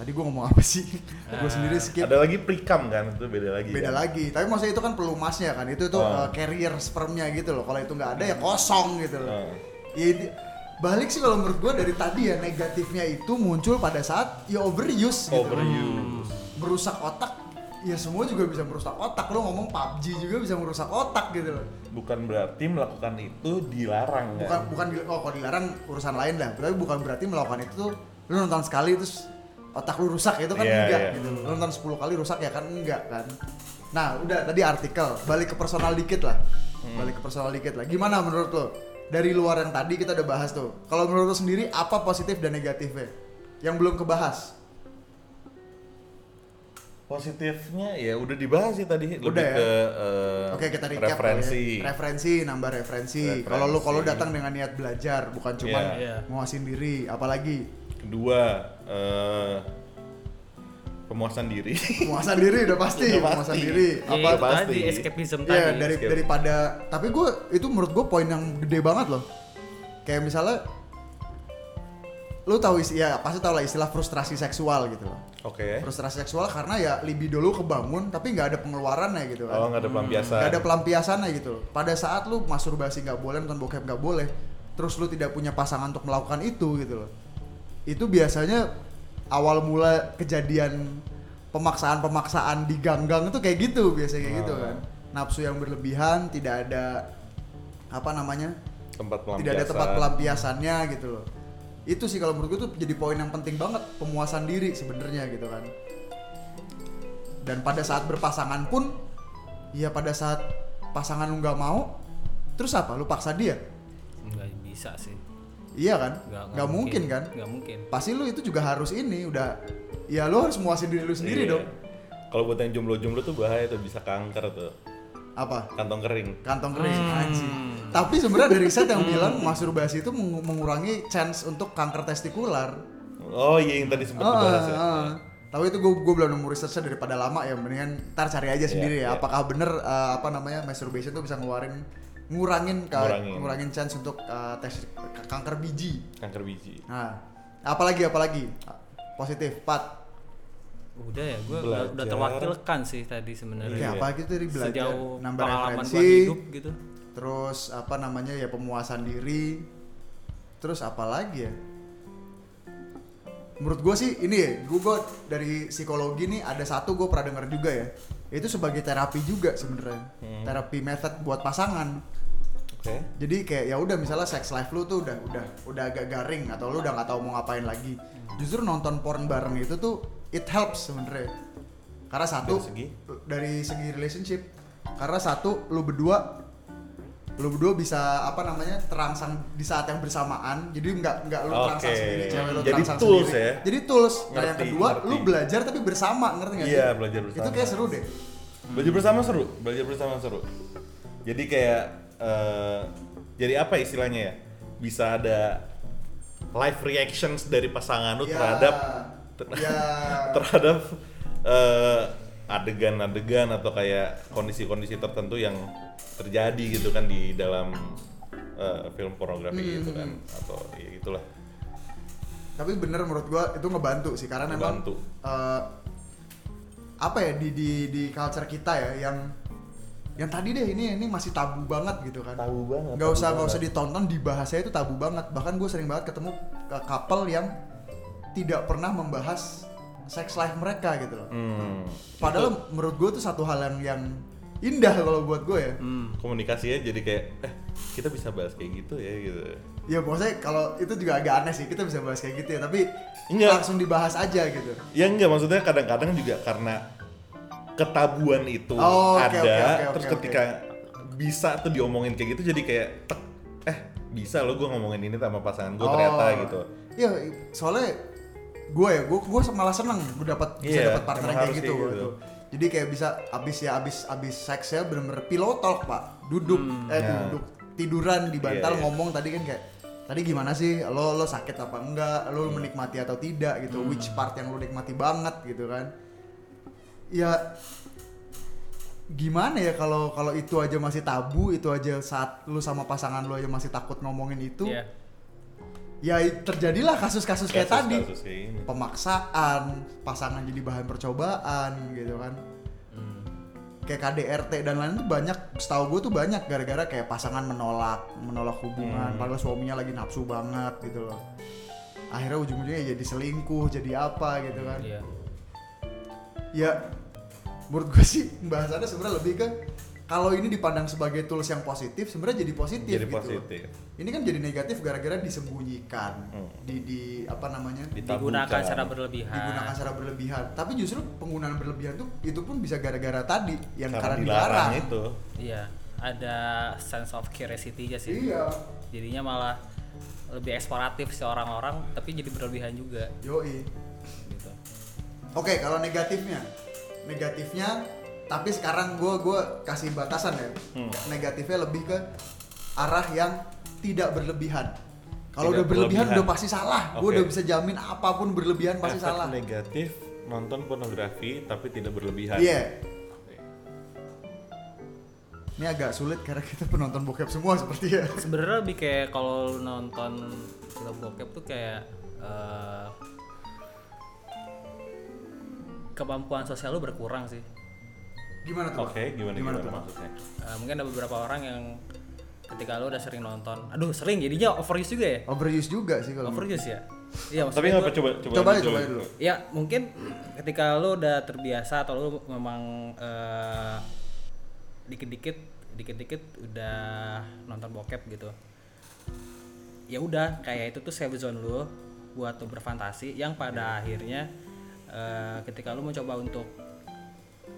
S2: tadi gua ngomong apa sih gue sendiri skip
S4: Ada lagi prikam kan itu beda lagi.
S2: beda
S4: kan?
S2: lagi tapi maksudnya itu kan pelumasnya kan itu tuh
S4: Oh.
S2: eh, carrier spermnya gitu loh kalau itu nggak ada ya kosong gitu loh
S4: Oh.
S2: ya ini- balik sih kalau menurut gua dari tadi ya negatifnya itu muncul pada saat ya overuse gitu
S4: Overuse.
S2: merusak otak ya semua juga bisa merusak otak lo ngomong PUBG juga bisa merusak otak gitu loh
S4: Bukan berarti melakukan itu dilarang
S2: bukan
S4: kan.
S2: bukan di- oh kalau dilarang urusan lain lah tapi bukan berarti melakukan itu tuh lo nonton sekali terus otak lu rusak itu kan
S4: Iya,
S2: enggak
S4: iya.
S2: gitu lo nonton 10 kali rusak ya kan enggak kan nah udah tadi artikel balik ke personal dikit lah
S4: Hmm.
S2: balik ke personal dikit lah gimana menurut lo dari luar yang tadi kita udah bahas tuh kalau menurut lo sendiri apa positif dan negatifnya yang belum kebahas
S4: Positifnya ya udah dibahas sih tadi lebih
S2: Udah ya?
S4: ke eh,
S2: Oke kita recap
S4: referensi.
S2: kali ya. referensi nambah referensi.
S4: Referensi.
S2: Kalau lu kalau datang dengan niat belajar bukan cuma
S4: Iya.
S5: Iya.
S2: nguasin diri, apalagi
S4: Kedua eh, pemuasan diri.
S2: penguasaan diri udah pasti,
S4: Udah pasti. Iya,
S2: penguasan diri.
S3: Iya,
S5: Ya,
S2: Apa
S5: itu
S4: pasti.
S5: tadi escapism
S2: Iya
S5: tadi.
S2: dari
S4: Skip.
S2: daripada tapi gue itu menurut gue poin yang gede banget loh. Kayak misalnya lu tahu isi ya pasti tau lah istilah frustrasi seksual gitu loh.
S4: Oke.
S2: Frustrasi seksual karena ya libido lu kebangun tapi nggak ada pengeluarannya gitu kan.
S4: Oh nggak ada pelampiasan.
S2: Gak ada pelampiasannya gitu loh. Pada saat lu masturbasi nggak boleh, nonton bokep nggak boleh, terus lu tidak punya pasangan untuk melakukan itu gitu loh. Itu biasanya awal mula kejadian pemaksaan-pemaksaan di gang-gang itu kayak gitu biasanya kayak gitu kan. Nafsu yang berlebihan, tidak ada apa namanya?
S4: tempat pelampiasan.
S2: Tidak ada tempat pelampiasannya gitu loh. Itu sih kalau menurut gue tuh jadi poin yang penting banget pemuasan diri sebenarnya gitu kan. Dan pada saat berpasangan pun ya pada saat pasangan lu nggak mau terus apa? Lu paksa dia.
S5: Nggak bisa sih.
S2: Iya kan?
S3: Nggak- nggak
S2: Gak, mungkin kan?
S3: nggak mungkin
S2: Pasti lu itu juga harus ini udah ya lu harus muasin diri lu sendiri
S4: Iya.
S2: dong.
S4: Kalau buat yang jomblo-jomblo tuh bahaya tuh bisa kanker tuh,
S2: Apa?
S4: kantong kering.
S2: Kantong kering anjing. Tapi sebenarnya ada riset yang bilang masturbasi itu mengu- mengurangi chance untuk kanker testikular.
S4: Oh iya yang tadi
S2: Ah,
S4: sempat dibahas ya.
S2: ah. Tapi itu gue gue belum nemu researchnya daripada lama ya mendingan ntar cari aja sendiri ya
S4: iya.
S2: apakah bener eh, apa namanya masturbation tuh bisa ngeluarin ngurangin ke-
S4: Ngurangin.
S2: ngurangin, chance untuk eh, tes k- kanker biji.
S4: Kanker biji.
S2: Nah, apalagi apalagi positif pat.
S3: udah ya gue udah,
S4: Belajar.
S3: udah terwakilkan sih tadi
S4: Iya,
S3: sebenarnya
S2: Ya apa gitu dari belajar
S3: sejauh
S2: nambah
S3: pengalaman gua
S2: referensi,
S3: hidup gitu
S2: terus apa namanya ya pemuasan diri. Terus apalagi ya? Menurut gue sih ini ya, gue dari psikologi nih ada satu gue pernah denger juga ya. Itu sebagai terapi juga sebenarnya. Terapi method buat pasangan.
S4: Oke.
S2: Jadi kayak ya udah misalnya sex life lu tuh udah udah udah agak garing atau lu udah nggak tahu mau ngapain lagi. Justru nonton porn bareng itu tuh it helps sebenarnya. Karena satu
S4: Dari segi?
S2: dari segi relationship. Karena satu lu berdua lu berdua bisa apa namanya terangsang di saat yang bersamaan. Jadi nggak nggak lu terangsang
S4: Oke.
S2: sendiri, cewek lu
S4: Jadi
S2: terangsang
S4: tools
S2: sendiri.
S4: ya?
S2: Jadi tools. Nah, yang
S4: Ngerti,
S2: kedua lu
S4: ngerti.
S2: belajar tapi bersama, ngerti nggak sih?
S4: Iya, belajar bersama.
S2: Itu kayak seru deh.
S4: Belajar bersama seru, belajar bersama seru. Jadi kayak eh, jadi apa istilahnya ya? Bisa ada live reactions dari pasangan lu
S2: Ya,
S4: terhadap
S2: ya.
S4: terhadap eh, adegan-adegan atau kayak kondisi-kondisi tertentu yang terjadi gitu kan di dalam eh, film pornografi
S2: Hmm.
S4: gitu kan atau ya itulah.
S2: tapi bener menurut gua itu ngebantu sih karena memang
S4: Ngebantu.
S2: eh, apa ya di di di culture kita ya yang yang tadi deh ini ini masih tabu banget gitu kan
S4: Tabu banget,
S2: nggak
S4: tabu
S2: usah nggak
S4: banget.
S2: usah ditonton dibahasnya itu tabu banget bahkan gue sering banget ketemu ke- couple yang tidak pernah membahas sex life mereka gitu loh
S4: Hmm.
S2: padahal menurut gue itu satu hal yang yang indah kalau buat gue ya
S4: Hmm. Komunikasinya jadi kayak eh kita bisa bahas kayak gitu ya gitu.
S2: ya maksudnya kalau itu juga agak aneh sih kita bisa bahas kayak gitu ya tapi
S4: Iya.
S2: langsung dibahas aja gitu
S4: Ya enggak maksudnya kadang-kadang juga karena ketabuan itu
S2: Oh, oke,
S4: ada
S2: oke, oke,
S4: terus
S2: oke,
S4: ketika bisa tuh diomongin kayak gitu jadi kayak tek, eh bisa lo gue ngomongin ini sama pasangan gue ternyata
S2: Oh.
S4: gitu.
S2: Iya, soalnya gue ya, gue gue malah seneng gue dapat bisa
S4: Iya,
S2: dapat partner
S4: emang
S2: yang kayak
S4: harus
S2: gitu.
S4: kayak gitu.
S2: gitu. Jadi kayak bisa abis ya abis abis seks ya bener-bener pillow talk pak, duduk eh
S4: Ya.
S2: duduk tiduran di bantal
S4: Iya, iya.
S2: ngomong tadi kan kayak tadi gimana sih lo lo sakit apa enggak lo
S4: Hmm.
S2: menikmati atau tidak gitu which part yang lo nikmati banget gitu kan ya gimana ya kalau kalau itu aja masih tabu itu aja saat lu sama pasangan lu aja masih takut ngomongin itu
S3: Iya.
S2: ya terjadilah kasus-kasus kayak tadi
S4: Kasus-kasus kayak gini.
S2: pemaksaan pasangan jadi bahan percobaan gitu kan
S4: Hmm.
S2: kayak KDRT dan lain itu banyak setahu gue tuh banyak gara-gara kayak pasangan menolak menolak hubungan
S4: Hmm.
S2: padahal suaminya lagi nafsu banget gitu loh akhirnya ujung-ujungnya ya jadi selingkuh jadi apa gitu kan
S3: Iya.
S2: ya menurut gue sih bahasannya sebenarnya lebih ke kalau ini dipandang sebagai tools yang positif sebenarnya jadi positif
S4: Jadi
S2: gitu
S4: positif.
S2: ini kan jadi negatif gara-gara disembunyikan
S4: Hmm.
S2: di di apa namanya
S3: digunakan
S4: Ditabukan.
S3: secara berlebihan
S2: digunakan secara berlebihan tapi justru penggunaan berlebihan tuh itu pun bisa gara-gara tadi yang
S4: karena
S2: karena,
S4: dilarang
S2: dilarang
S4: itu.
S3: iya ada sense of curiosity nya sih
S2: iya
S3: jadinya malah lebih eksploratif sih orang-orang tapi jadi berlebihan juga
S2: yoi
S3: gitu
S2: Oke, kalau negatifnya, negatifnya, tapi sekarang gue gua kasih batasan ya.
S4: Hmm.
S2: Negatifnya lebih ke arah yang tidak berlebihan. Kalau udah
S4: Tidak
S2: berlebihan,
S4: berlebihan.
S2: udah pasti salah. Gue
S4: Oke.
S2: udah bisa jamin apapun berlebihan pasti
S4: Efek
S2: salah.
S4: negatif nonton pornografi tapi tidak berlebihan.
S2: Iya. Ini agak sulit karena kita penonton bokep semua seperti ya.
S3: sebenarnya lebih kayak kalau lu nonton film bokep tuh kayak eh, kemampuan sosial lu berkurang sih
S2: Gimana tuh? Pak?
S4: Oke, gimana gimana,
S2: tuh? Pak?
S4: maksudnya?
S3: Eh, mungkin ada beberapa orang yang ketika lu udah sering nonton aduh sering jadinya overuse juga ya
S2: Overuse juga sih kalau.
S3: overuse ya iya
S4: Hmm. Tapi nggak
S3: maksudnya gua-
S4: apa coba coba
S2: Coba aja, coba aja dulu.
S3: Ya mungkin ketika lo udah terbiasa atau lo memang eh, dikit-dikit dikit-dikit udah nonton bokep gitu. Ya udah kayak itu tuh safe zone lo buat lo berfantasi yang
S4: Iya.
S3: pada akhirnya eh, ketika lo mencoba untuk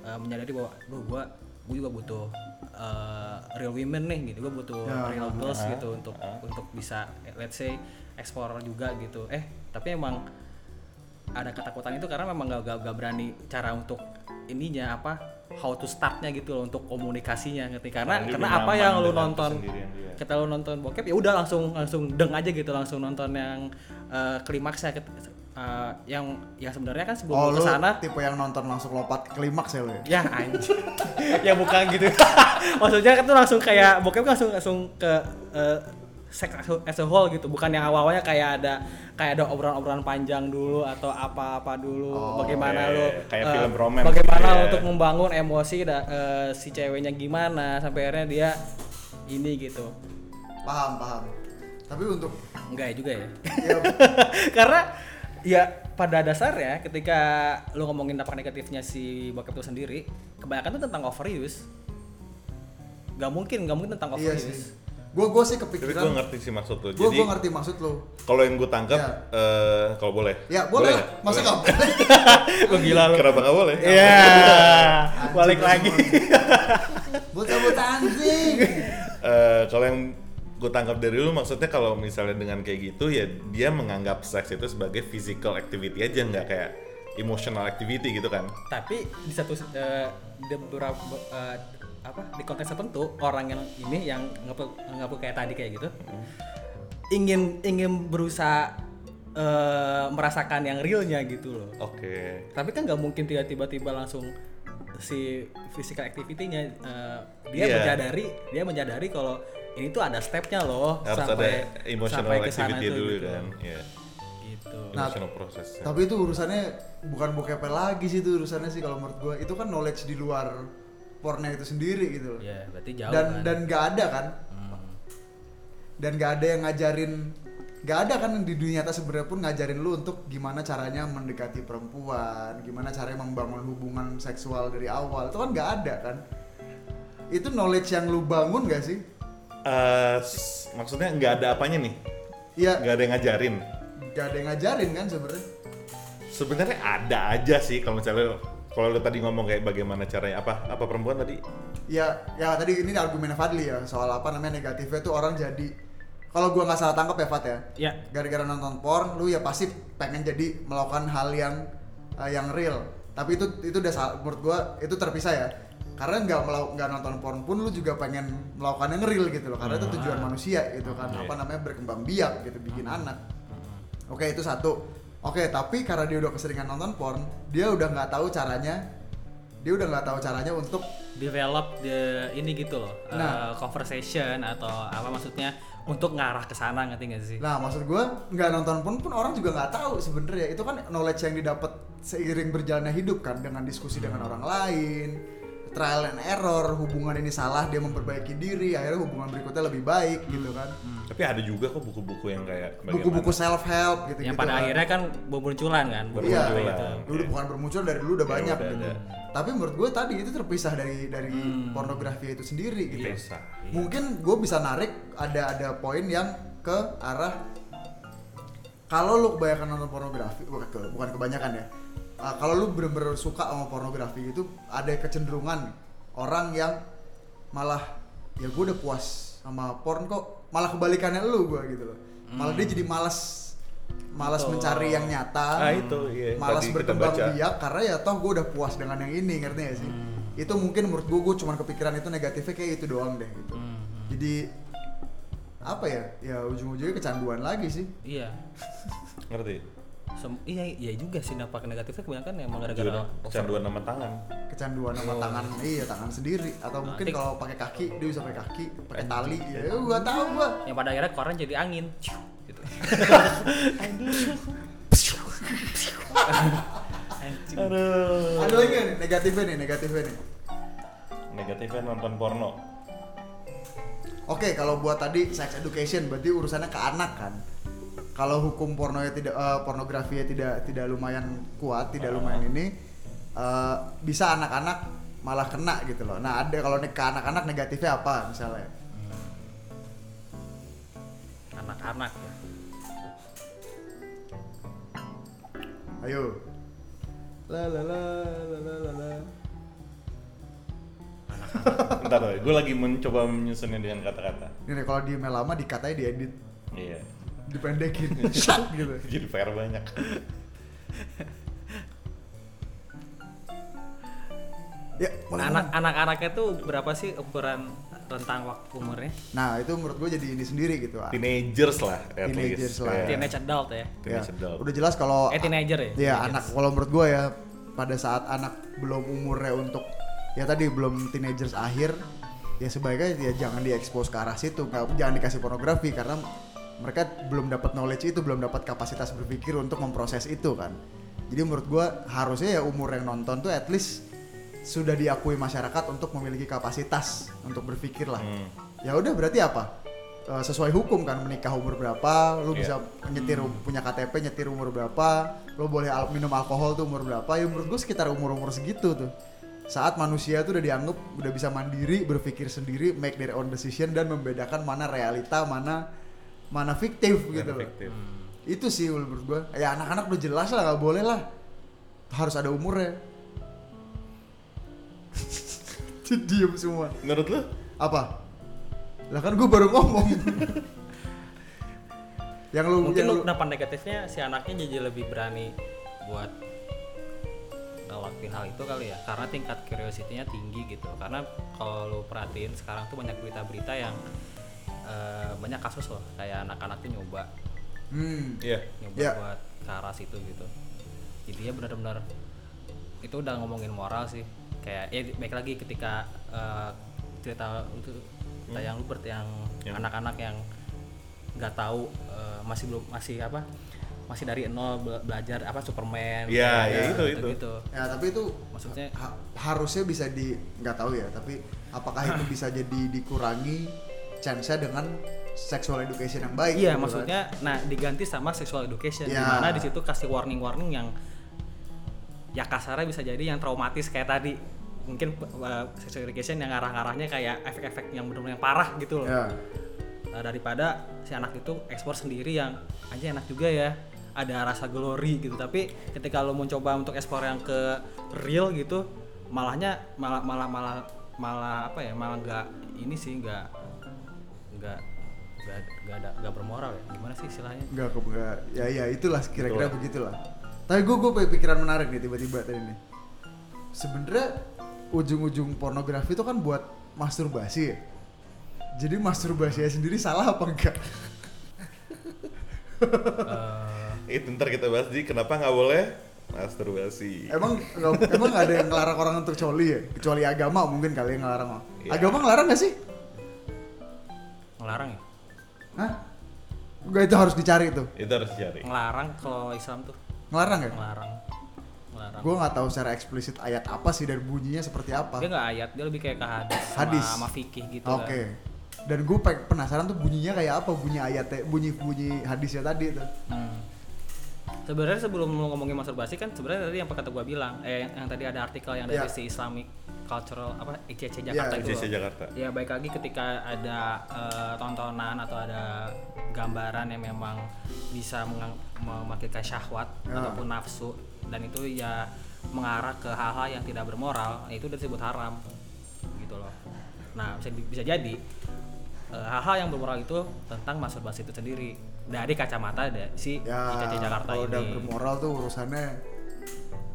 S3: eh, menyadari bahwa lo gua gua juga butuh eh, real women nih gitu gua butuh
S2: Ya,
S4: Ah,
S3: real girls gitu untuk untuk bisa eh, let's say ekspor juga gitu eh tapi emang ada ketakutan itu karena memang gak, gak, gak berani cara untuk ininya apa how to startnya gitu loh untuk komunikasinya ngerti karena
S4: Karena dia
S3: karena
S4: belum
S3: apa
S4: nyaman
S3: yang lu
S4: dengan
S3: nonton
S4: kesendirian dia.
S3: kita lu nonton bokep ya udah langsung langsung deng aja gitu langsung nonton yang eh, klimaksnya ket- eh, yang yang sebenarnya kan sebelum
S2: Oh lu
S3: lu kesana
S2: tipe yang nonton langsung lompat ke klimaks ya lu ya?
S3: ya anjing ya bukan gitu maksudnya kan tuh langsung kayak bokep kan langsung langsung ke eh, seks as a- as a whole gitu bukan yang awalnya kayak ada kayak ada obrolan-obrolan panjang dulu atau apa-apa dulu
S4: Oh,
S3: bagaimana
S4: oke.
S3: lo
S4: iya, Kayak
S3: eh,
S4: film romance
S3: bagaimana
S4: gitu ya.
S3: untuk membangun emosi da- eh, si ceweknya gimana sampai akhirnya dia ini gitu
S2: Paham, paham. Tapi untuk
S3: enggak ya juga ya
S2: ya,
S3: karena ya pada dasarnya ketika lu ngomongin dampak negatifnya si bokep itu sendiri kebanyakan tuh tentang overuse gak mungkin gak mungkin tentang
S2: iya
S3: overuse
S2: sih. Gue gue sih
S4: Tapi gue
S2: kepikiran.
S4: ngerti sih maksud lu.
S2: Gue
S4: Jadi
S2: gue ngerti maksud lu.
S4: kalau yang gue tangkap,
S2: Ya.
S4: eh, kalau boleh.
S2: Ya boleh, lah.
S4: nggak?
S2: masa
S4: Boleh.
S2: nggak boleh?
S3: gue gila lu
S4: Kenapa nggak boleh?
S3: iya balik lagi
S2: Bocah-bocah anjing.
S4: Eh, kalau yang gue tangkap dari lu maksudnya kalau misalnya dengan kayak gitu ya dia menganggap seks itu sebagai physical activity aja nggak kayak emotional activity gitu kan
S3: tapi di satu eh, di beberapa eh, apa di konteks tertentu orang yang ini yang nggak nggak kayak tadi kayak gitu
S2: Hmm.
S3: ingin ingin berusaha eh, merasakan yang realnya gitu loh
S4: oke
S3: tapi kan nggak mungkin tidak tiba-tiba langsung si physical activity-nya eh, dia
S4: Iya.
S3: menyadari dia menyadari kalau ini tuh ada stepnya loh
S4: harus ada
S3: sampai
S4: emotional
S3: sampai ke sana
S4: activity
S3: tuh
S4: dulu
S3: gitu.
S4: kan Iya.
S3: gitu
S2: Nah,
S4: emotional process
S2: Tapi itu urusannya bukan bokep lagi sih itu urusannya sih kalau menurut gue. Itu kan knowledge di luar porno itu sendiri gitu loh.
S3: ya berarti jauh
S2: Dan
S3: kan Hmm.
S2: dan nggak ada kan? Dan nggak ada yang ngajarin nggak ada kan di dunia nyata sebenarnya pun ngajarin lu untuk gimana caranya mendekati perempuan, gimana caranya membangun hubungan seksual dari awal. Itu kan nggak ada kan? Itu knowledge yang lu bangun gak sih?
S4: Eh, s- maksudnya nggak ada apanya nih
S2: Iya,
S4: nggak ada yang ngajarin
S2: nggak ada yang ngajarin kan sebenarnya.
S4: sebenarnya ada aja sih kalau misalnya kalau lu tadi ngomong kayak bagaimana caranya apa apa perempuan tadi
S3: Hmm.
S2: Ya, ya tadi ini argumennya Fadli ya soal apa namanya negatifnya tuh orang jadi kalau gua nggak salah tangkap ya Fat ya.
S3: ya
S2: Gara-gara nonton porn, lu ya pasti pengen jadi melakukan hal yang eh, yang real. Tapi itu itu udah salah, menurut gua itu terpisah ya. Karena nggak melau- nggak nonton porn pun lu juga pengen melakukan yang real gitu loh. Karena itu tujuan manusia gitu kan. Apa namanya berkembang biak gitu, bikin anak. Oke itu satu. Oke tapi karena dia udah keseringan nonton porn, dia udah nggak tahu caranya. Dia udah nggak tahu caranya untuk
S3: develop the ini gitu loh eh,
S2: Nah.
S3: conversation atau apa maksudnya untuk ngarah ke sana ngerti gak sih
S2: Nah, maksud gue nggak nonton pun pun orang juga nggak tahu sebenarnya. Itu kan knowledge yang didapat seiring berjalannya hidup kan dengan diskusi
S4: Hmm.
S2: dengan orang lain, trial and error, hubungan ini salah dia memperbaiki diri, akhirnya hubungan berikutnya lebih baik
S4: Hmm.
S2: gitu kan.
S4: tapi ada juga kok buku-buku yang kayak
S2: Buku-buku self help gitu gitu.
S3: yang pada akhirnya kan bermunculan kan
S2: Iya,
S4: Bermunculan.
S3: itu.
S2: dulu bukan bermunculan dari dulu udah
S4: gitu. Ya,
S2: banyak
S4: udah
S2: gitu.
S4: ada. Hmm.
S2: Tapi menurut gue tadi itu terpisah dari dari pornografi itu sendiri gitu.
S4: Terpisah, iya.
S2: Mungkin gue bisa narik ada ada poin yang ke arah kalau lu kebanyakan nonton pornografi bukan ke- bukan kebanyakan ya. Uh, kalau lu bener-bener suka sama pornografi itu ada kecenderungan orang yang malah ya gue udah puas sama porn kok malah kebalikannya lu gue gitu loh. Malah dia jadi malas malas mencari yang nyata
S4: Ah, itu, iya, yang
S2: malas
S4: tadi kita
S2: berkembang
S4: baca.
S2: biak karena ya toh gue udah puas dengan yang ini ngerti gak sih itu mungkin menurut gue gue cuman kepikiran itu negatifnya kayak itu doang deh gitu jadi apa ya ya ujung-ujungnya kecanduan lagi sih
S3: iya
S4: ngerti
S3: Sem- iya iya juga sih dampak negatifnya kebanyakan emang gara-gara
S4: Kecanduan- kecanduan sama tangan
S2: kecanduan sama tangan iya tangan sendiri atau mungkin
S3: Oh. Nah, tik.
S2: kalau pakai kaki dia bisa pakai kaki pakai tali ya gue tahu gue
S3: yang pada akhirnya koran jadi angin Ciu, gitu Anjing.
S2: ada lagi nggak nih negatifnya nih negatifnya nih
S4: negatifnya nonton porno
S2: Oke, kalau buat tadi sex education berarti urusannya ke anak kan. Kalau hukum pornonya tidak eh, pornografinya tidak tidak lumayan kuat,
S3: Ah.
S2: tidak lumayan ini eh, bisa anak-anak malah kena gitu loh. Nah, ada kalau nih ke anak-anak negatifnya apa misalnya?
S3: anak-anak ya.
S2: Ayo. La la la la la la. la.
S4: bentar gue lagi mencoba menyusunnya dengan kata-kata
S2: Ini nih, kalau di lama dikatanya diedit.
S4: iya
S2: dipendekin shut gitu
S4: jadi PR banyak
S2: ya mulai
S3: anak anak-anaknya tuh berapa sih ukuran rentang waktu umurnya
S2: nah itu menurut gue jadi ini sendiri gitu ah.
S4: teenagers lah at
S2: Teenagers
S4: least
S2: lah.
S4: Ya.
S3: teenage adult ya
S2: Ya,
S4: Teenage adult.
S2: udah jelas kalau
S3: eh teenager ya
S2: ya anak kalau menurut gue ya pada saat anak belum umurnya untuk ya tadi belum teenagers akhir ya sebaiknya ya jangan diekspos ke arah situ nggak- jangan dikasih pornografi karena mereka belum dapat knowledge itu belum dapat kapasitas berpikir untuk memproses itu kan jadi menurut gue harusnya ya umur yang nonton tuh at least sudah diakui masyarakat untuk memiliki kapasitas untuk berpikir lah ya udah berarti apa Eh, sesuai hukum kan menikah umur berapa lu bisa
S4: Iya.
S2: nyetir punya KTP nyetir umur berapa lo boleh al- minum alkohol tuh umur berapa ya menurut gue sekitar umur umur segitu tuh saat manusia tuh udah dianggap udah bisa mandiri berpikir sendiri make their own decision dan membedakan mana realita mana mana fiktif gitu loh
S4: Efektif.
S2: itu sih menurut gue ya anak-anak udah jelas lah nggak boleh lah harus ada umurnya diem semua
S4: menurut lu
S2: apa lah kan gue baru ngomong yang lu
S3: mungkin
S2: yang
S3: lu
S2: lu-
S3: kenapa negatifnya si anaknya jadi lebih berani buat ngelakuin hal itu kali ya karena tingkat curiosity-nya tinggi gitu karena kalau lu perhatiin sekarang tuh banyak berita-berita yang eh, banyak kasus loh kayak anak-anak tuh nyoba
S2: hmm.
S4: Iya.
S3: nyoba
S2: Ya.
S3: buat ke arah situ gitu jadinya benar-benar itu udah ngomongin moral sih kayak ya baik lagi ketika eh, cerita itu cerita yang lu Bert, yang
S4: Hmm. Yang-
S3: anak-anak yang nggak tahu eh, masih belum masih apa masih dari nol bela- belajar apa Superman
S4: Iya, ya itu, itu.
S3: gitu
S2: ya tapi itu
S3: Maksudnya-
S2: ha- harusnya bisa di nggak tahu ya tapi apakah itu bisa jadi dikurangi chance nya dengan sexual education yang baik
S3: Iya,
S2: gitu kan?
S3: maksudnya nah diganti sama sexual education
S2: Ya.
S3: dimana di situ kasih warning-warning yang ya kasarnya bisa jadi yang traumatis kayak tadi. Mungkin uh, sexual education yang arah-arahnya kayak efek-efek yang benar-benar yang parah gitu loh.
S2: ya
S3: Nah, daripada si anak itu ekspor sendiri yang aja enak juga ya ada rasa glory gitu tapi ketika lo mau coba untuk ekspor yang ke real gitu malahnya malah malah malah malah apa ya malah nggak ini sih nggak nggak nggak nggak ada nggak bermoral ya gimana sih istilahnya
S2: nggak ke nggak- ya ya itulah kira-kira begitulah tapi gue gue pikiran menarik nih tiba-tiba tadi nih sebenarnya ujung-ujung pornografi itu kan buat masturbasi ya jadi masturbasinya sendiri salah apa enggak
S4: Itu ntar kita bahas di kenapa nggak boleh masturbasi.
S2: Emang nggak- emang nggak ada yang ngelarang orang untuk coli ya? Kecuali agama mungkin kali yang ngelarang.
S4: Iya.
S2: Agama ngelarang nggak sih?
S3: ngelarang ya
S2: Hah? Enggak itu harus dicari tuh.
S4: Itu harus cari.
S3: ngelarang kalau Islam tuh
S2: Ngelarang ya?
S3: ngelarang ngelarang
S2: Gue nggak tahu secara eksplisit ayat apa sih dan bunyinya seperti apa.
S3: dia nggak ayat dia lebih kayak ke hadis sama-
S2: Hadis.
S3: sama, fikih gitu
S2: Oke.
S3: kan.
S2: Dan gue penasaran tuh bunyinya kayak apa bunyi ayatnya, bunyi bunyi hadisnya tadi tuh.
S3: Hmm. Sebenarnya sebelum lu ngomongin masturbasi kan sebenarnya tadi yang kata gua bilang eh yang, yang tadi ada artikel yang dari
S2: Iya.
S3: si Islamic Cultural apa ICC Jakarta
S2: Iya,
S3: itu.
S4: ICC
S3: loh.
S4: Jakarta.
S3: Ya baik lagi ketika ada eh, tontonan atau ada gambaran yang memang bisa mengang- memakilkan syahwat
S2: Ya.
S3: ataupun nafsu dan itu ya mengarah ke hal-hal yang tidak bermoral ya itu udah disebut haram gitu loh. Nah bisa, di- bisa jadi eh, hal-hal yang bermoral itu tentang masturbasi itu sendiri dari kacamata ada si
S2: Ya.
S3: ICC Jakarta
S2: kalau
S3: ini.
S2: udah bermoral tuh urusannya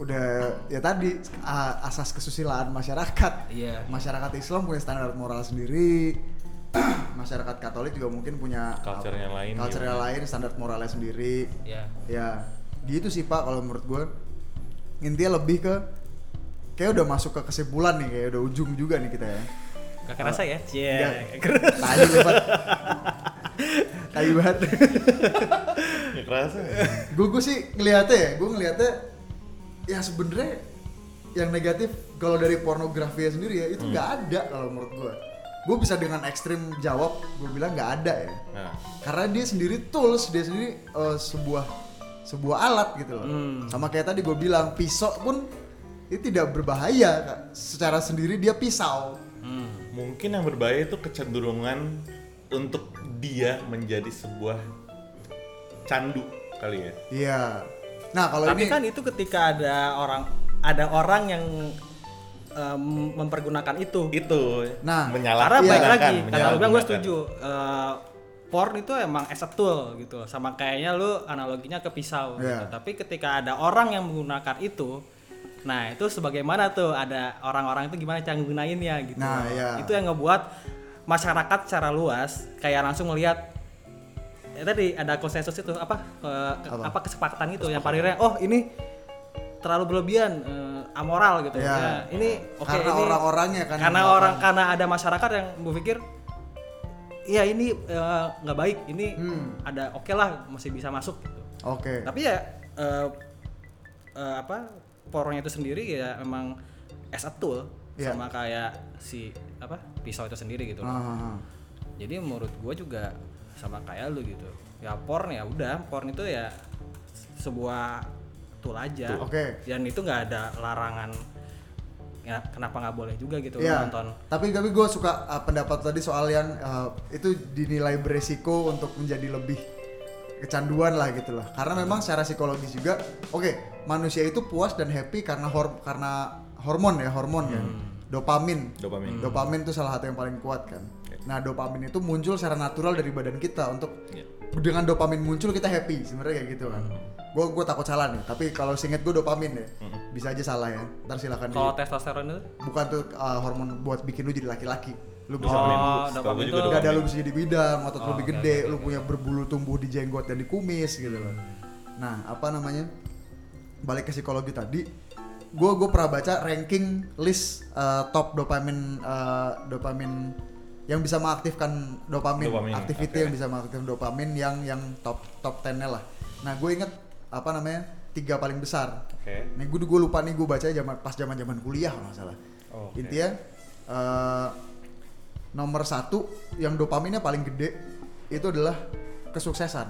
S2: udah ya tadi a- asas kesusilaan masyarakat.
S3: Iya.
S2: masyarakat Islam punya standar moral sendiri masyarakat Katolik juga mungkin punya
S4: Culture-nya lain
S2: culture-nya lain standar moralnya sendiri
S3: Ya.
S2: ya gitu sih pak kalau menurut gue intinya lebih ke kayak udah masuk ke kesimpulan nih kayak udah ujung juga nih kita ya
S3: Gak kerasa ya? Cie.
S2: Iya. Nggak. tadi lebat tadi banget
S4: Nggak kerasa.
S2: gue gue sih ngeliatnya ya gue ngeliatnya ya sebenarnya yang negatif kalau dari pornografi ya sendiri ya itu
S3: Hmm.
S2: nggak ada kalau menurut gue gue bisa dengan ekstrim jawab gue bilang nggak ada ya
S4: Nah,
S2: karena dia sendiri tools dia sendiri eh, sebuah sebuah alat gitu loh
S3: Hmm.
S2: sama kayak tadi gue bilang pisau pun itu tidak berbahaya Kak. secara sendiri dia pisau
S4: mungkin yang berbahaya itu kecenderungan untuk dia menjadi sebuah candu kali ya.
S2: iya nah kalau
S3: Tapi
S2: ini
S3: kan itu ketika ada orang ada orang yang em, mempergunakan itu.
S4: Itu
S2: Nah,
S4: menyalahkan.
S3: Karena baik
S2: Iya.
S3: lagi, kata lu bilang gue
S4: menyalahgunakan.
S3: setuju. eh, porn itu emang as a tool gitu loh. sama kayaknya lu analoginya ke pisau gitu.
S2: Iya.
S3: tapi ketika ada orang yang menggunakan itu nah itu sebagaimana tuh ada orang-orang itu gimana cara nggunainnya gitu
S2: Nah,
S3: loh.
S2: iya.
S3: itu yang ngebuat masyarakat secara luas kayak langsung melihat ya tadi ada konsensus itu apa ke- ke-
S2: Apa?
S3: apa, kesepakatan itu yang paling oh ini terlalu berlebihan eh, amoral gitu
S2: Iya.
S3: Nah, ini oke
S2: Karena
S3: ini-
S2: orang-orangnya kan yang
S3: karena
S2: melakukan.
S3: orang karena ada masyarakat yang berpikir ya ini eh, nggak baik ini ada oke lah masih bisa masuk gitu
S2: Hmm. Oke.
S3: tapi ya eh, eh, apa porongnya itu sendiri ya emang as a tool
S2: Iya.
S3: sama kayak si apa pisau itu sendiri gitu loh.
S2: Ah,
S3: jadi menurut gua juga sama kayak lu gitu ya porn ya udah porn itu ya sebuah tool aja
S2: Tool. Oke.
S3: dan itu nggak ada larangan ya kenapa nggak boleh juga gitu lu
S2: Iya.
S3: nonton
S2: Tapi tapi gue suka uh, pendapat tadi soal yang uh, itu dinilai beresiko untuk menjadi lebih kecanduan lah gitu lah. Karena memang secara psikologis juga, oke manusia itu puas dan happy karena hor- karena hormon ya hormon kan,
S3: Hmm.
S2: dopamin.
S4: Dopamin.
S2: Dopamin itu salah satu yang paling kuat kan. Nah dopamin itu muncul secara natural dari badan kita untuk dengan dopamin muncul kita happy sebenarnya kayak gitu kan. Gue gue takut salah nih, tapi kalau singet gue dopamin ya, bisa aja salah ya. Ntar silakan. di-
S3: kalau testosteron itu
S2: bukan tuh uh, hormon buat bikin lu jadi laki-laki. Lu bisa
S4: Dopamin.
S3: oh
S4: Setahu
S3: dopamin
S4: gua
S3: itu
S4: juga
S2: gak ada lu bisa jadi bidang, otot lu
S3: Oh,
S2: lebih
S3: oke,
S2: gede,
S3: oke,
S2: lu punya berbulu tumbuh di jenggot dan di kumis gitu loh. Nah, apa namanya? Balik ke psikologi tadi, gue gue pernah baca ranking list uh, top dopamin uh, dopamin yang bisa mengaktifkan dopamin,
S4: Dopamin,
S2: activity
S4: oke.
S2: yang bisa mengaktifkan dopamin yang yang top top 10-nya lah. Nah, gue inget apa namanya? tiga paling besar.
S4: Oke.
S2: Nih gue gue lupa nih gue baca zaman pas zaman zaman kuliah kalau nggak salah.
S4: Oh, oke.
S2: Intinya eh, nomor satu yang dopaminnya paling gede itu adalah kesuksesan.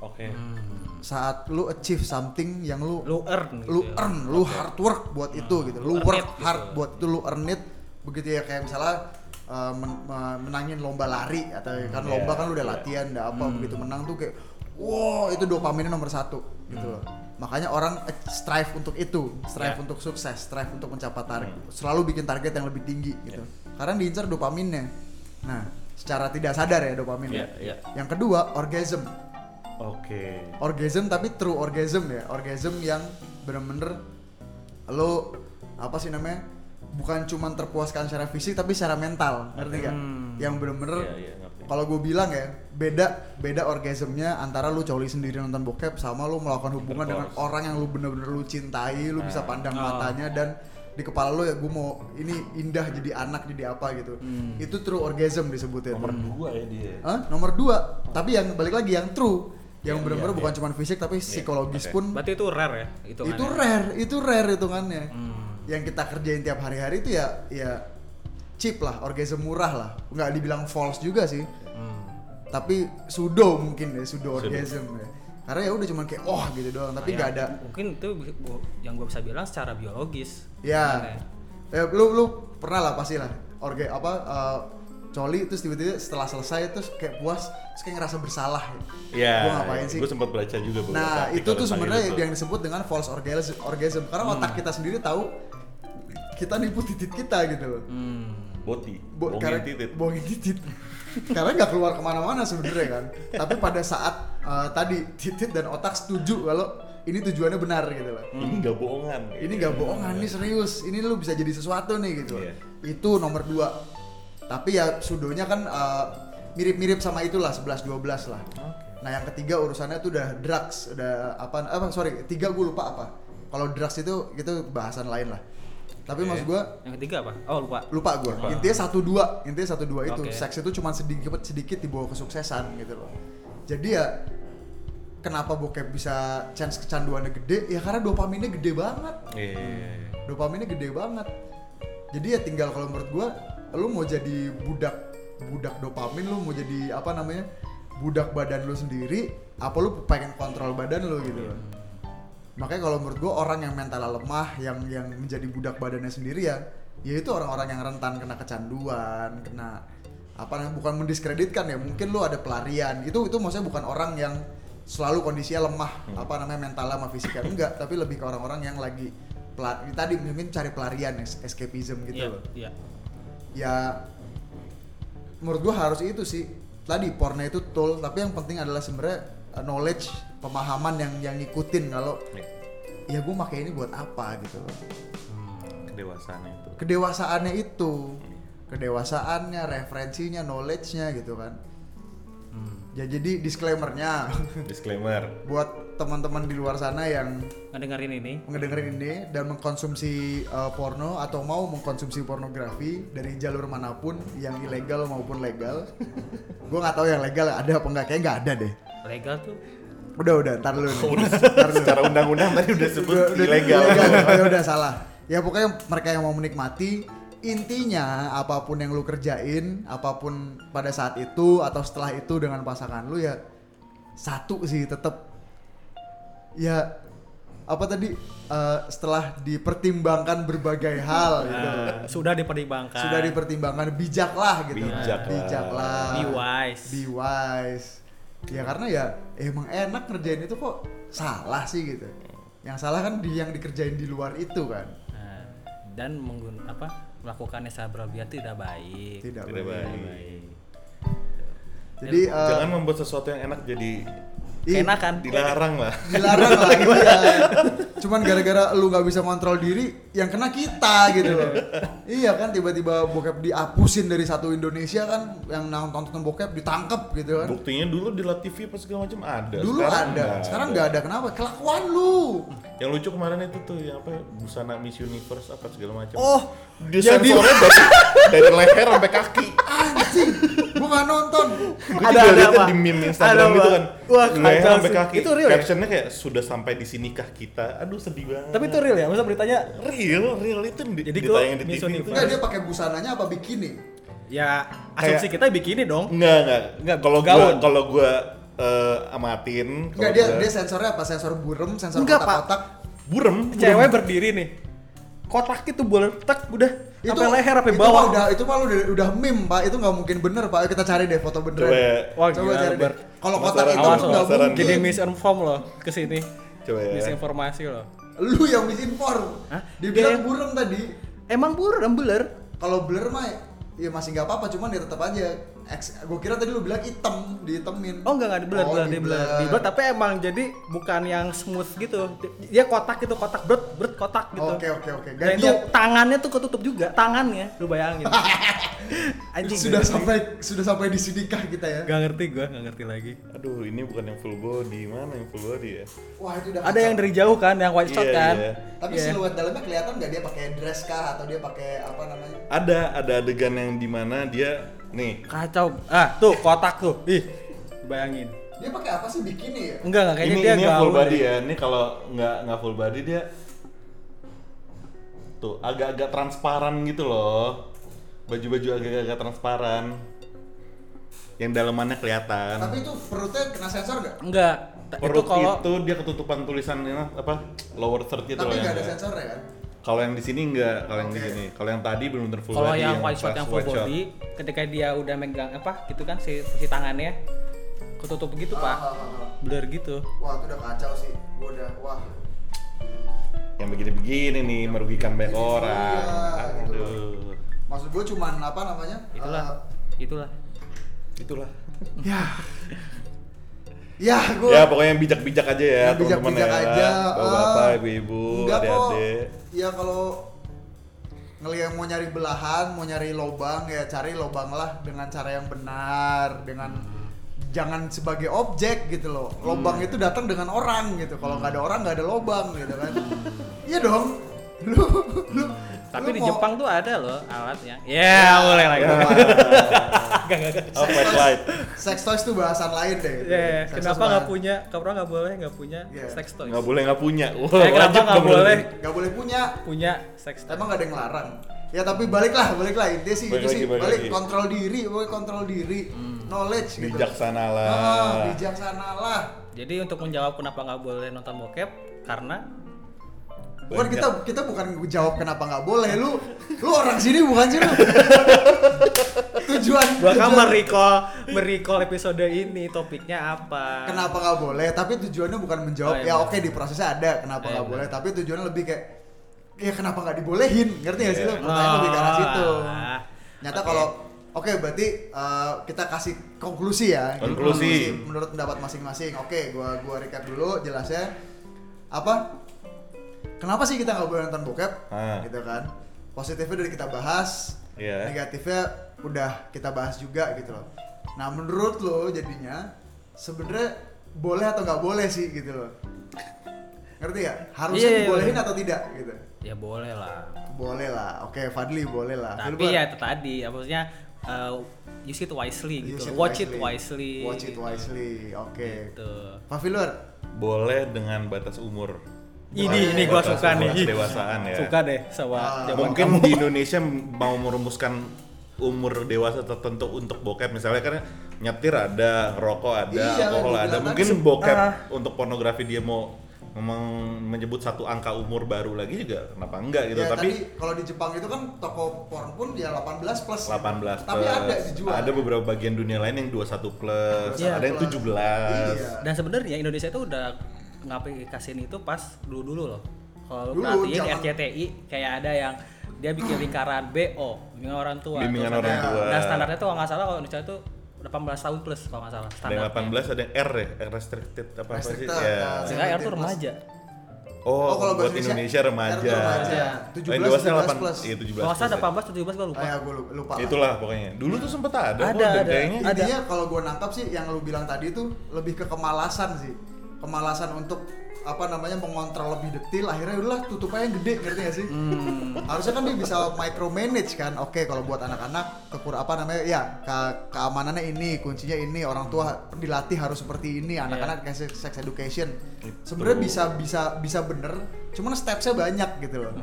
S4: Oke.
S2: Hmm. Saat lu achieve something yang lu
S3: lu earn gitu
S2: lu
S3: ya.
S2: earn, lu hard work buat itu gitu. Lu
S3: Earn
S2: work
S3: it gitu.
S2: hard buat itu, lu earn it. Begitu ya kayak misalnya eh, men- me- menangin lomba lari atau
S3: Hmm,
S2: kan lomba
S4: iya,
S2: kan lu udah
S4: iya.
S2: latihan, udah apa begitu menang tuh kayak wow itu dopaminnya nomor satu gitu
S3: Hmm.
S2: loh. Makanya orang eh, strive untuk itu, strive
S3: Yeah.
S2: untuk sukses, strive untuk mencapai target,
S3: Hmm.
S2: selalu bikin target yang lebih tinggi
S3: Ya.
S2: gitu. Karena diincar dopaminnya. Nah, secara tidak sadar ya dopaminnya.
S4: Iya, iya.
S2: Yang kedua, orgasm
S4: Oke.
S2: orgasm tapi true orgasm ya orgasm yang bener-bener lo apa sih namanya bukan cuman terpuaskan secara fisik tapi secara mental ngerti gak? yang bener-bener
S4: Iya, iya, ngerti.
S2: kalau gue bilang ya beda beda orgasmnya antara lu coli sendiri nonton bokep sama lu melakukan hubungan dengan orang yang lu bener-bener lu cintai lu bisa pandang matanya dan di kepala lu ya gue mau ini indah jadi anak jadi apa gitu itu true orgasm disebutnya
S4: Nomor
S2: tuh.
S4: dua ya dia.
S2: Hah? Nomor dua, tapi yang balik lagi yang true, yang benar-benar
S4: iya,
S2: bukan cuma fisik tapi psikologis
S4: oke.
S2: pun
S3: berarti itu rare ya itu
S2: itu rare, itu rare hitungannya.
S3: Hmm.
S2: Yang kita kerjain tiap hari-hari itu ya ya cheap lah, orgasm murah lah, nggak dibilang false juga sih,
S3: hmm.
S2: tapi sudo mungkin ya sudo orgasm ya. Karena ya udah cuma kayak oh gitu doang, tapi nggak ada
S3: mungkin itu bi- bu- yang gue bisa bilang secara biologis Kan
S2: Ya.
S3: Iya.
S2: Eh, lu lu pernah lah pasti lah. Orge apa eh, coli terus tiba-tiba setelah selesai terus kayak puas terus kayak ngerasa bersalah.
S4: Iya.
S2: Gua ngapain sih?
S4: Gue sempat baca juga beberapa
S2: Nah,
S4: artikel
S2: itu tuh
S4: tentang Hmm.
S2: sebenarnya
S4: itu.
S2: yang disebut dengan false orgasm, orgasm. karena otak kita sendiri tahu kita nipu titik kita gitu loh.
S4: boti,
S2: Bo-
S4: Hmm. bohongin
S2: karena-
S4: titit.
S2: Bohongin titit. karena nggak keluar kemana-mana sebenarnya kan. Tapi pada saat eh, tadi titit dan otak setuju kalau ini tujuannya benar gitu loh
S4: Ini nggak bohongan.
S2: ini nggak bohongan ini serius ini lu bisa jadi sesuatu nih gitu
S4: Iya.
S2: itu nomor dua tapi ya sudonya kan eh, mirip-mirip sama itulah 11-12 lah nah yang ketiga urusannya tuh udah drugs udah apa apa sorry tiga gue lupa apa kalau drugs itu itu bahasan lain lah tapi maksud gue
S3: yang ketiga apa oh lupa
S2: lupa gue intinya satu dua intinya satu dua itu
S3: Oke.
S2: seks itu cuma sedikit sedikit dibawa kesuksesan gitu loh jadi ya kenapa bokep bisa chance kecanduannya gede ya karena dopaminnya gede banget
S4: Iya, iya, iya, iya.
S2: dopaminnya gede banget jadi ya tinggal kalau menurut gua lu mau jadi budak budak dopamin lu mau jadi apa namanya budak badan lu sendiri apa lu pengen kontrol badan lu gitu loh makanya kalau menurut gua orang yang mentalnya lemah yang yang menjadi budak badannya sendiri ya ya itu orang-orang yang rentan kena kecanduan kena apa namanya bukan mendiskreditkan ya mungkin lu ada pelarian itu itu maksudnya bukan orang yang selalu kondisinya lemah apa namanya mentalnya sama fisiknya enggak tapi lebih ke orang-orang yang lagi pela- tadi mungkin cari pelarian es- escapism gitu
S3: iya
S2: loh
S3: iya
S2: ya menurut gua harus itu sih tadi porno itu tool tapi yang penting adalah sebenarnya uh, knowledge pemahaman yang yang ngikutin kalau ya gue pakai ini buat apa gitu loh
S4: kedewasaan itu
S2: kedewasaannya itu kedewasaannya referensinya knowledge-nya gitu kan ya jadi disclaimernya
S4: disclaimer
S2: buat teman-teman di luar sana yang
S3: ngedengerin ini
S2: mendengarin ini dan mengkonsumsi uh, porno atau mau mengkonsumsi pornografi dari jalur manapun yang ilegal maupun legal gue nggak tahu yang legal ada apa nggak kayaknya nggak ada deh
S3: legal tuh
S2: udah udah ntar dulu nih. Ntar dulu.
S4: secara undang-undang tadi udah sebut
S2: Udah- udah
S4: ilegal
S2: Oh, ya udah salah. Ya pokoknya mereka yang mau menikmati intinya apapun yang lu kerjain, apapun pada saat itu atau setelah itu dengan pasangan lu ya satu sih tetap ya apa tadi eh, setelah dipertimbangkan berbagai hal gitu.
S3: Eh, sudah dipertimbangkan
S2: Sudah dipertimbangkan bijaklah gitu.
S4: Bijaklah.
S2: Bijaklah.
S3: be wise
S2: Be wise. Ya karena ya emang enak ngerjain itu kok salah sih gitu. Yang salah kan di yang dikerjain di luar itu kan.
S3: Nah, dan menggun apa melakukannya secara berlebihan tidak baik
S2: Tidak,
S4: Tidak
S2: baik.
S4: baik.
S2: Jadi eh,
S4: jangan membuat sesuatu yang enak jadi
S2: ih,
S3: enakan
S4: dilarang lah
S2: dilarang lah iya. Cuman gara-gara lu nggak bisa kontrol diri, yang kena kita gitu loh. iya kan tiba-tiba bokep dihapusin dari satu Indonesia kan yang nonton bokep ditangkep gitu kan.
S4: buktinya dulu di La TV pas segala macam ada
S2: Dulu ada,
S4: ya, nggak
S2: sekarang nggak ada. Kenapa? Kelakuan lu.
S4: yang lucu kemarin itu tuh yang apa ya, busana Miss Universe apa segala macam
S2: Oh,
S4: dia
S2: jadi-
S4: sensornya dari, dari leher sampai kaki
S2: Anjing, gua nggak nonton.
S4: Gue
S3: Ada-
S4: juga
S3: ada
S4: liatnya
S3: apa?
S4: di meme
S3: Ada
S4: Instagram
S3: apa?
S4: itu kan
S3: Wah,
S4: leher
S3: kacau
S4: sampai
S3: sih.
S4: kaki
S3: Itu real ya?
S4: captionnya kayak sudah sampai di sinikah kita aduh sedih banget
S3: tapi itu real ya masa beritanya
S4: real real itu yang di,
S3: Jadi kalau
S4: ditayangin di
S3: Miss
S4: TV itu
S2: Enggak dia pakai busananya apa bikini?
S3: ya asumsi kita bikini dong
S2: Mm.
S4: Enggak, enggak.
S3: Enggak,
S4: Kalau gua
S3: gaun.
S4: kalau gua eh, amatin kalau
S2: Enggak dia
S4: gua-
S2: dia sensornya apa? Sensor burem, sensor
S3: Enggak,
S2: kotak-kotak.
S4: burem.
S3: cewek berdiri nih kotak itu boleh tek udah sampai leher sampai
S2: itu
S3: bawah
S2: mah udah itu mah lu udah, udah meme, Pak. Itu nggak mungkin bener, Pak. Ayo kita cari deh foto beneran.
S4: Coba-
S3: Wah,
S2: Coba
S3: gila,
S2: cari deh.
S3: Bert.
S2: Kalau kotak
S4: Penasaran
S2: itu
S4: gua,
S2: nggak
S4: penasaran
S2: mungkin.
S4: gua.
S3: jadi misinform loh ke sini
S4: Coba ya.
S3: misinformasi loh
S2: Lu yang misinform.
S3: Hah? Iya.
S2: Dibilang
S3: Dia-
S2: burem tadi.
S3: emang buram beler
S2: Kalau blur mah ya masih nggak apa-apa, cuman ya tetap aja. Eks- gua kira tadi lu bilang hitam, dihitemin.
S3: oh enggak enggak dibeler
S2: Oh,
S3: beler dibeler
S2: diblur.
S3: dibeler tapi emang jadi bukan yang smooth gitu dia kotak gitu kotak bret bret kotak gitu
S2: Oke, oke, oke.
S3: Dan
S2: Ganti
S3: itu
S2: ya.
S3: tangannya tuh ketutup juga, tangannya. Lu bayangin. Anjing.
S2: sudah
S3: gak ngerti.
S2: sampai sudah sampai di sinikah kita ya.
S3: Gak ngerti gua, gak ngerti lagi.
S4: Aduh, ini bukan yang full body. Mana yang full body ya?
S2: Wah, itu udah
S3: Ada
S2: kacau.
S3: yang dari jauh kan, yang white shot
S4: Iya,
S3: kan.
S4: iya.
S2: Tapi
S3: Iya.
S2: siluet dalamnya kelihatan nggak dia pakai dress kah atau dia pakai apa namanya?
S4: Ada ada adegan yang dimana dia nih
S3: Kacau. Ah, tuh kotak tuh. Ih, bayangin.
S2: Dia pakai apa sih bikini ya?
S3: Enggak, enggak kayaknya
S4: ini
S3: dia
S4: ini yang full
S3: gaun
S4: body
S3: deh.
S4: ya. Ini kalau nggak nggak full body dia tuh agak-agak transparan gitu loh. Baju-baju agak-agak transparan. Yang dalamannya kelihatan.
S2: Tapi itu perutnya kena sensor nggak?
S3: Enggak. Ta- itu
S4: Perut gitu. itu,
S3: kalau
S4: dia ketutupan tulisannya apa lower third gitu
S2: Tapi
S4: loh
S2: nggak
S3: ya.
S4: yang
S2: ada
S4: ada.
S2: sensornya kan?
S4: Kalau yang di sini enggak, kalau yang di
S2: Oke.
S4: sini. Kalau yang tadi belum benar full
S3: kalau
S4: body,
S3: yang white shot
S4: pas
S3: yang full
S4: white shot.
S3: body ketika dia udah megang apa gitu kan si si tangannya ketutup gitu,
S2: Ah, ah,
S3: Pak.
S2: ah, ah.
S3: Blur gitu.
S2: Wah itu udah kacau sih. Gua udah wah.
S4: Yang begini-begini nih merugikan banyak orang.
S2: Iya, gitu.
S4: Aduh.
S2: Maksud gua cuman apa namanya?
S3: Itulah. Ya. Itulah.
S4: Itulah.
S2: Eh, ya gua.
S4: Ya pokoknya yang bijak-bijak aja ya,
S2: yang
S4: teman-teman ya.
S2: bijak-bijak aja.
S4: Bapak,
S2: ah.
S4: ibu-ibu,
S2: Nggak kok.
S4: adik-adik.
S2: Ya kalau ngelihat mau nyari belahan, mau nyari lobang ya cari lobang lah dengan cara yang benar, dengan jangan sebagai objek gitu loh.
S4: Hmm.
S2: Lobang itu datang dengan orang gitu. Kalau nggak ada orang nggak ada lobang gitu kan.
S4: Hmm.
S2: Iya dong. Lu lu
S3: Tapi
S2: lu
S3: di
S2: mau-
S3: Jepang tuh ada loh alatnya. Ya, boleh lagi.
S4: Ya.
S3: Enggak, enggak, enggak.
S4: Oh, flashlight.
S2: sex toys tuh bahasan lain deh. gitu. Sex
S3: Ya,
S2: toys
S3: kenapa nggak
S2: bahan-
S3: punya? Kenapa nggak boleh nggak punya
S2: Iya.
S3: sex toys?
S4: Enggak boleh enggak punya. Wah,
S3: Eh, kenapa
S4: wajib
S3: nggak
S4: nggak
S3: boleh?
S2: Nggak boleh punya.
S3: Punya sex toys.
S2: Emang nggak ada yang larang. Ya tapi baliklah, baliklah intinya sih
S4: Balik
S2: itu sih
S4: lagi, balik
S2: balik,
S4: lagi.
S2: kontrol diri, pokoknya kontrol diri, knowledge gitu.
S4: Bijaksanalah.
S2: Ah, bijaksanalah.
S3: Jadi untuk menjawab kenapa nggak boleh nonton bokep karena
S2: Bukan kita kita bukan jawab kenapa nggak boleh lu. Lu orang sini bukan sih lu. tujuan
S3: gua kan
S2: tujuan-
S3: merecall merecall episode ini topiknya apa?
S2: kenapa nggak boleh tapi tujuannya bukan menjawab
S3: Oh, iya,
S2: ya
S3: benar.
S2: oke di prosesnya ada kenapa
S3: Iya,
S2: nggak
S3: benar.
S2: boleh tapi tujuannya lebih kayak ya kenapa nggak dibolehin ngerti nggak sih lo pertanyaan
S3: Oh,
S2: lebih ke arah situ
S3: alah.
S2: nyata
S3: Oke.
S2: kalau Oke, berarti eh, kita kasih konklusi ya.
S4: Konklusi.
S2: menurut pendapat masing-masing. Oke, gua gua recap dulu jelasnya apa? Kenapa sih kita nggak boleh nonton bokep?
S4: Ah.
S2: Gitu kan. Positifnya dari kita bahas,
S4: Iya.
S2: negatifnya udah kita bahas juga gitu loh. Nah, menurut lo jadinya sebenarnya boleh atau nggak boleh sih gitu loh. Ngerti gak? Harusnya
S3: Iya, iya,
S2: dibolehin
S3: iya.
S2: atau tidak gitu.
S3: ya boleh lah
S2: Boleh lah. Oke, Fadli boleh lah.
S3: tapi
S2: Filbert?
S3: ya itu tadi ya, maksudnya uh, use it wisely gitu
S2: Use it
S3: watch it wisely
S2: Iya Watch it wisely. Oke.
S3: gitu
S2: Pak Filur,
S4: Boleh dengan batas umur.
S3: ini
S4: Bukan
S3: ini gua
S4: batas
S3: suka
S4: umur
S3: nih
S4: Kedewasaan ya.
S3: suka deh sama
S2: Ah.
S3: jawaban
S4: Mungkin
S3: kamu.
S4: di Indonesia mau merumuskan umur dewasa tertentu untuk bokep misalnya kan nyetir ada, ngerokok ada,
S2: Iya,
S4: alkohol
S2: gua
S4: ada.
S2: bilang
S4: Mungkin
S2: tadi,
S4: bokep
S3: ah.
S4: untuk pornografi dia mau meng- menyebut satu angka umur baru lagi juga kenapa enggak gitu.
S2: ya
S4: Tapi
S2: tadi kalau di Jepang itu kan toko porn pun ya 18 plus.
S4: 18
S2: Tapi
S4: plus.
S2: ada dijual.
S4: Ada beberapa bagian dunia lain yang 21 plus,
S2: Iya,
S4: ada yang
S2: plus.
S4: 17.
S2: Iya.
S3: dan sebenarnya Indonesia itu udah ngaplikasiin itu pas dulu dulu loh kalau lu
S2: Dulu,
S3: perhatiin di
S2: zaman-
S3: RCTI kayak ada yang dia bikin lingkaran BO bimbingan orang tua
S4: Bimbingan
S3: Terus
S4: orang
S3: ada-
S4: tua.
S3: dan standarnya tuh kalau nggak salah kalau Indonesia itu 18 tahun plus kalau nggak salah
S4: Ada yang
S3: standarnya
S4: 18 ada yang R ya, R restricted apa apa sih?
S2: Restricted,
S4: Ya.
S2: ah,
S3: Sehingga R tuh remaja
S4: Oh,
S2: kalau
S4: buat
S2: bahasa
S4: Indonesia remaja.
S2: R tuh remaja.
S3: Iya.
S2: 17
S4: Lain dewasa
S2: 18
S4: 8
S2: plus.
S4: Iya 17.
S3: kalau nggak salah
S4: plus ya.
S3: 18 17 gue lupa
S2: Ah, ya, gue lupa. lah.
S4: Itulah pokoknya. Dulu tuh sempet ada,
S3: Ada,
S4: kok, dan
S3: ada.
S4: kayaknya
S3: Ada.
S2: Intinya kalau gue nangkap sih yang lu bilang tadi itu lebih ke kemalasan sih. Kemalasan untuk apa namanya mengontrol lebih detail akhirnya udahlah tutup aja yang gede ngerti gak sih harusnya kan dia bisa micromanage kan oke kalau buat anak-anak kekur apa namanya ya ke- keamanannya ini kuncinya ini orang tua dilatih harus seperti ini anak-anak kasih sex education sebenarnya bisa bisa bisa bener cuman stepsnya banyak gitu loh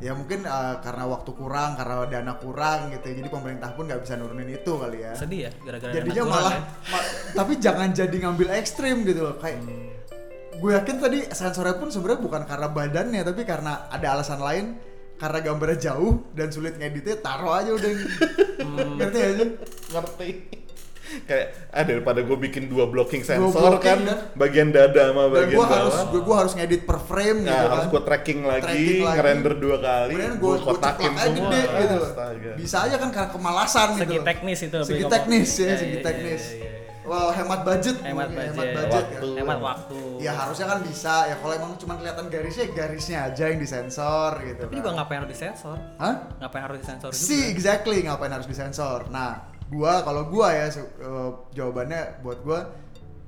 S2: ya mungkin eh, karena waktu kurang karena dana kurang gitu jadi pemerintah pun nggak bisa nurunin itu kali ya
S3: sedih ya gara-gara
S2: jadinya
S3: anak
S2: malah
S3: kurang ya.
S2: ma- tapi jangan jadi ngambil ekstrim gitu loh kayak gue yakin tadi sensornya pun sebenarnya bukan karena badannya tapi karena ada alasan lain karena gambarnya jauh dan sulit ngeditnya taruh aja udah
S3: Hmm.
S2: ngerti ya, aja
S4: ngerti. Kayak ah daripada gue bikin dua blocking sensor
S2: blocking,
S4: kan
S2: kan.
S4: bagian dada sama
S2: dan
S4: bagian
S2: gue
S4: bawah.
S2: harus gue gue harus ngedit per frame
S4: Nah,
S2: gitu
S4: harus
S2: kan
S4: gue tracking lagi,
S2: Tracking lagi.
S4: ngerender dua kali,
S2: Kemudian gue
S4: gue
S2: gue
S4: kotakin
S2: ceplak aja
S4: semua.
S2: gede gitu loh.
S4: Astaga.
S2: Bisa aja kan karena kemalasan gitu.
S3: Segi
S2: loh.
S3: teknis itu lebih
S2: Segi
S3: ngomong.
S2: teknis ya,
S3: Iya,
S2: segi
S3: iya,
S2: teknis.
S3: iya, iya,
S2: Wow, hemat budget.
S3: hemat
S2: mungkin,
S3: budget,
S2: kan.
S4: Waktu.
S3: hemat waktu
S2: Ya harusnya kan bisa. Ya kalau emang cuma kelihatan garisnya, garisnya aja yang disensor gitu.
S3: tapi juga ngapain harus disensor
S2: Hah?
S3: ngapain harus disensor juga
S2: Si, exactly. Ngapain harus disensor? Nah, gua kalau gua ya se- eh, jawabannya buat gua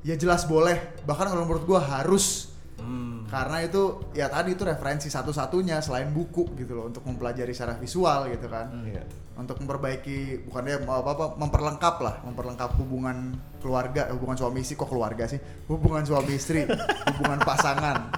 S2: ya jelas boleh. Bahkan kalau menurut gua harus.
S3: Hmm.
S2: Karena itu ya tadi itu referensi satu-satunya selain buku gitu loh untuk mempelajari secara visual gitu kan
S3: Hmm.
S4: Iya.
S2: untuk memperbaiki bukannya apa apa memperlengkap lah memperlengkap hubungan keluarga hubungan suami istri kok keluarga sih hubungan suami istri hubungan pasangan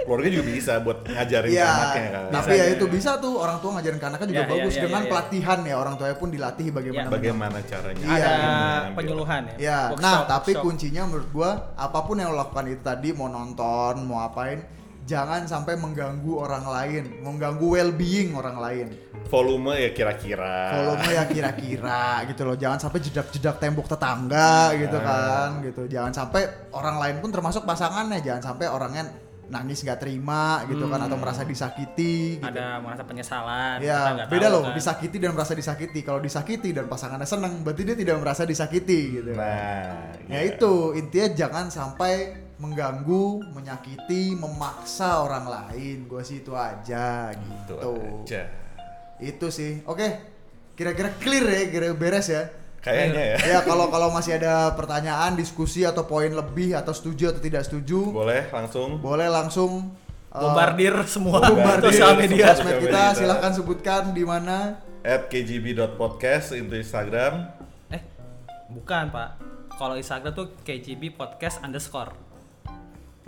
S4: Keluarga juga bisa buat ngajarin ke
S2: ya
S4: anaknya kan.
S2: tapi ya itu bisa tuh orang tua ngajarin ke anaknya juga
S3: Ya, ya,
S2: bagus
S3: ya,
S2: dengan
S3: ya, ya.
S2: pelatihan ya orang tuanya pun dilatih bagaimana
S3: Ya.
S4: Bagaimana caranya?
S2: Iya.
S3: ada
S4: Mengambil.
S3: penyuluhan ya,
S2: Ya,
S3: Workshop,
S2: nah tapi
S3: workshop.
S2: kuncinya menurut gua apapun yang lo lakukan itu tadi mau nonton, mau apain, jangan sampai mengganggu orang lain, mengganggu well-being orang lain.
S4: Volume ya kira-kira.
S3: Ah.
S2: Volume ya kira-kira gitu loh, jangan sampai jedak-jedak tembok tetangga gitu
S3: Ah.
S2: kan, gitu. Jangan sampai orang lain pun termasuk pasangannya, jangan sampai orangnya nangis nggak terima gitu kan atau merasa disakiti. Gitu.
S3: Hmm. ada merasa penyesalan kita
S2: Ya,
S3: nggak
S2: beda
S3: tahu
S2: loh
S3: kan.
S2: disakiti dan merasa disakiti. Kalau disakiti dan pasangannya seneng, berarti dia tidak merasa disakiti gitu.
S4: Nah,
S2: Ya
S4: iya.
S2: itu intinya jangan sampai mengganggu, menyakiti, memaksa orang lain. Gue sih itu aja
S4: Itu
S2: gitu.
S4: aja.
S2: Itu sih. Oke. Kira-kira clear ya, kira-kira beres ya.
S4: Kayaknya ya.
S2: Ya kalau kalau masih ada pertanyaan, diskusi atau poin lebih atau setuju atau tidak setuju,
S4: Boleh langsung
S2: boleh langsung eh,
S3: bombardir semua
S4: Bombardir.
S3: sosial media
S2: sosmed
S4: Sosial
S2: kita.
S4: media.
S2: Silahkan sebutkan di mana.
S4: at kgb.podcast itu Instagram.
S3: eh bukan pak kalau Instagram tuh KGB podcast underscore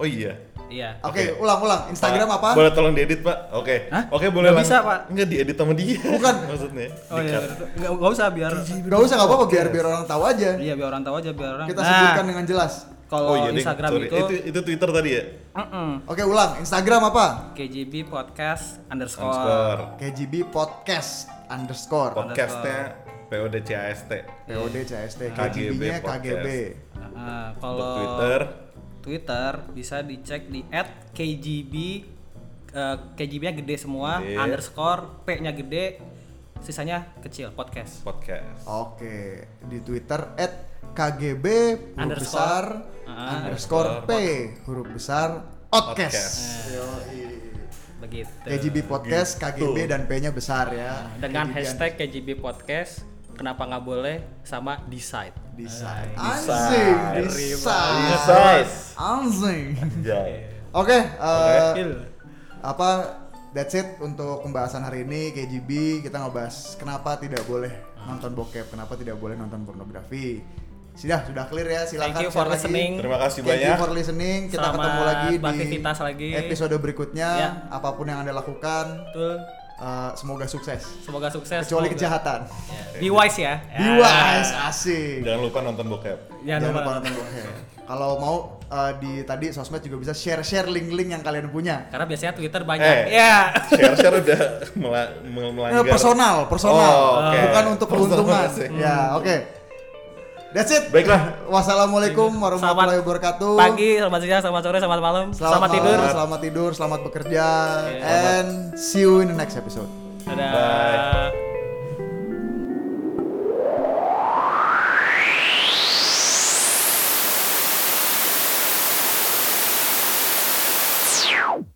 S4: Oh iya.
S3: iya
S2: Oke,
S4: Oke.
S2: ulang-ulang. Instagram
S4: Pak,
S2: apa?
S4: Boleh tolong diedit, Pak. Oke.
S3: Hah?
S4: Oke, boleh
S3: Nggak bisa, Pak.
S4: Enggak diedit sama dia.
S2: Bukan.
S4: Maksudnya.
S3: oh iya
S4: di-cut.
S3: nggak nggak usah biar
S2: Gak usah nggak apa-apa biar biar orang tahu aja.
S3: iya biar orang tahu aja biar orang
S2: Kita
S3: Nah,
S2: sebutkan dengan jelas.
S3: kalau
S4: Oh iya, ding.
S3: Instagram
S4: Sorry.
S3: itu,
S4: itu itu Twitter tadi ya.
S3: Mm-mm.
S2: Oke, ulang. Instagram apa?
S3: KGB podcast Oh, underscore
S4: Underscore.
S2: KGB Podcast underscore
S4: Podcastnya PODCAST.
S2: POD CST
S4: KGB
S2: KGB-nya KGB
S4: podcast.
S3: Nah,
S4: Untuk
S3: kalau
S4: Twitter
S3: Twitter bisa dicek di @kgb KGB-nya gede semua,
S4: Gede.
S3: underscore P-nya gede, sisanya kecil podcast
S4: podcast.
S2: Oke, di Twitter at KGB huruf
S3: Underscore.
S2: besar
S3: Ah,
S2: underscore P huruf besar podcast.
S4: Podcast.
S3: begitu
S2: KGB podcast, KGB dan P-nya besar ya.
S3: dengan
S2: KGB
S3: hashtag KGB podcast kenapa nggak boleh sama decide
S2: desain. Anjing, desain.
S4: Desain.
S2: Anjing.
S4: Anjay.
S2: Oke, eh,
S3: Il.
S2: apa that's it untuk pembahasan hari ini KGB kita ngebahas kenapa tidak boleh
S3: Ah.
S2: nonton bokep, kenapa tidak boleh nonton pornografi. Sudah, sudah clear ya. Silakan
S3: Thank you
S2: share
S3: for
S2: lagi.
S3: listening.
S4: Terima kasih
S2: Thank
S4: banyak.
S2: you for listening. Kita
S3: Selamat
S2: ketemu lagi di
S3: beraktivitas lagi.
S2: episode berikutnya.
S3: Ya.
S2: Apapun yang anda lakukan,
S3: betul
S2: eh, semoga sukses.
S3: semoga sukses
S2: Kecuali
S3: semoga-
S2: kejahatan.
S3: Ya. be wise ya
S2: Be wise, asik.
S4: Jangan lupa nonton bokep.
S3: ya,
S2: Jangan lupa nonton bokep. Kalau mau eh, di tadi sosmed juga bisa share-share link-link yang kalian punya.
S3: karena biasanya Twitter
S4: Eh.
S3: banyak ya
S4: Share-share udah mela-
S2: Eh,
S4: mel- melanggar.
S2: personal, personal.
S4: Oh, oke.
S2: Bukan untuk keuntungan.
S4: Personal sih.
S2: Ya,
S3: Hmm.
S2: oke. That's it.
S4: Baiklah.
S2: Wassalamualaikum warahmatullahi
S3: Selamat
S2: wabarakatuh.
S3: pagi selamat siang selamat sore selamat malam selamat,
S2: Selamat,
S3: tidur
S2: malam, Selamat tidur, selamat bekerja and see you in the next episode.
S3: dadah
S4: Bye.
S6: Meow.